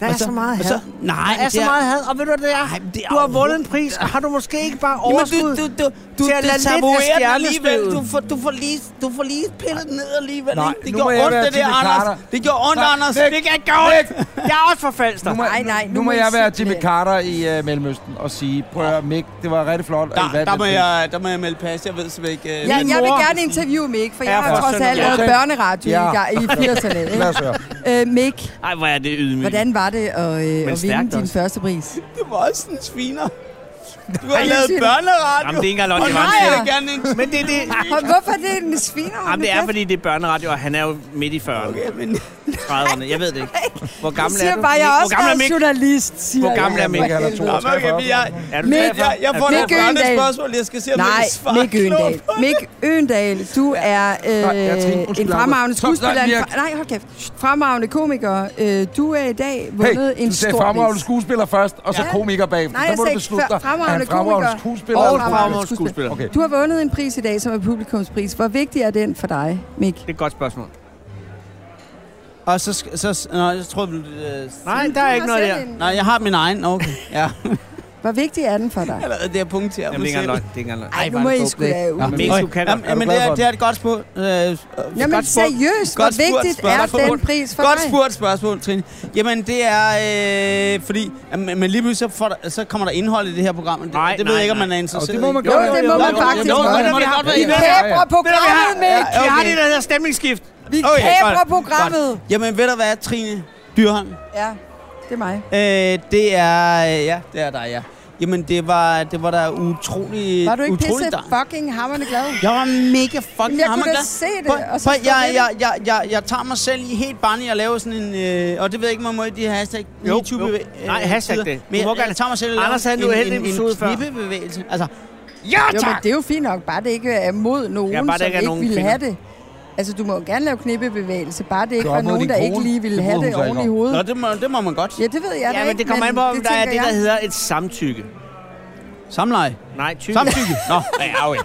Der er og så, meget og had. nej, der er men så det meget had. Og ved du, hvad det er? det er du har vundet en overhovedet- pris, og har du måske ikke bare Jamen, overskud du, du, du, du, til at lade lidt af desavouerer den alligevel. stjernestøvet? Du får, du, får lige, du får lige pillet den ned alligevel. Nej, ikke? Det nu gjorde må jeg ondt, være det der, Jimmy Anders. Carter. Det gjorde ondt, Nej, Anders. væk, Det kan ikke gøre ondt. Jeg er også forfalster. Nu må, Nej, nej, nu, nu nu må må jeg I være sige Jimmy det. Carter i uh, Mellemøsten og sige, prøv at høre, Mick, det var rigtig flot. og I Der, vandt der, den må pris. jeg, der må jeg melde pas. Jeg ved simpelthen ikke... øh, Ja, jeg men- vil gerne interviewe Mick, for jeg Er har fra trods alt Sønderjylland. lavet børneradio Ja. ja. i, gang- i 80'erne. Lad os Ikke? Øh, Mick, Ej, hvor er det ydmygt. hvordan var det at, øh, at vinde stærkt din også. første pris? Det var også en sviner. Du Ej, har lavet siger det. børneradio. Jamen, det er ikke engang løgn, Og det nej, var en jeg sviner. vil gerne ikke. Men det er det. Og hvorfor er det en sviner? Jamen, det er, fordi det er børneradio, og han er jo midt i 40'erne. Okay, men... 30'erne, jeg ved det ikke. Hvor gammel siger er du? bare, jeg Mik? har Hvor også gammel er været Mik? journalist, siger Hvor gammel jeg. er Mik? Han er Nå, men okay, men jeg, Er du Mick- 43? jeg får nogle Mick Øgendahl. spørgsmål, jeg skal se, om jeg Nej, kan svare Mick Øgendal. klogt. Mick Øgendal, du er jeg tænkte, øh, undskyld, en fremragende Jacob. Stop, skuespiller. nej, En, Mirk. fra- nej, hold kæft. Fremragende komiker. Øh, du er i dag vundet Hey, en du sagde stor fremragende pris. skuespiller først, og så Ja. komiker bagefter. Nej, Der jeg må du sagde beslutte dig. før- fremragende Er han fremragende komiker. skuespiller. Og eller fremragende skuespiller. Okay. Du har vundet en pris i dag, som er publikumspris. Hvor vigtig er den for dig, Mick? Det er et godt spørgsmål. Og så... sk- så nå, jeg tror, du... Øh, Nej, der er ikke noget der. Nej, jeg har min egen. Okay, ja. Hvor vigtig er den for dig? Allerede det her punkt her. Jamen, det er ikke engang løgn. Det er ikke engang løgn. Ej, nu må I sgu da ud. Mik, du kan Jamen, godt. men det er, det er et godt spørgsmål. Øh, Jamen, Jamen, seriøst, hvor vigtigt er den pris for godt dig? spurgt spørgsmål, Trine. Jamen, det er, øh, fordi, jamen, men lige pludselig så, får der, så kommer der indhold i det her program. Det, nej, det ved nej, jeg ikke, om nej. man er interesseret Og det må man i. Jo, godt. jo, det må man faktisk Jo, godt. det må det Vi godt har- være. vi Ja, kæber ja, ja. programmet, Ved du hvad, Mikk. ja, Vi har okay. det, der hedder stemningsskift. Vi Okay, kæber godt, programmet. godt. Jamen, ved du hvad, Trine Dyrholm? Ja, det er mig. Øh, det er, øh, ja, det er dig, ja. Jamen, det var, det var da utrolig, Var du ikke utrolig pisse dejligt. fucking hammerne glad? Jeg var mega fucking Jamen, jeg kunne hammerglad. da se det, Prøv- og så prøv, stå jeg, ved jeg, jeg, jeg, jeg tager mig selv i helt barn, jeg laver sådan en... Øh, og det ved jeg ikke, man må i de her hashtag Jo, YouTube jo. bevæ- Nej, øh, hashtag tider. det. Du Men må jeg, gerne. jeg, tager mig selv og laver Anders havde en uheldig en, en, episode før. knippebevægelse. Altså, Ja, Jo, men tak! det er jo fint nok, bare det ikke er mod nogen, Ja, ja, bare det som ikke er ikke nogen ville kvinder. have det. Altså, du må jo gerne lave knippebevægelse, bare det ikke Gør var mod nogen, din der ikke kone. lige ville Det have bryder det hun sig ikke oven i om. hovedet. Nå, det må, det må man godt. Ja, det ved jeg da Ja, men ikke. det kommer an på, om der er tænker det, der jeg. hedder et samtykke. Samleje. Nej, tykke. Samtykke. Nå, ja, okay.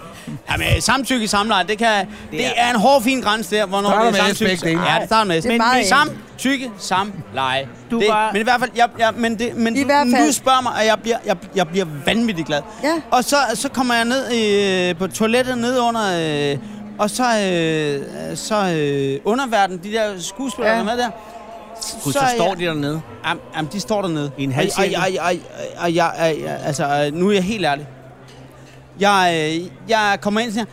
Jamen, øh, samtykke, samleje, det, kan, det, er- er en hård, fin grænse der, hvornår Starter det er med samtykke. S, begge dele. Ja, det starter med S. Det er Men meget vi sam, enkelt. tykke, samleje. Du det, var- Men i hvert fald, jeg, jeg, men det, men I du, hvert fald. du spørger mig, og jeg bliver, jeg, jeg bliver vanvittigt glad. Ja. Og så, så kommer jeg ned øh, på toilettet nede under, øh, og så, øh, så øh, underverden, de der skuespillere, Ja. ja. der er med der. Gud, så er står jeg- de dernede. Jamen, jamen, de står dernede. I en halv Ej, cirkel. ej, ej, ej, ej, ej, ej, ej, altså, øh, nu er jeg helt ærlig. Jeg, øh, jeg kommer ind og siger,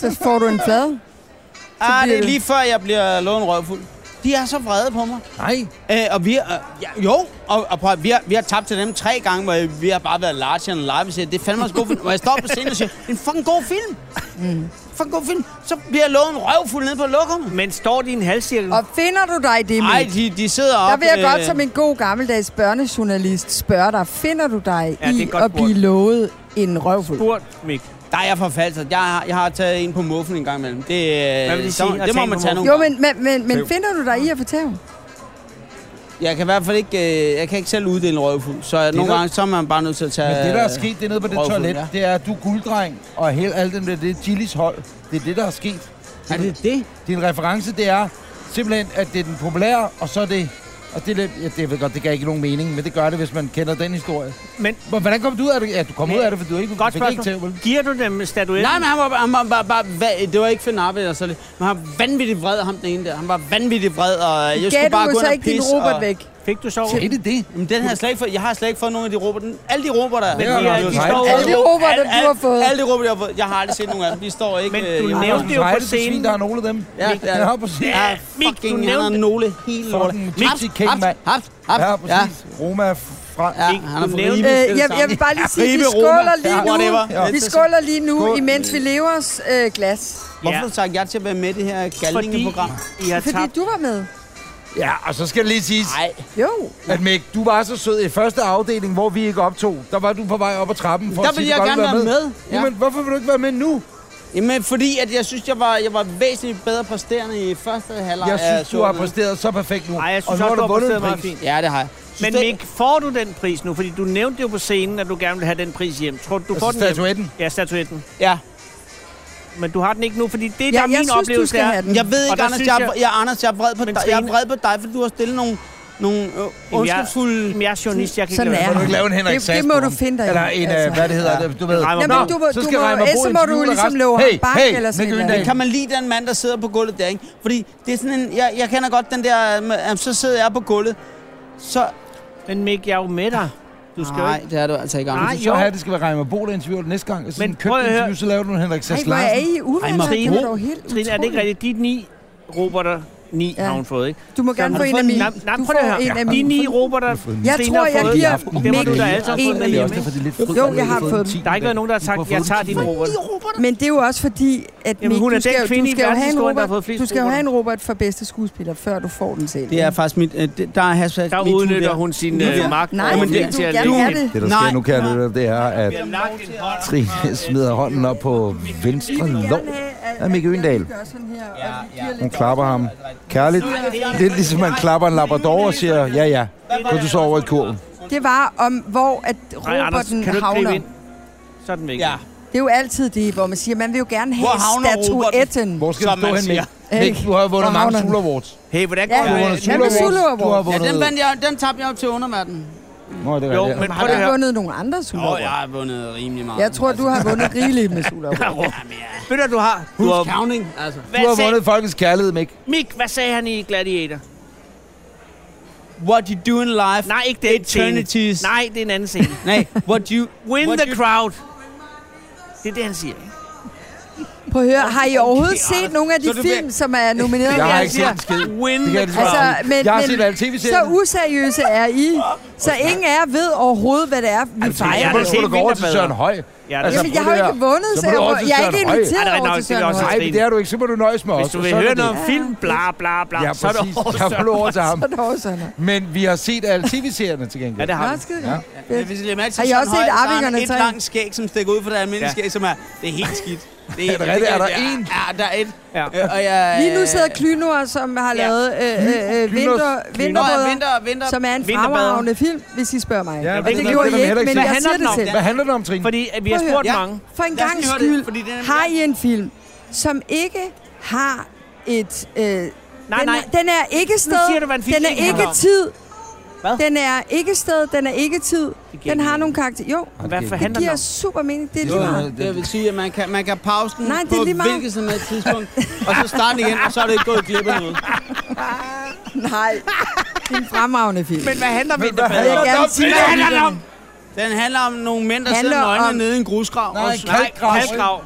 Så får du en flade. ah, det bliver er det- lige før, jeg bliver lovet en røvfuld. De er så vrede på mig. Nej. Øh, og vi, øh, ja, jo, og, og prøv, at- vi, har, vi har tabt til dem tre gange, hvor vi har bare været large and live. og siger, Det er fandme også god film. Og jeg står på scenen og siger, det er en fucking god film. Mm. Fucking god film. Så bliver jeg lovet en røvfuld nede på lukkerne. Men står de i en halvcirkel? Og finder du dig i det, Nej, Mikk? de, de sidder op. Der vil jeg øh, godt som en god gammeldags børnejournalist spørge dig, finder du dig Ja, det er i godt at blive spurgt. lovet en røvfuld? Spurgt, Mik. Der er jeg forfalset. Jeg har, jeg har taget en på muffen en gang imellem. Det, Hvad vil det Øh, så- sige at det må tage man en på tage nogle Jo, men, men, men, men Tæv. finder du dig i at fortæve? Jeg kan i hvert fald ikke, øh, jeg kan ikke selv uddele en røvfuld, så nogle der- gange så er man bare nødt til at tage... Men det, der er øh, sket dernede på det røvfuld, toilet, ja. det er, at du er gulddreng, og hele alt det der, det er Gillis hold. Det er det, der er sket. Er det det? Din reference, det er simpelthen, at det er den populære, og så er det... Og det, er lidt- ja, det, jeg ved godt, det gav ikke nogen mening, men det gør det, hvis man kender den historie. Men, Hvor- hvordan kom du ud af det? Ja, du kom ud af det, for du ikke Godt fik ikke spørgsmål. tævel. Giver du dem statuetten? Nej, men han var, han var bare, bare, va- det var ikke Fenappe og så lidt. Men han var vanvittigt vred, ham den ene der. Han var vanvittigt vred, og jeg skulle bare gå ind og pisse. og... Fik du så over? Sagde det det? Jamen, den har jeg slet ikke fået. Jeg har slet ikke fået nogen af de roboter. Alle de roboter, Men de er- de står- Alle de roboter, alle- du har alle- fået. Alle de roboter, jeg har fået. Jeg har aldrig set nogen af dem. De står ikke... Men øh, du hjemme. nævnte jo på Rejde til svin, scenen. der er nogle af dem. Ja, det er Ja, der. på scenen. Ja, Mik, du fucking, han har nævnte- nogle hele lortet. Fucking Gypsy King, mand. Haft, haft, Ja, ja. præcis. Roma fra... Ja, han har fået Øh, rimeligt jeg, fælles jeg vil bare lige sige, at vi Ribe Roma. skåler lige Ja, nu, whatever. vi skåler lige nu imens vi lever os øh, glas. Hvorfor har du sagt ja til at være med i det her galningeprogram? I har Fordi tabt. du var med. Ja, og så skal det lige siges, Jo. at Mæk, du var så sød i første afdeling, hvor vi ikke optog. Der var du på vej op ad trappen for Der at sige, vil du jeg godt gerne være med. med. Jamen, hvorfor vil du ikke være med nu? Jamen, fordi at jeg synes, jeg var, jeg var væsentligt bedre præsterende i første halvleg. af Jeg synes, du har showet. præsteret så perfekt nu. Nej, jeg synes også, du har præsteret meget fint. Ja, det har jeg. Men det- Mik, får du den pris nu? Fordi du nævnte jo på scenen, at du gerne vil have den pris hjem. Tror du, du Altså får den hjem? statuetten? Ja, statuetten. Ja. Men du har den ikke nu, fordi det, Ja, der er min jeg synes, du oplevelse, skal er... have den. Jeg ved Og ikke, der Anders, synes jeg, jeg, Anders, jeg er vred på dig. Jeg er Trine- vred på dig, fordi du har stillet nogle, nogle øh, ondskabsfulde... Jamen, jeg er journalist, jeg kan Sådan ikke er Kan du ikke lave en Henrik Det- det må du finde dig i, Eller en, altså. altså. hvad det hedder, Ja. det, du ved. Reimer Bo. Nå, så skal Reimer Bo interviewe ligesom resten. hey, hey, Nick Øgendahl. Men kan man lide den mand, der sidder på gulvet der, ikke? Fordi det er sådan en... Jeg, jeg kender godt den der... øh, Jamen, så sidder jeg på gulvet. Så... Men Mik, jeg er jo med dig. Du skal jo Nej, ikke- det er du altså ikke, Anders. Nej, så have, det skal være Reimer Bo, der interviewer dig næste gang. Og så Men Men prøv at høre. købt så laver du en Henrik Sass Larsen. Trine, Reimer Bo. Trine, er altså, det ikke rigtigt? De ni roboter, ni ja. har hun fået, ikke? Du må Så gerne har få hun en af fået mine. Nej, nej, Du prøv lige får at en høre. af De mine. ni roboter, Jeg Trine tror, har jeg fået. giver Det må Mikkel du da altså en af mine. Jo, jeg har fået dem. Der har ikke været nogen, der har sagt, jeg tager din robot. Men det er jo også fordi, at Jamen, Mik, hun er du skal, den jo- kvinde du i skal jo have en verdenshistorien, der Robert, har fået flest du skal jo have en Roberter. Robert for bedste skuespiller, før du får den selv. Det er faktisk mit... Øh, det, der er hashtag... Der MeToo udnytter hun sin, øh, Ja. magt Nej, over men Mik det, til at du- lægge er Det, der sker nu, kan jeg lytte, det er, at Trine smider hånden op på venstre lov øh, af Mikke Øendal. Hun klapper ham kærligt. Lidt ligesom man klapper en labrador og siger, ja ja, gå du så over i kurven. Det var om, hvor at Nej, Anders, Roberten kan du ikke havner. gribe ind? Så er den væk. Ja. Det er jo altid det, hvor man siger, man vil jo gerne have Hvor havner Roberten? statuetten. Hvor skal du stå hen, Mik? Mik, du har jo vundet Hvor mange havner den? Sula Awards. Hey, hvordan Ja, Du har vundet hvad med Zulu Sula Awards. Du har Awards? vundet... Ja, den, vandt jeg, den tabte jeg jo til underverdenen. Nå, det er Jo, rigtigt. men Har prøv lige at du høre. vundet nogle andre Åh, oh, jeg sulaver? har vundet rimelig meget. Jeg tror, du har vundet rigeligt med sulaver. Ved du, du har? Du har counting, altså. Hvad Du har sagde- vundet folkets kærlighed, Mik. Mik, hvad sagde han i Gladiator? What you do in life? Nej, ikke den scene. Eternities. Nej, det er en anden scene. Nej, what you... Win what the you- crowd. Det er det, han siger. ikke? Prøv at høre, har I overhovedet set nogle af Så de du vil- film, som er nomineret? Jeg har Jeg ikke set siger- en "Ah, skid. Win Det kan jeg lige så godt Altså, sige. men, jeg har men set alle så tv-serierne. useriøse er I, så ingen af jer ved overhovedet, hvad det er, vi Så fejrer. må du sgu da gå over til Søren Høj. Ja, Jamen, jeg har jo ikke vundet, så jeg må- jeg er ikke inviteret over til Søren Høj. Nej, men det er du ikke. Så må du nøjes med os. Hvis du vil Sådan er høre det. noget om film, bla Ah, bla bla, Ja, så er det præcis. Jeg er over til ham. Så er det også Søren Høj. Men vi har set alle tv-serierne til gengæld. Ja, det har Nå, skide godt. Men hvis I lægger mærke til Har I Søren også set Høj, så har han Arvingerne Et tre? langt skæg, som stikker ud fra det almindelige Ja. skæg, som er... Det er helt skidt. Er det rigtigt? Er der en? Ja, der er et. Ja. Øh, og jeg, Lige nu sidder Klynor, som har Ja. lavet øh, øh, øh, Klynos- vinter, Klynos- Nå, ja, vinterbrødre, Vinter- Vinter- som er en Vinterbader. fremragende film, hvis I spørger mig. Ja, og men det, den det er- gjorde I den har vi ikke, heller ikke men set. jeg Hvad siger det handler den selv. om? Hvad handler det om, Trine? Fordi at vi har Prøv at spurgt høre. mange. For en Lad os gang lige høre det, skyld, fordi det er- har I en film, som ikke har et... Øh, nej, den, nej. Er, den er ikke sted, siger du, hvad en film den er ikke handler ikke om. tid, Hvad? den er ikke sted, den er ikke tid, giver den ikke har mening. nogle karakterer. Jo, Hvad det- forhandler det den giver om? super mening, det er lige meget. Jo, det vil sige, at man kan, man kan pause den Nej, det er på lige meget. hvilket som helst tidspunkt, og så starte den igen, og så er det ikke gået glip af noget. Nej, det er en fremragende film. Men hvad handler Men vinterbader hvad handler den om? om? Sig Hvad det. handler den om? Den handler om nogle mænd, der Handler sidder med øjnene om- nede i en grusgrav. Nej, og- en kalkgrav. Halvgrav.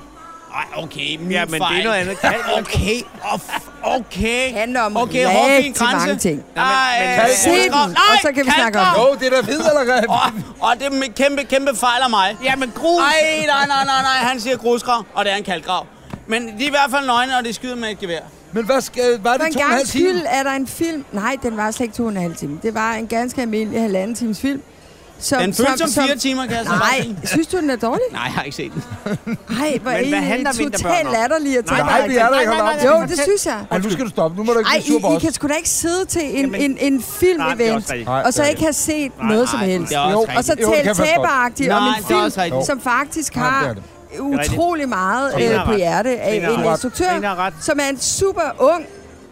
Ej, okay, min Ja, men det er fejl. noget andet. Kalk- Okay, oh, f- okay. handler om Okay, hvor er din rigtig grænse? mange ting. Nej, men- øh, Se den, grusgrav. og Nej, så kan vi snakke om kalkgrav. Jo, det er da vidt, eller hvad? Og, og det er en kæmpe, kæmpe fejl af mig. Ja, men grus. Ej, nej, nej, nej, nej, han siger grusgrav, og det er en kalkgrav. Men de er i hvert fald nøgne, og de skyder med et gevær. Men hvad skal... Var For det en to og en halv gang time? skyld er der en film... Nej, den var slet ikke to og en halv time. Det var en ganske almindelig halvanden times film. Som, Den føles som fire timer, kan jeg så bare sige. Nej, synes du, den er dårlig? Nej, jeg har ikke set den. Nej, hvor Men hvad er I handler Vinterbørn totalt om? latterlige at tale Nej, vi er der ikke holdt op. Jo, det synes jeg. Ej, nu skal du stoppe. Nu må du ikke Ej, blive sur på I, I os. kan sgu da ikke sidde til en, Jamen- en, en Nej, det er film-event, også rigtigt. Nej, og så det er ikke have set Nej, noget som nej, helst. det er også Jo, og så rigtigt. Jo, det kan tale jeg faktisk godt. taberagtigt om Nej, en det er også film, rigtigt. som faktisk Nej, det er har det. utrolig meget Trine har øh, på ret. hjerte af Trine en har ret. Trine har instruktør, ret. som er en super ung,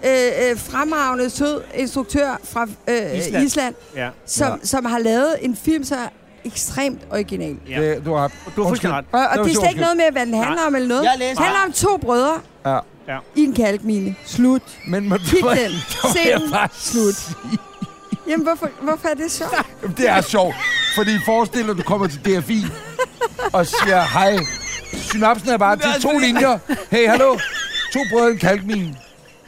øh, øh, fremragende, sød instruktør fra øh, Island. Island, Island Ja. som, som har lavet en film, så er ekstremt original. Ja. Det, du har ret. Du har fuldstændig ret. Og, Det var og det er slet sjovt. ikke noget med, hvad den handler om eller noget. Jeg læste- Det handler om to brødre Ja. i en kalkmine. Slut. Men man, Kig den. Se jeg den. bare Slut. Jamen, hvorfor, hvorfor er det sjovt? Jamen, Det er sjovt. Fordi forestil dig, du kommer til DFI og siger, hej, synapsen er bare til to linjer. Hey, hallo. To brødre i en kalkmin.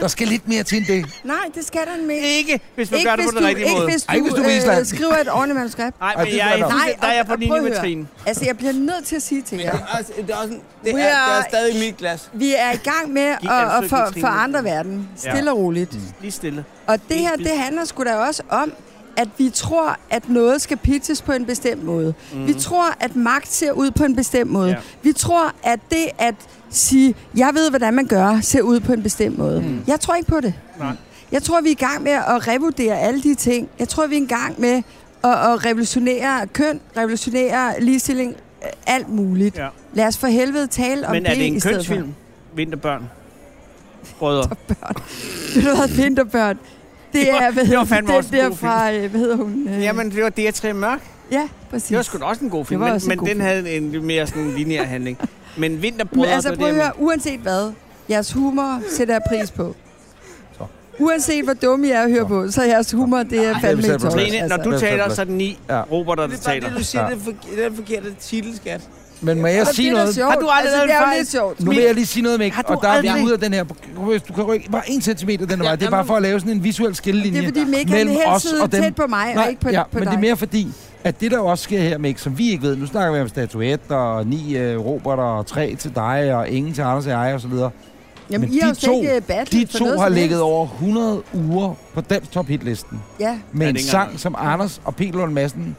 Der skal lidt mere til end det. Nej, det skal der ikke. Ikke, hvis man gør det på den rigtige måde. Ikke hvis du, Ej, hvis du er øh, Island. skriver et ordentligt manuskript. Ej, men det jeg er- tror jeg nok. der er jeg på og- og linje prøv med at høre. Trine. Altså, jeg bliver nødt til at sige til jer. Altså, det er, også, en- det er, We det er are- stadig mit glas. Vi er i gang med Giv at, at ansøgning, for, Trine. forandre verden. Stille og roligt. Mm. Lige stille. Og det her, det handler sgu da også om, at vi tror, at noget skal pitches på en bestemt måde. Mhm. Mm. Vi tror, at magt ser ud på en bestemt måde. Ja. Ja. Vi tror, at det at sige, jeg ved, hvordan man gør, ser ud på en bestemt måde. Mhm. Mm. Jeg tror ikke på det. Nej. Jeg tror, vi er i gang med at revurdere alle de ting. Jeg tror, vi er i gang med at, at revolutionere køn, revolutionere ligestilling, øh, alt muligt. Ja. Lad os for helvede tale om Men er det i en stedet for. kønsfilm? Vinterbørn. Brødre. Ved du hvad, Vinterbørn? Det er, hvad det var hedder fandme også den en der god film. fra, øh, hvad hedder hun? Øh, Jamen, det var Diatræ Mørk. Ja, præcis. Det var sgu da også en god film, Det var men, også en men god den film. havde en lidt mere sådan lineær handling. Men Men Vinterbrødre... altså, det prøv var at det, jeg høre, uanset hvad, jeres humor sætter jeg pris på. Uanset hvor dumme I er at høre på, så er jeres humor, det er fandme altså. mente. et tårs. Trine, når du altså, Det er taler, fandme- så er det ni Ja. Robert, der Det er bare taler. det, du siger, det er det er den forkerte titel, skat. Men må jeg Og sige det er da noget? sjovt. Har du aldrig Altså, lavet det en er jo fejl? lidt sjovt. Nu vil jeg lige sige noget, Mik, Har du og der er vi aldrig- ude af den her. Hvis Du kan rykke bare en centimeter den ja, vej. Det er jamen- bare for at lave sådan en visuel skillelinje Det er fordi, Mik, han mellem vil helst os sidde og dem. tæt på mig, og Nej, ikke på- ja, på men det er dig. mere fordi, at det der jo også sker her, Mik, som vi ikke ved. Nu snakker vi om statuetter, og ni øh, Robert, og tre til dig, og ingen til Anders og jeg, og så videre. Jamen, men I har de jo slet to, ikke battlet de for to noget har som ligget helst. over 100 uger på dansk top hitlisten. Ja. Med Ja, en det er ikke sang, som Anders og Peter Lund Madsen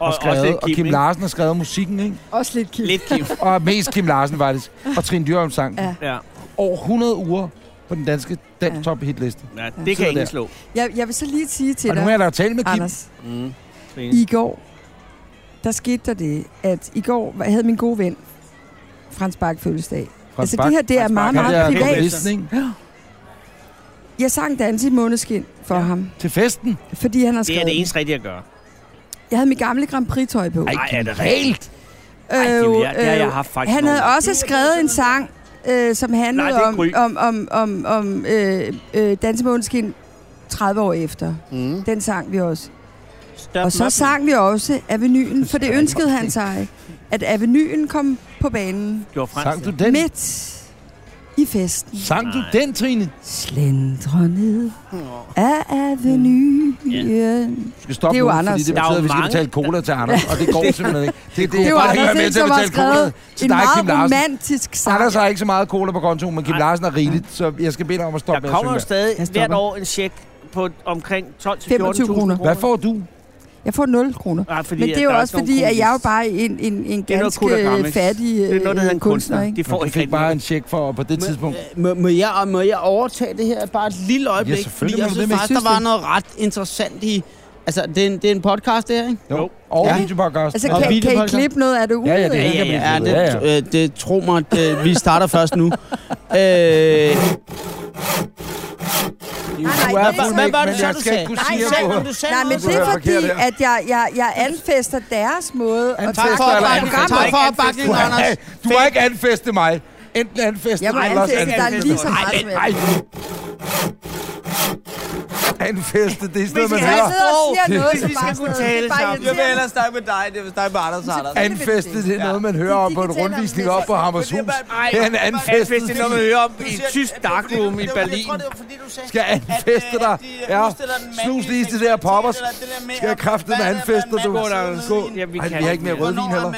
Og- har også skrevet, lidt og, Kim, Kim ikke? Larsen har skrevet musikken, ikke? Også lidt Kim. Lidt Kim. og mest Kim Larsen faktisk. Og Trine Dyrholm sang. Ja. Ja. Over 100 uger på den danske dansk top hitliste. Ja, det Sidder kan ingen der. slå. Jeg, jeg vil så lige sige til Og nu dig, er der jo tale med Kim. Anders, Mm. I går, der skete der det, at i går var- havde min gode ven, Frans Bak fødselsdag. Frans Altså Bak. det her, det er Frans meget, Bak. Han er meget komponisten, ikke? privat. Jeg sang dans i måneskin for ham. Til festen? Fordi han har Det er skrevet det eneste rigtige at gøre. Jeg havde mit gamle Grand Prix-tøj på. Ej, er det reelt? Øh, Ej, det er jo- det har jeg haft faktisk Han havde nogle- også skrevet en sang, øh, som handlede Nej, det er om, Gry. om, om, om, om øh, øh, Dansemåneskin 30 år efter. Mm. Den sang vi også. Stop Og så sang vi også Avenyen, for det ønskede han sig, at Avenyen kom på banen. Gjorde Frans Sang du den? Midt i festen. Sang du den, Trine? Slendrer ned af Avenyen. Du skal stoppe Det er jo nu, Anders. fordi det Der er jo betyder, at vi skal mange- betale cola til Anders, og det går simpelthen ikke. Det, Det er jo jeg kan ikke Anders, være med til at som har betale cola skrevet til en dig, meget Kim Larsen. romantisk sang. Anders har ikke så meget cola på kontoen, men Kim Larsen er rigeligt, så jeg skal bede dig om at stoppe Der med at kommer jo synge stadig stopper. hvert år en check på omkring 12-14.000 25 kroner. kroner. Hvad får du? Jeg får 0 kroner. Nej, fordi Men det at er jo der også ikke fordi, nogen at jeg er jo kunst. bare en, en, en er noget ganske kul og gammel, ikke? fattig øh, Det er øh, noget, der hedder en kunstner. ikke? Det får Du ikke fik rigtig bare en check for, på det tidspunkt. Må, må, jeg, og må jeg overtage det her bare et lille øjeblik? Ja, Fordi selvfølgelig må jeg du synes det, men faktisk, synes der var det. noget ret interessant i... Altså, det er en, det er en podcast, det her, ikke? Jo. Og Ja. videopodcast. Altså, kan, kan I klippe noget af det ud? ja, det, ja, ja, blive ja, klippet. det, øh, det tro mig, det, vi starter først nu. øh, Nej, Hvad det er var- så- hvad var det men så, jeg du skal sagde? ikke kunne Nej, sige, du at sagde du- noget, du sagde Nej, noget. men det er var fordi, forkert her. at jeg, jeg, jeg anfæster deres måde at Anfæster tackle eller programmet. anfæster? Tak for Du opbakningen, har- Du har ikke anfæstet mig. Enten anfæstet Jeg må mig, eller også anfæste dig anfæstet lige så mig. meget som Ej, ej. Anfæstet, det er sådan noget, man have hører. Vi skal kunne tale sammen. Jeg vil hellere snakke med dig, det vil snakke med Anders Anders. Anfæstet, det er noget, man hører om på en rundvisning op på Hammershus. Det er en anfæstet Anfæstet, når man hører om i film. et tysk darkroom i Berlin. Skal jeg anfæste dig? Ja, snus lige til det her poppers. Skal jeg kræfte med anfæste, du? Gå. Ej, vi har ikke mere rødvin heller.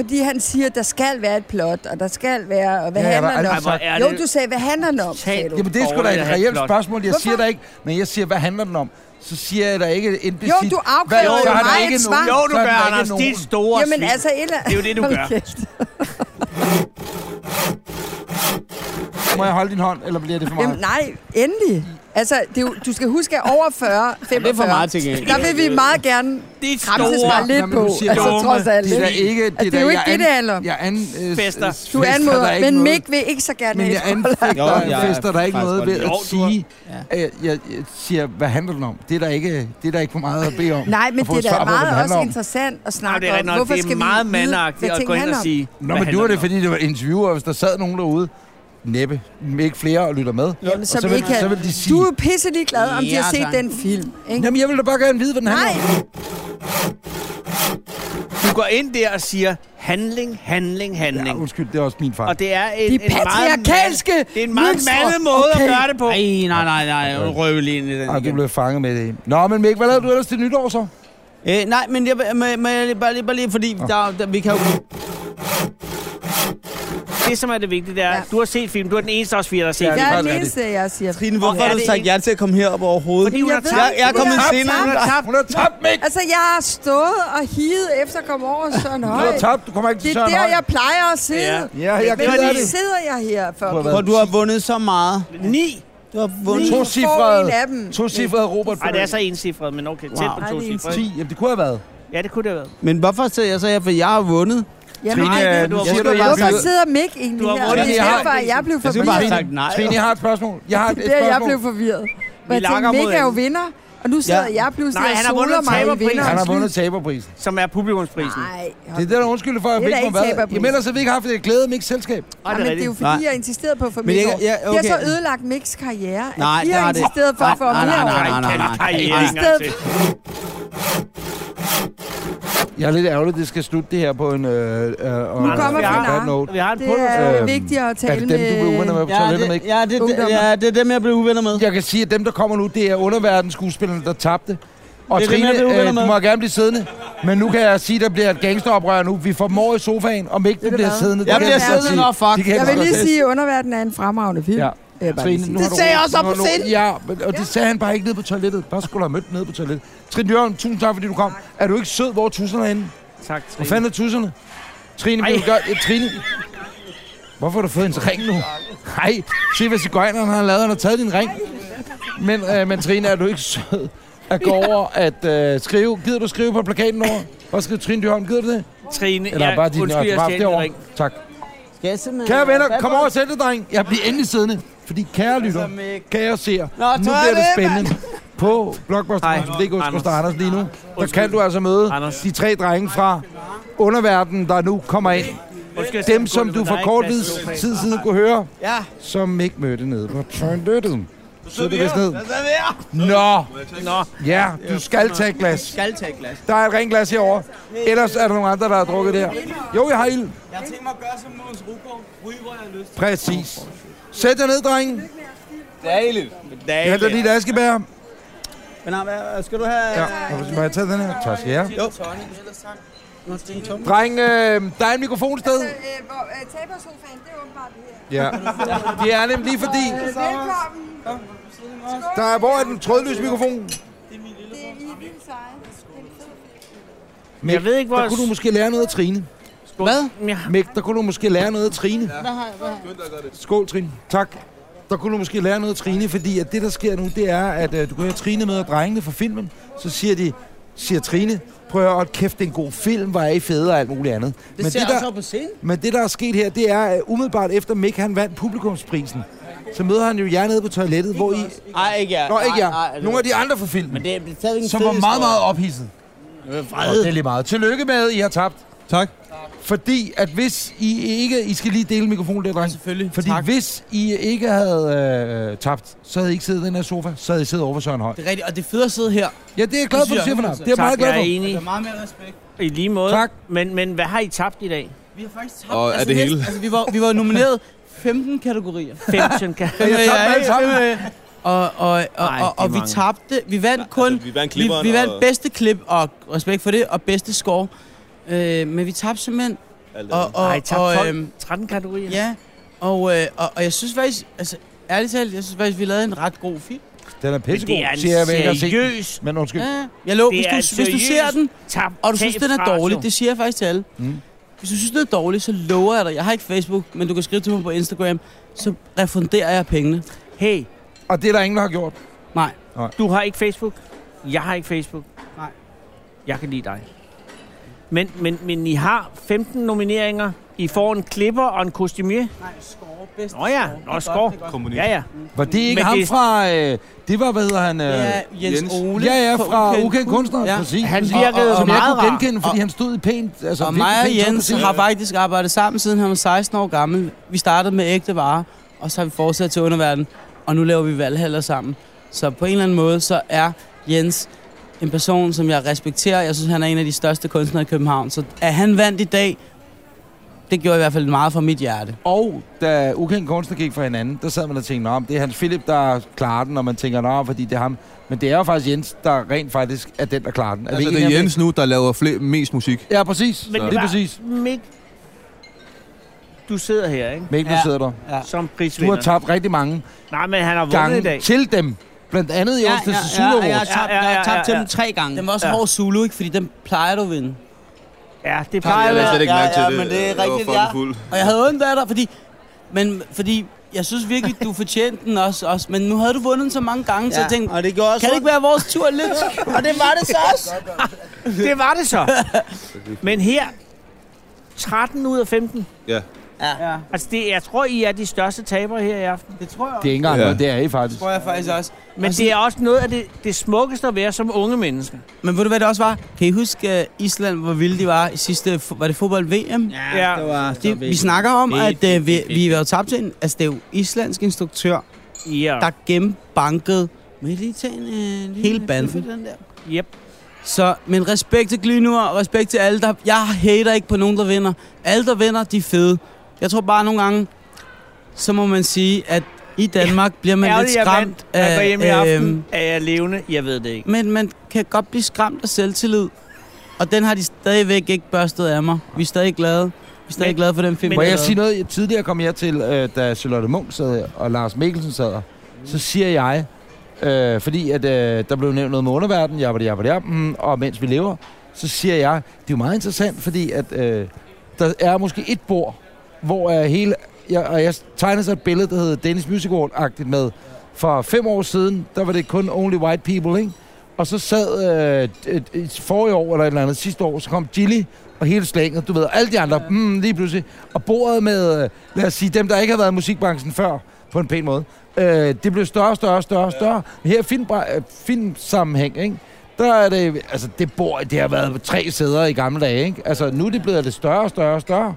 Fordi han siger, at der skal være et plot, og der skal være... Og hvad Ja, jeg har handler aldrig den om? sagt- Ej, hvor er Jo, det- du sagde, hvad handler den om, sagde du. Jamen, det er sgu da Borgerligt et at have reelt plot. spørgsmål. Jeg Hvorfor? siger der ikke, men jeg siger, hvad handler den om? Så siger jeg da ikke implicit. Jo, du afkræver hvad- jo så er der mig ikke et nogen- svar. så er der ikke nogen. dit store Jamen svin. altså, et eller... Det er jo det, du Hold gør. kæft. Må jeg holde din hånd, eller bliver det for Jamen, meget? nej, endelig. Altså, det er jo, du skal huske, at over 40, 45, for meget til gengæld. der vil vi meget gerne kramses bare lidt Jamen, på. du siger altså, dumme. trods alt. Det er da ikke? ikke... Altså, det er jo ikke det, det handler om. Jeg an, øh, Fester. s- Du fester der anmoder, ikke men noget. Mick vil ikke så gerne Men have jeg skål. anfægter, Jo, jo, jeg anfæster der er ikke faktisk noget godt ved lide. at Jo, du har- sige, at jeg, jeg siger, hvad handler den om? Det er der ikke, det er der ikke for meget at bede om. Nej, men at få det er et da svar på, hvad den meget handler også om. interessant at Jamen, det snakke er om. rigtigt nok. Hvorfor Det er skal vi meget vide, mandagtigt hvad at ting gå ind og handler om? sige, Nå, men nu er det, fordi det var interviewer. Hvis der sad nogen derude, næppe, ikke flere og lytter med. Jamen, Og som så, vil, ikke kan. så vil de sige... Du er pisse ligeglad, om de har Ja, set tak. den film. Ikke? Jamen, jeg vil da bare gerne vide, hvad den handler om. Nej, Du går ind der og siger, handling, handling, handling. Ja, undskyld, det er også min fejl. Og det er en, De en meget, patriarkalske mand- det er en meget mønstre. mandet måde okay. Okay. at gøre det på. Ej, nej, nej, nej. Røv lige ind i den Ej, du blev fanget med det. Nå, men Mik, hvad lavede du ellers til nytår så? Øh, nej, men jeg, med, med, bare, lige, bare lige, fordi der, der, vi kan jo... Det, som er det vigtige, det er, ja. du har set film. Du er den eneste også, der har set Ja, film. jeg er den eneste, jeg siger. Trine, hvorfor har du sagt ja til at komme herop overhovedet? Fordi hun har Jeg, tabt. jeg er kommet Hun har senere. tabt. end Hun har dig. tabt. Hun har tabt, Mik! Altså, jeg har stået og higet efter at komme over Søren Høj. har tabt. Du kommer ikke til Det er Søren der, Høj. jeg plejer at sidde. Ja. Ja, jeg Men keder nu det. sidder jeg her, for har du været- Hvor du har vundet så meget. Ni. Du har Ni. To Får en af cifrede, dem. to cifrede Robert. Ej, det er så encifret, men okay. Tæt på to cifre. Ti, jamen det kunne have været. Ja, det kunne det have været. Men hvorfor sidder jeg så her? For jeg har vundet. Jamen, Trine, nej, du har siger vundet. du, jeg har Hvorfor givet- sidder Mick egentlig Du har her? vundet. Det Jeg er har- derfor, at jeg blev Jeg skulle forvirret. bare have sagt nej. Trine, jeg har et spørgsmål. Jeg har et- det et er der, jeg spørgsmål. blev forvirret. Men jeg lakker tænkte, mod Mick er jo hinanden. vinder, og nu sidder jeg pludselig Nej, og han har soler vundet mig i taberprisen. vinder. Han har vundet taberprisen. Som er publikumsprisen. Nej, Det er det, der undskylder for, at Det er vi ikke da har ikke været. taberprisen. Jamen ellers har vi ikke haft et glæde med ikke selskab. Ej, men det er jo fordi, Nej. jeg insisterede på at få Men Mick jeg- over. ja, Det har okay. så ødelagt Micks karriere, at Nej, vi det har har det. insisteret for at få ham Nej, nej, herover. nej, nej, nej, nej. I stedet Jeg er lidt ærgerlig, at det skal slutte det her på en... Øh, øh, nu kommer Pilar. note. Øhm, Vi har en Det pulver. er vigtigt at tale Er det dem, du blev uvenner med på med- Ja, toilettet det- med? ikke? ja, det- det- ja, det er dem, jeg blev uvenner med. Jeg kan sige, at dem, der kommer nu, det er underverdensskuespillerne, der tabte. Og Det er dem, jeg Trine, blev uvenner øh, du med. må gerne blive siddende. Men nu kan jeg sige, at der bliver et gangsteroprør nu. Vi får mor i sofaen, om ikke du bliver siddende. Det Jeg kan bliver godt siddende, sige. nå, fuck. De kan Jeg godt vil lige sige. sige, at Underverden er en fremragende film. Ja. Vil jeg bare lige sige. nu har du- nu har du- Ja, men, og det sagde han bare ikke nede på toilettet. Bare skulle du have mødt den nede på toilettet. Trine Jørgen, tusind tak, fordi du kom. Er du ikke sød, hvor er tusserne er henne? Tak, Trine. Hvor fanden er tusserne? Trine, Ej. vil du gøre... Ja, Trine... Hvorfor har du fået hendes ring nu? Nej, se hvad cigøjneren har lavet. Han har taget din ring. Men, øh, men Trine, er du ikke sød at gå over at øh, skrive? Gider du skrive på plakaten over? Hvor skriver Trine Dyrholm? Gider du det? Trine, Eller jeg- bare din øh, undskyld, jeg autograf stjal din derovre? ring. Tak. Skal jeg simpelthen- Kære venner, Hvad kom var over og det? sæt dig, dreng. Jeg bliver endelig siddende, fordi kære lytter, kære seer, Nå, nu tør bliver det det, spændende. På blockbuster.dk Anders. skal Anders lige nu. Der kan du altså møde de tre drenge fra underverdenen, der nu kommer ind. Undskyld, Dem, jeg som skal du gå, for men kort der er ikke plads til tid sofaen. siden kunne høre, Ja. som ikke mødte nede på toilettet. Så det vist ned. Nå, Nå. ja, du skal tage et glas. Skal tage et glas. Der er et rent glas herovre. Ellers er der nogle andre, der har drukket der. Jo, jeg har ild. Jeg har tænkt mig at gøre som Måns Rugård. Ryg, hvor jeg har lyst. Præcis. Sæt dig ned, drenge. Dejligt. Jeg henter lige et askebær. Men nej, hvad, skal du have... Ja, og må jeg tage den her? Tak skal jeg. Jo. Nu er det en tom. Dreng, øh, der er en mikrofonsted. Altså, øh, Tabersofaen, det er åbenbart det her. Ja, det er nemlig fordi, Velkommen. der er, hvor er den trådløse mikrofon? Det er i vildt seje. Mæk, jeg ved ikke, hvor... Der kunne du måske lære noget af Trine. Hvad? Mæk, der kunne du måske lære noget af Trine. Hvad har jeg? Hvad har jeg? Skål, Trine. Tak. Der kunne du måske lære noget af Trine, fordi at det, der sker nu, det er, at øh, du kan høre Trine med og drengene fra filmen. Så siger de, siger Trine, prøv at høre, hold kæft, det er en god film, var I fede og alt muligt andet. Det ser jeg også op på scenen. Men det, der er sket her, det er, at umiddelbart efter Mick han vandt publikumsprisen, så møder han jo jer nede på toilettet, hvor I... Nej, ikke jeg. Nå, ikke jer. Ej, ej, det- Nogle af de andre fra filmen. Men det, det er stadig en Som var fed meget, meget historie. ophidset. Og det er lige meget. Tillykke med, I har tabt. Tak. Fordi at hvis I ikke... I skal lige dele mikrofonen der, dreng. selvfølgelig. Fordi Tak. hvis I ikke havde øh, tabt, så havde I ikke siddet i den her sofa. Så havde I siddet over for Søren Høj. Det er rigtigt, og det er fedt at sidde her. Ja, det er jeg glad for, du siger, Fernand. Det er jeg meget glad for. Jeg er enig. Der er meget mere respekt. I lige måde. Tak. Men, men hvad har I tabt i dag? Vi har faktisk tabt. Og er det næsten- hele? Altså, vi, var, vi var nomineret 15 kategorier. 15 kategorier. Fem, Jeg tabte ja, alle sammen. fem, øh, Og, og, og, Ej, og, og, det er og vi mange. tabte. Vi vandt kun... altså, vi vandt vi, klipperen vi vandt og- bedste klip, og respekt for det, og bedste score. Øh, men vi tabte simpelthen... Alt Og, andet. og, Ej, tabte og, øhm, 12, 13 kategorier. Ja, og, øh, og, og jeg synes faktisk... Altså, ærligt talt, jeg synes faktisk, vi lavede en ret god film. Den er pissegod, det er en siger jeg, men jeg har set den. seriøs- Men undskyld. Ja, jeg lov, hvis Det er du, hvis du seriøs ser den, tab- og du synes, den er tabsratio. dårlig, det siger jeg faktisk til alle. Mm. Hvis du synes, den er dårlig, så lover jeg dig. Jeg har ikke Facebook, men du kan skrive til mig på Instagram. Så refunderer jeg pengene. Hey. Og det er der ingen, der har gjort? Nej. Du har ikke Facebook. Jeg har ikke Facebook. Nej. Jeg kan lide dig. Men, men, men I har 15 nomineringer. I får en klipper og en kostumier. Nej, score bedst. Nå ja, nå score. Ja, ja. Var det ikke Men ham det- fra... Øh, det var, hvad hedder han? Øh, Ja, Jens Ole Ja, ja, fra fra Ukendt Ukendt Kunstner. Kunstner. Ja. Ja. Præcis. Han Som- virkede og, og, som meget jeg kunne rar. genkende, fordi Og- han stod i pænt... Altså, og virkelig mig og pænt tøj på Jens scenen. har faktisk arbejdet sammen, siden han var 16 år gammel. Vi startede med ægte varer, og så har vi fortsat til underverden, og nu laver vi valghaller sammen. Så på en eller anden måde, så er Jens en person, som jeg respekterer. Jeg synes, han er en af de største kunstnere i København. Så at han vandt i dag, det gjorde i hvert fald meget for mit hjerte. Og da ukendt kunstner gik fra hinanden, der sad man og tænkte, om det er Hans Philip, der klarer den, og man tænker, nå, fordi det er ham. Men det er jo faktisk Jens, der rent faktisk er den, der klarer den. Er vi Altså, ikke det er enige om Jens nu, der laver fl- mest musik. Ja, præcis. Men det Lige var præcis. Mik, du sidder her, ikke? Mikkel, ja. sidder der. Ja. Som Du prisvinder. har tabt rigtig mange Nej, men han har vundet gange i dag. til dem. Blandt andet i Ja, onsdags ja, til ja, Sula ja, Awards. ja, ja, ja, ja. Tabte dem tre gange. Den var også Ja. ja. hård Zulu, ikke? Fordi den plejer du at vinde. Ja, det plejer jeg lagde slet ikke mærke til det. men det Jeg er var rigtigt, fucking ja. fuld. Og jeg havde ondt af dig, fordi... Men fordi jeg synes virkelig, du fortjente den også, også. Men nu havde du vundet den så mange gange, ja, så Ja, jeg tænkte, og det gjorde også kan det ikke være vores tur lidt? Og det var det så også. det var det så. Men her, 13 ud af 15. Ja. Ja. Altså, det, jeg tror, I er de største tabere her i aften. Det tror jeg Det er ikke engang Ja. noget, det er I faktisk. tror jeg faktisk også. Men det er også noget af det, det smukkeste at være som unge mennesker. Men ved du, hvad det også var? Kan I øh, huske uh, Island, hvor vilde de var i sidste... fo- Var det fodbold-VM? Ja, det var så det, Vi vigtigt. snakker om, Vigtigt, at uh, vi, vi var tabt til en... Altså, det er jo islandsk instruktør, Ja. der gennembankede Må jeg lige tage en... Øh, lille hele banden. bøffe, den der? Yep. Så, men respekt til Glynur, og respekt til alle, der... Jeg hater ikke på nogen, der vinder. Alle, der vinder, de er fede. Jeg tror bare nogle gange, så må man sige, at i Danmark bliver man lidt Ærgerligt, jeg skræmt vandt. Jeg går hjem i øhm, aften. Er jeg levende? Jeg ved det ikke. Men man kan godt blive skræmt af selvtillid. Og den har de stadigvæk ikke børstet af mig. Vi er stadig glade. Vi er stadig Men- glade for den film. Må vi jeg lavede. sige noget? Tidligere kom jeg til, øh, da Charlotte Munk sad her, og Lars Mikkelsen sad her. Så siger jeg, øh, fordi at, øh, der blev nævnt noget med underverden, jabba, jabba, jabba, mm, og mens vi lever, så siger jeg, det er jo meget interessant, fordi at, øh, der er måske et bord, hvor er hele... Jeg, og jeg tegnede så et billede, der hedder Dennis Music Award-agtigt med. For fem år siden, der var det kun Only White People, ikke? Og så sad øh, et, et, forrige år, eller et eller andet sidste år, så kom Gilly og hele slænget, du ved, og alle de andre, mm, lige pludselig. Og bordet med, øh, lad os sige, dem, der ikke har været i musikbranchen før, på en pæn måde, øh, det blev større, større, større, større. Men her i filmbra- øh, filmsammenhæng, ikke? Der er det, altså det bord, det har været på tre sæder i gamle dage, ikke? Altså nu er det blevet det større, større, større.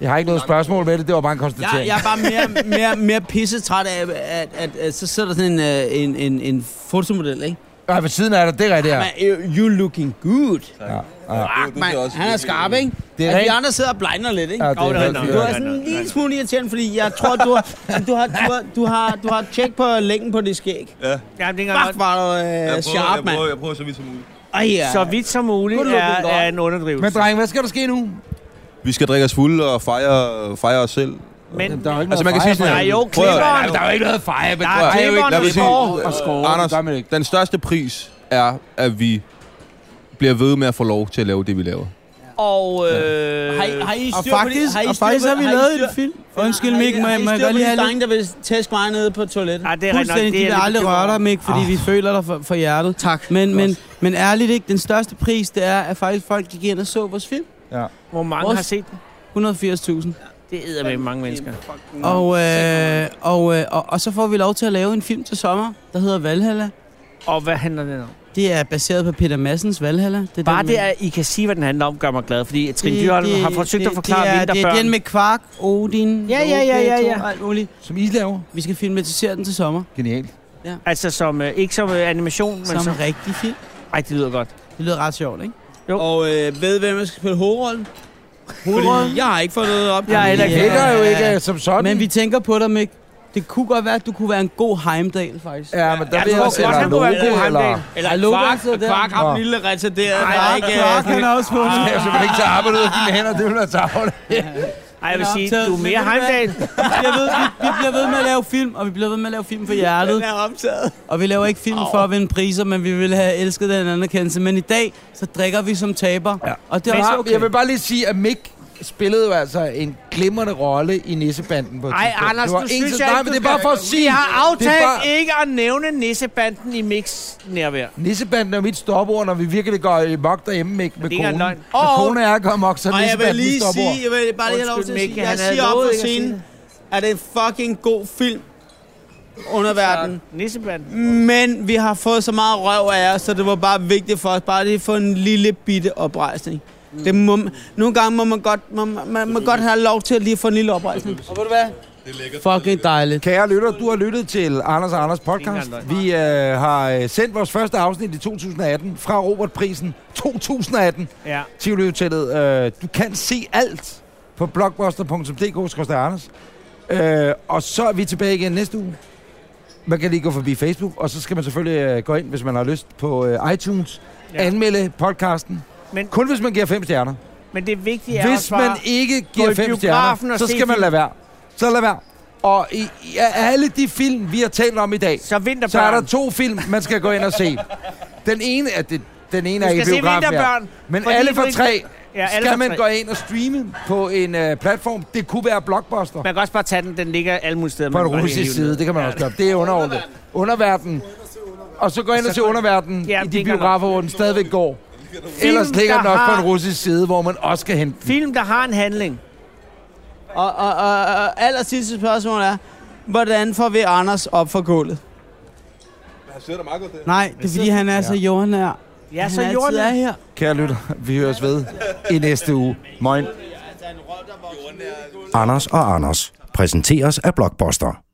Jeg har ikke noget spørgsmål med det, det var bare en konstatering. Jeg, jeg er bare mere, mere, mere pissetræt af, at, at, at, så sidder der sådan en, øh, en, en, en fotomodel, ikke? Ja, ved siden af dig, det er rigtigt, ja. You looking good. Ja. Ja. Man, han er skarp, ikke? Det Det er er at rent- vi andre sidder og blegner lidt, ikke? Ja, det er Jo, helt Du fint. er sådan en lille smule irriterende, fordi jeg tror, du har, du har, du har, du har, du har tjek på længden på det skæg. Ja. Jamen, det Fuck, var du Jeg øh, prøver, jeg sharp, mand. prøver, jeg prøver så vidt som muligt. Ej, ja. Så vidt som muligt Nu er, lukker den godt. er en underdrivelse. Men dreng, hvad skal der ske nu? Vi skal drikke os fulde og fejre, fejre os selv. Men der er jo ikke Altså, man kan sige sådan her. Nej, jo, Prøv at- klipperen. Der er jo ikke noget at fejre, men Prøv at- klipperen Lad mig og sige, score. øh, Anders, den største pris er, at vi bliver ved med at få lov til at lave det, vi laver. Og, øh, Har I, har I styr Og på det? faktisk- har I og styr faktisk på- har vi I lavet styr- en film. Undskyld, Har I- Mik, må har jeg I må jeg styr godt på lige de have lidt... drenge, der vil tæske mig nede på toilettet? Nej, det er Fuldstændig, de vil aldrig røre dig, Mik, Ah. fordi vi føler dig for, for hjertet. Tak. Men, men, men ærligt ikke, den største pris, det er, at faktisk folk gik ind og så vores film. Ja. Hvor mange Vores- har set den? 180.000. Det æder med mange mennesker. Og, øh, og, øh, og, og så får vi lov til at lave en film til sommer, der hedder Valhalla. Og hvad handler den om? Det er baseret på Peter Massens Valhalla. Det er Bare den, med- det, at I kan sige, hvad den handler om, gør mig glad. Fordi Trine Dyrholm har forsøgt det- at forklare det er, mindre det er børn. den med Kvark, Odin, Ja, ja, ja, ja, ja. Loke, Thor, alt muligt. Som I laver. Vi skal filmatisere den til sommer. Genialt. Ja. Altså som, øh, ikke som øh, animation, men Som, som... en rigtig film. Ej, det lyder godt. Det lyder ret sjovt, ikke? Jo. Og øh, ved hvem, der skal spille hovedrollen? Hovedrollen? Fordi jeg har ikke fået noget op. Jeg er heller ikke- Det gør jo ikke øh, som sådan. Men vi tænker på dig, Mik. Det kunne godt være, at du kunne være en god Heimdal, faktisk. Ja, men der Jeg vil jeg tror også godt, eller han kunne være Loke, god eller- Heimdal. Eller Ej, Loke, Kvark, han sidder der. Kvark ham Nå. lille retarderede. øh. Ej, der Kvark, Kvark, han har også fundet. Jeg skal simpelthen ikke tage arbejdet ud af dine hænder, det vil være tavle. Ej, jeg vil Den er sige, optaget. du er Men ved mere du hvad? Heimdal. Vi bliver, ved, vi, vi bliver ved med at lave film, og vi bliver ved med at lave film for hjertet. Den er optaget. Og vi laver ikke film for at vinde priser, men vi ville have elsket den anerkendelse. Men i dag, så drikker vi som taber. Ja. Og det er Men også okay. Jeg vil bare lige sige, at Mick spillede jo altså en glimrende rolle i Nissebanden på et Ej, tidspunkt. Anders, Det var du en synes til- jeg Nej, ikke, men du det er bare skal- for at sige... Vi har det er aftalt bare- ikke at nævne nissebanden i Mix nærvær. Nissebanden er mit stopord, når vi virkelig går i mok derhjemme, Mick, med det er ikke konen. løgn. Når Og- kone er gået mok, så er Og jeg vil Nissebanden mit lige stopord. sige, jeg vil bare lige have lov til Undskyld, at Mikke, sige, han jeg havde siger op lovet på ikke at sige scenen, at det er en fucking god film underverden. Nissebanden. Men vi har fået så meget røv af jer, så det var bare vigtigt for os bare lige at få en lille bitte oprejsning. Det må, nogle gange må man godt, må, man, man må godt have lov til at lige få en lille oprejsning. Og ved du hvad? Det er lækkert. Fucking dejligt. Kære lytter, du har lyttet til Anders og Anders podcast. Vi øh, har øh, sendt vores første afsnit i 2018 fra Robertprisen 2018. Ja. Tivoli Hotellet. Øh, du kan se alt på blogbuster.dk-anders. Øh, og så er vi tilbage igen næste uge. Man kan lige gå forbi Facebook, og så skal man selvfølgelig øh, gå ind, hvis man har lyst, på øh, iTunes. Ja. Anmelde podcasten. Men, Kun hvis man giver fem stjerner. Men det vigtige er Hvis også bare man ikke gå giver i fem biografen stjerner, og så se skal man film. lade være. Så lad være. Og i, i af alle de film, vi har talt om i dag, så, så er der to film, man skal gå ind og se. Den ene er, det, den ene Du er i skal se biografen her. Vinterbørn, Men fordi alle du for ikke- tre Ja, ja, alle alle skal for man tre. gå ind og streame på en øh, platform. Det kunne være Blockbuster. Man kan også bare tage den, den ligger alle mulige steder. På man en kan bare lige russisk hive den side, ned. det kan man også gøre. Det er underordnet. Underverden. Og så gå ind og Så se går- underverden Ja, i det de kan godt. biografer, hvor den stadigvæk går. Film, Ellers ligger den der også på en har- russisk side, hvor man også skal hente den. Film, der har en handling. Og, og, og, og aller sidste spørgsmål er, hvordan får vi Anders op fra gulvet? Han sidder der meget godt, det. Nej, det er fordi, han er så jordnær. Ja, Han så altid jordnær. er her. Kære lytter, vi høres ved i næste uge. Moin. Anders og Anders præsenteres af Blockbuster.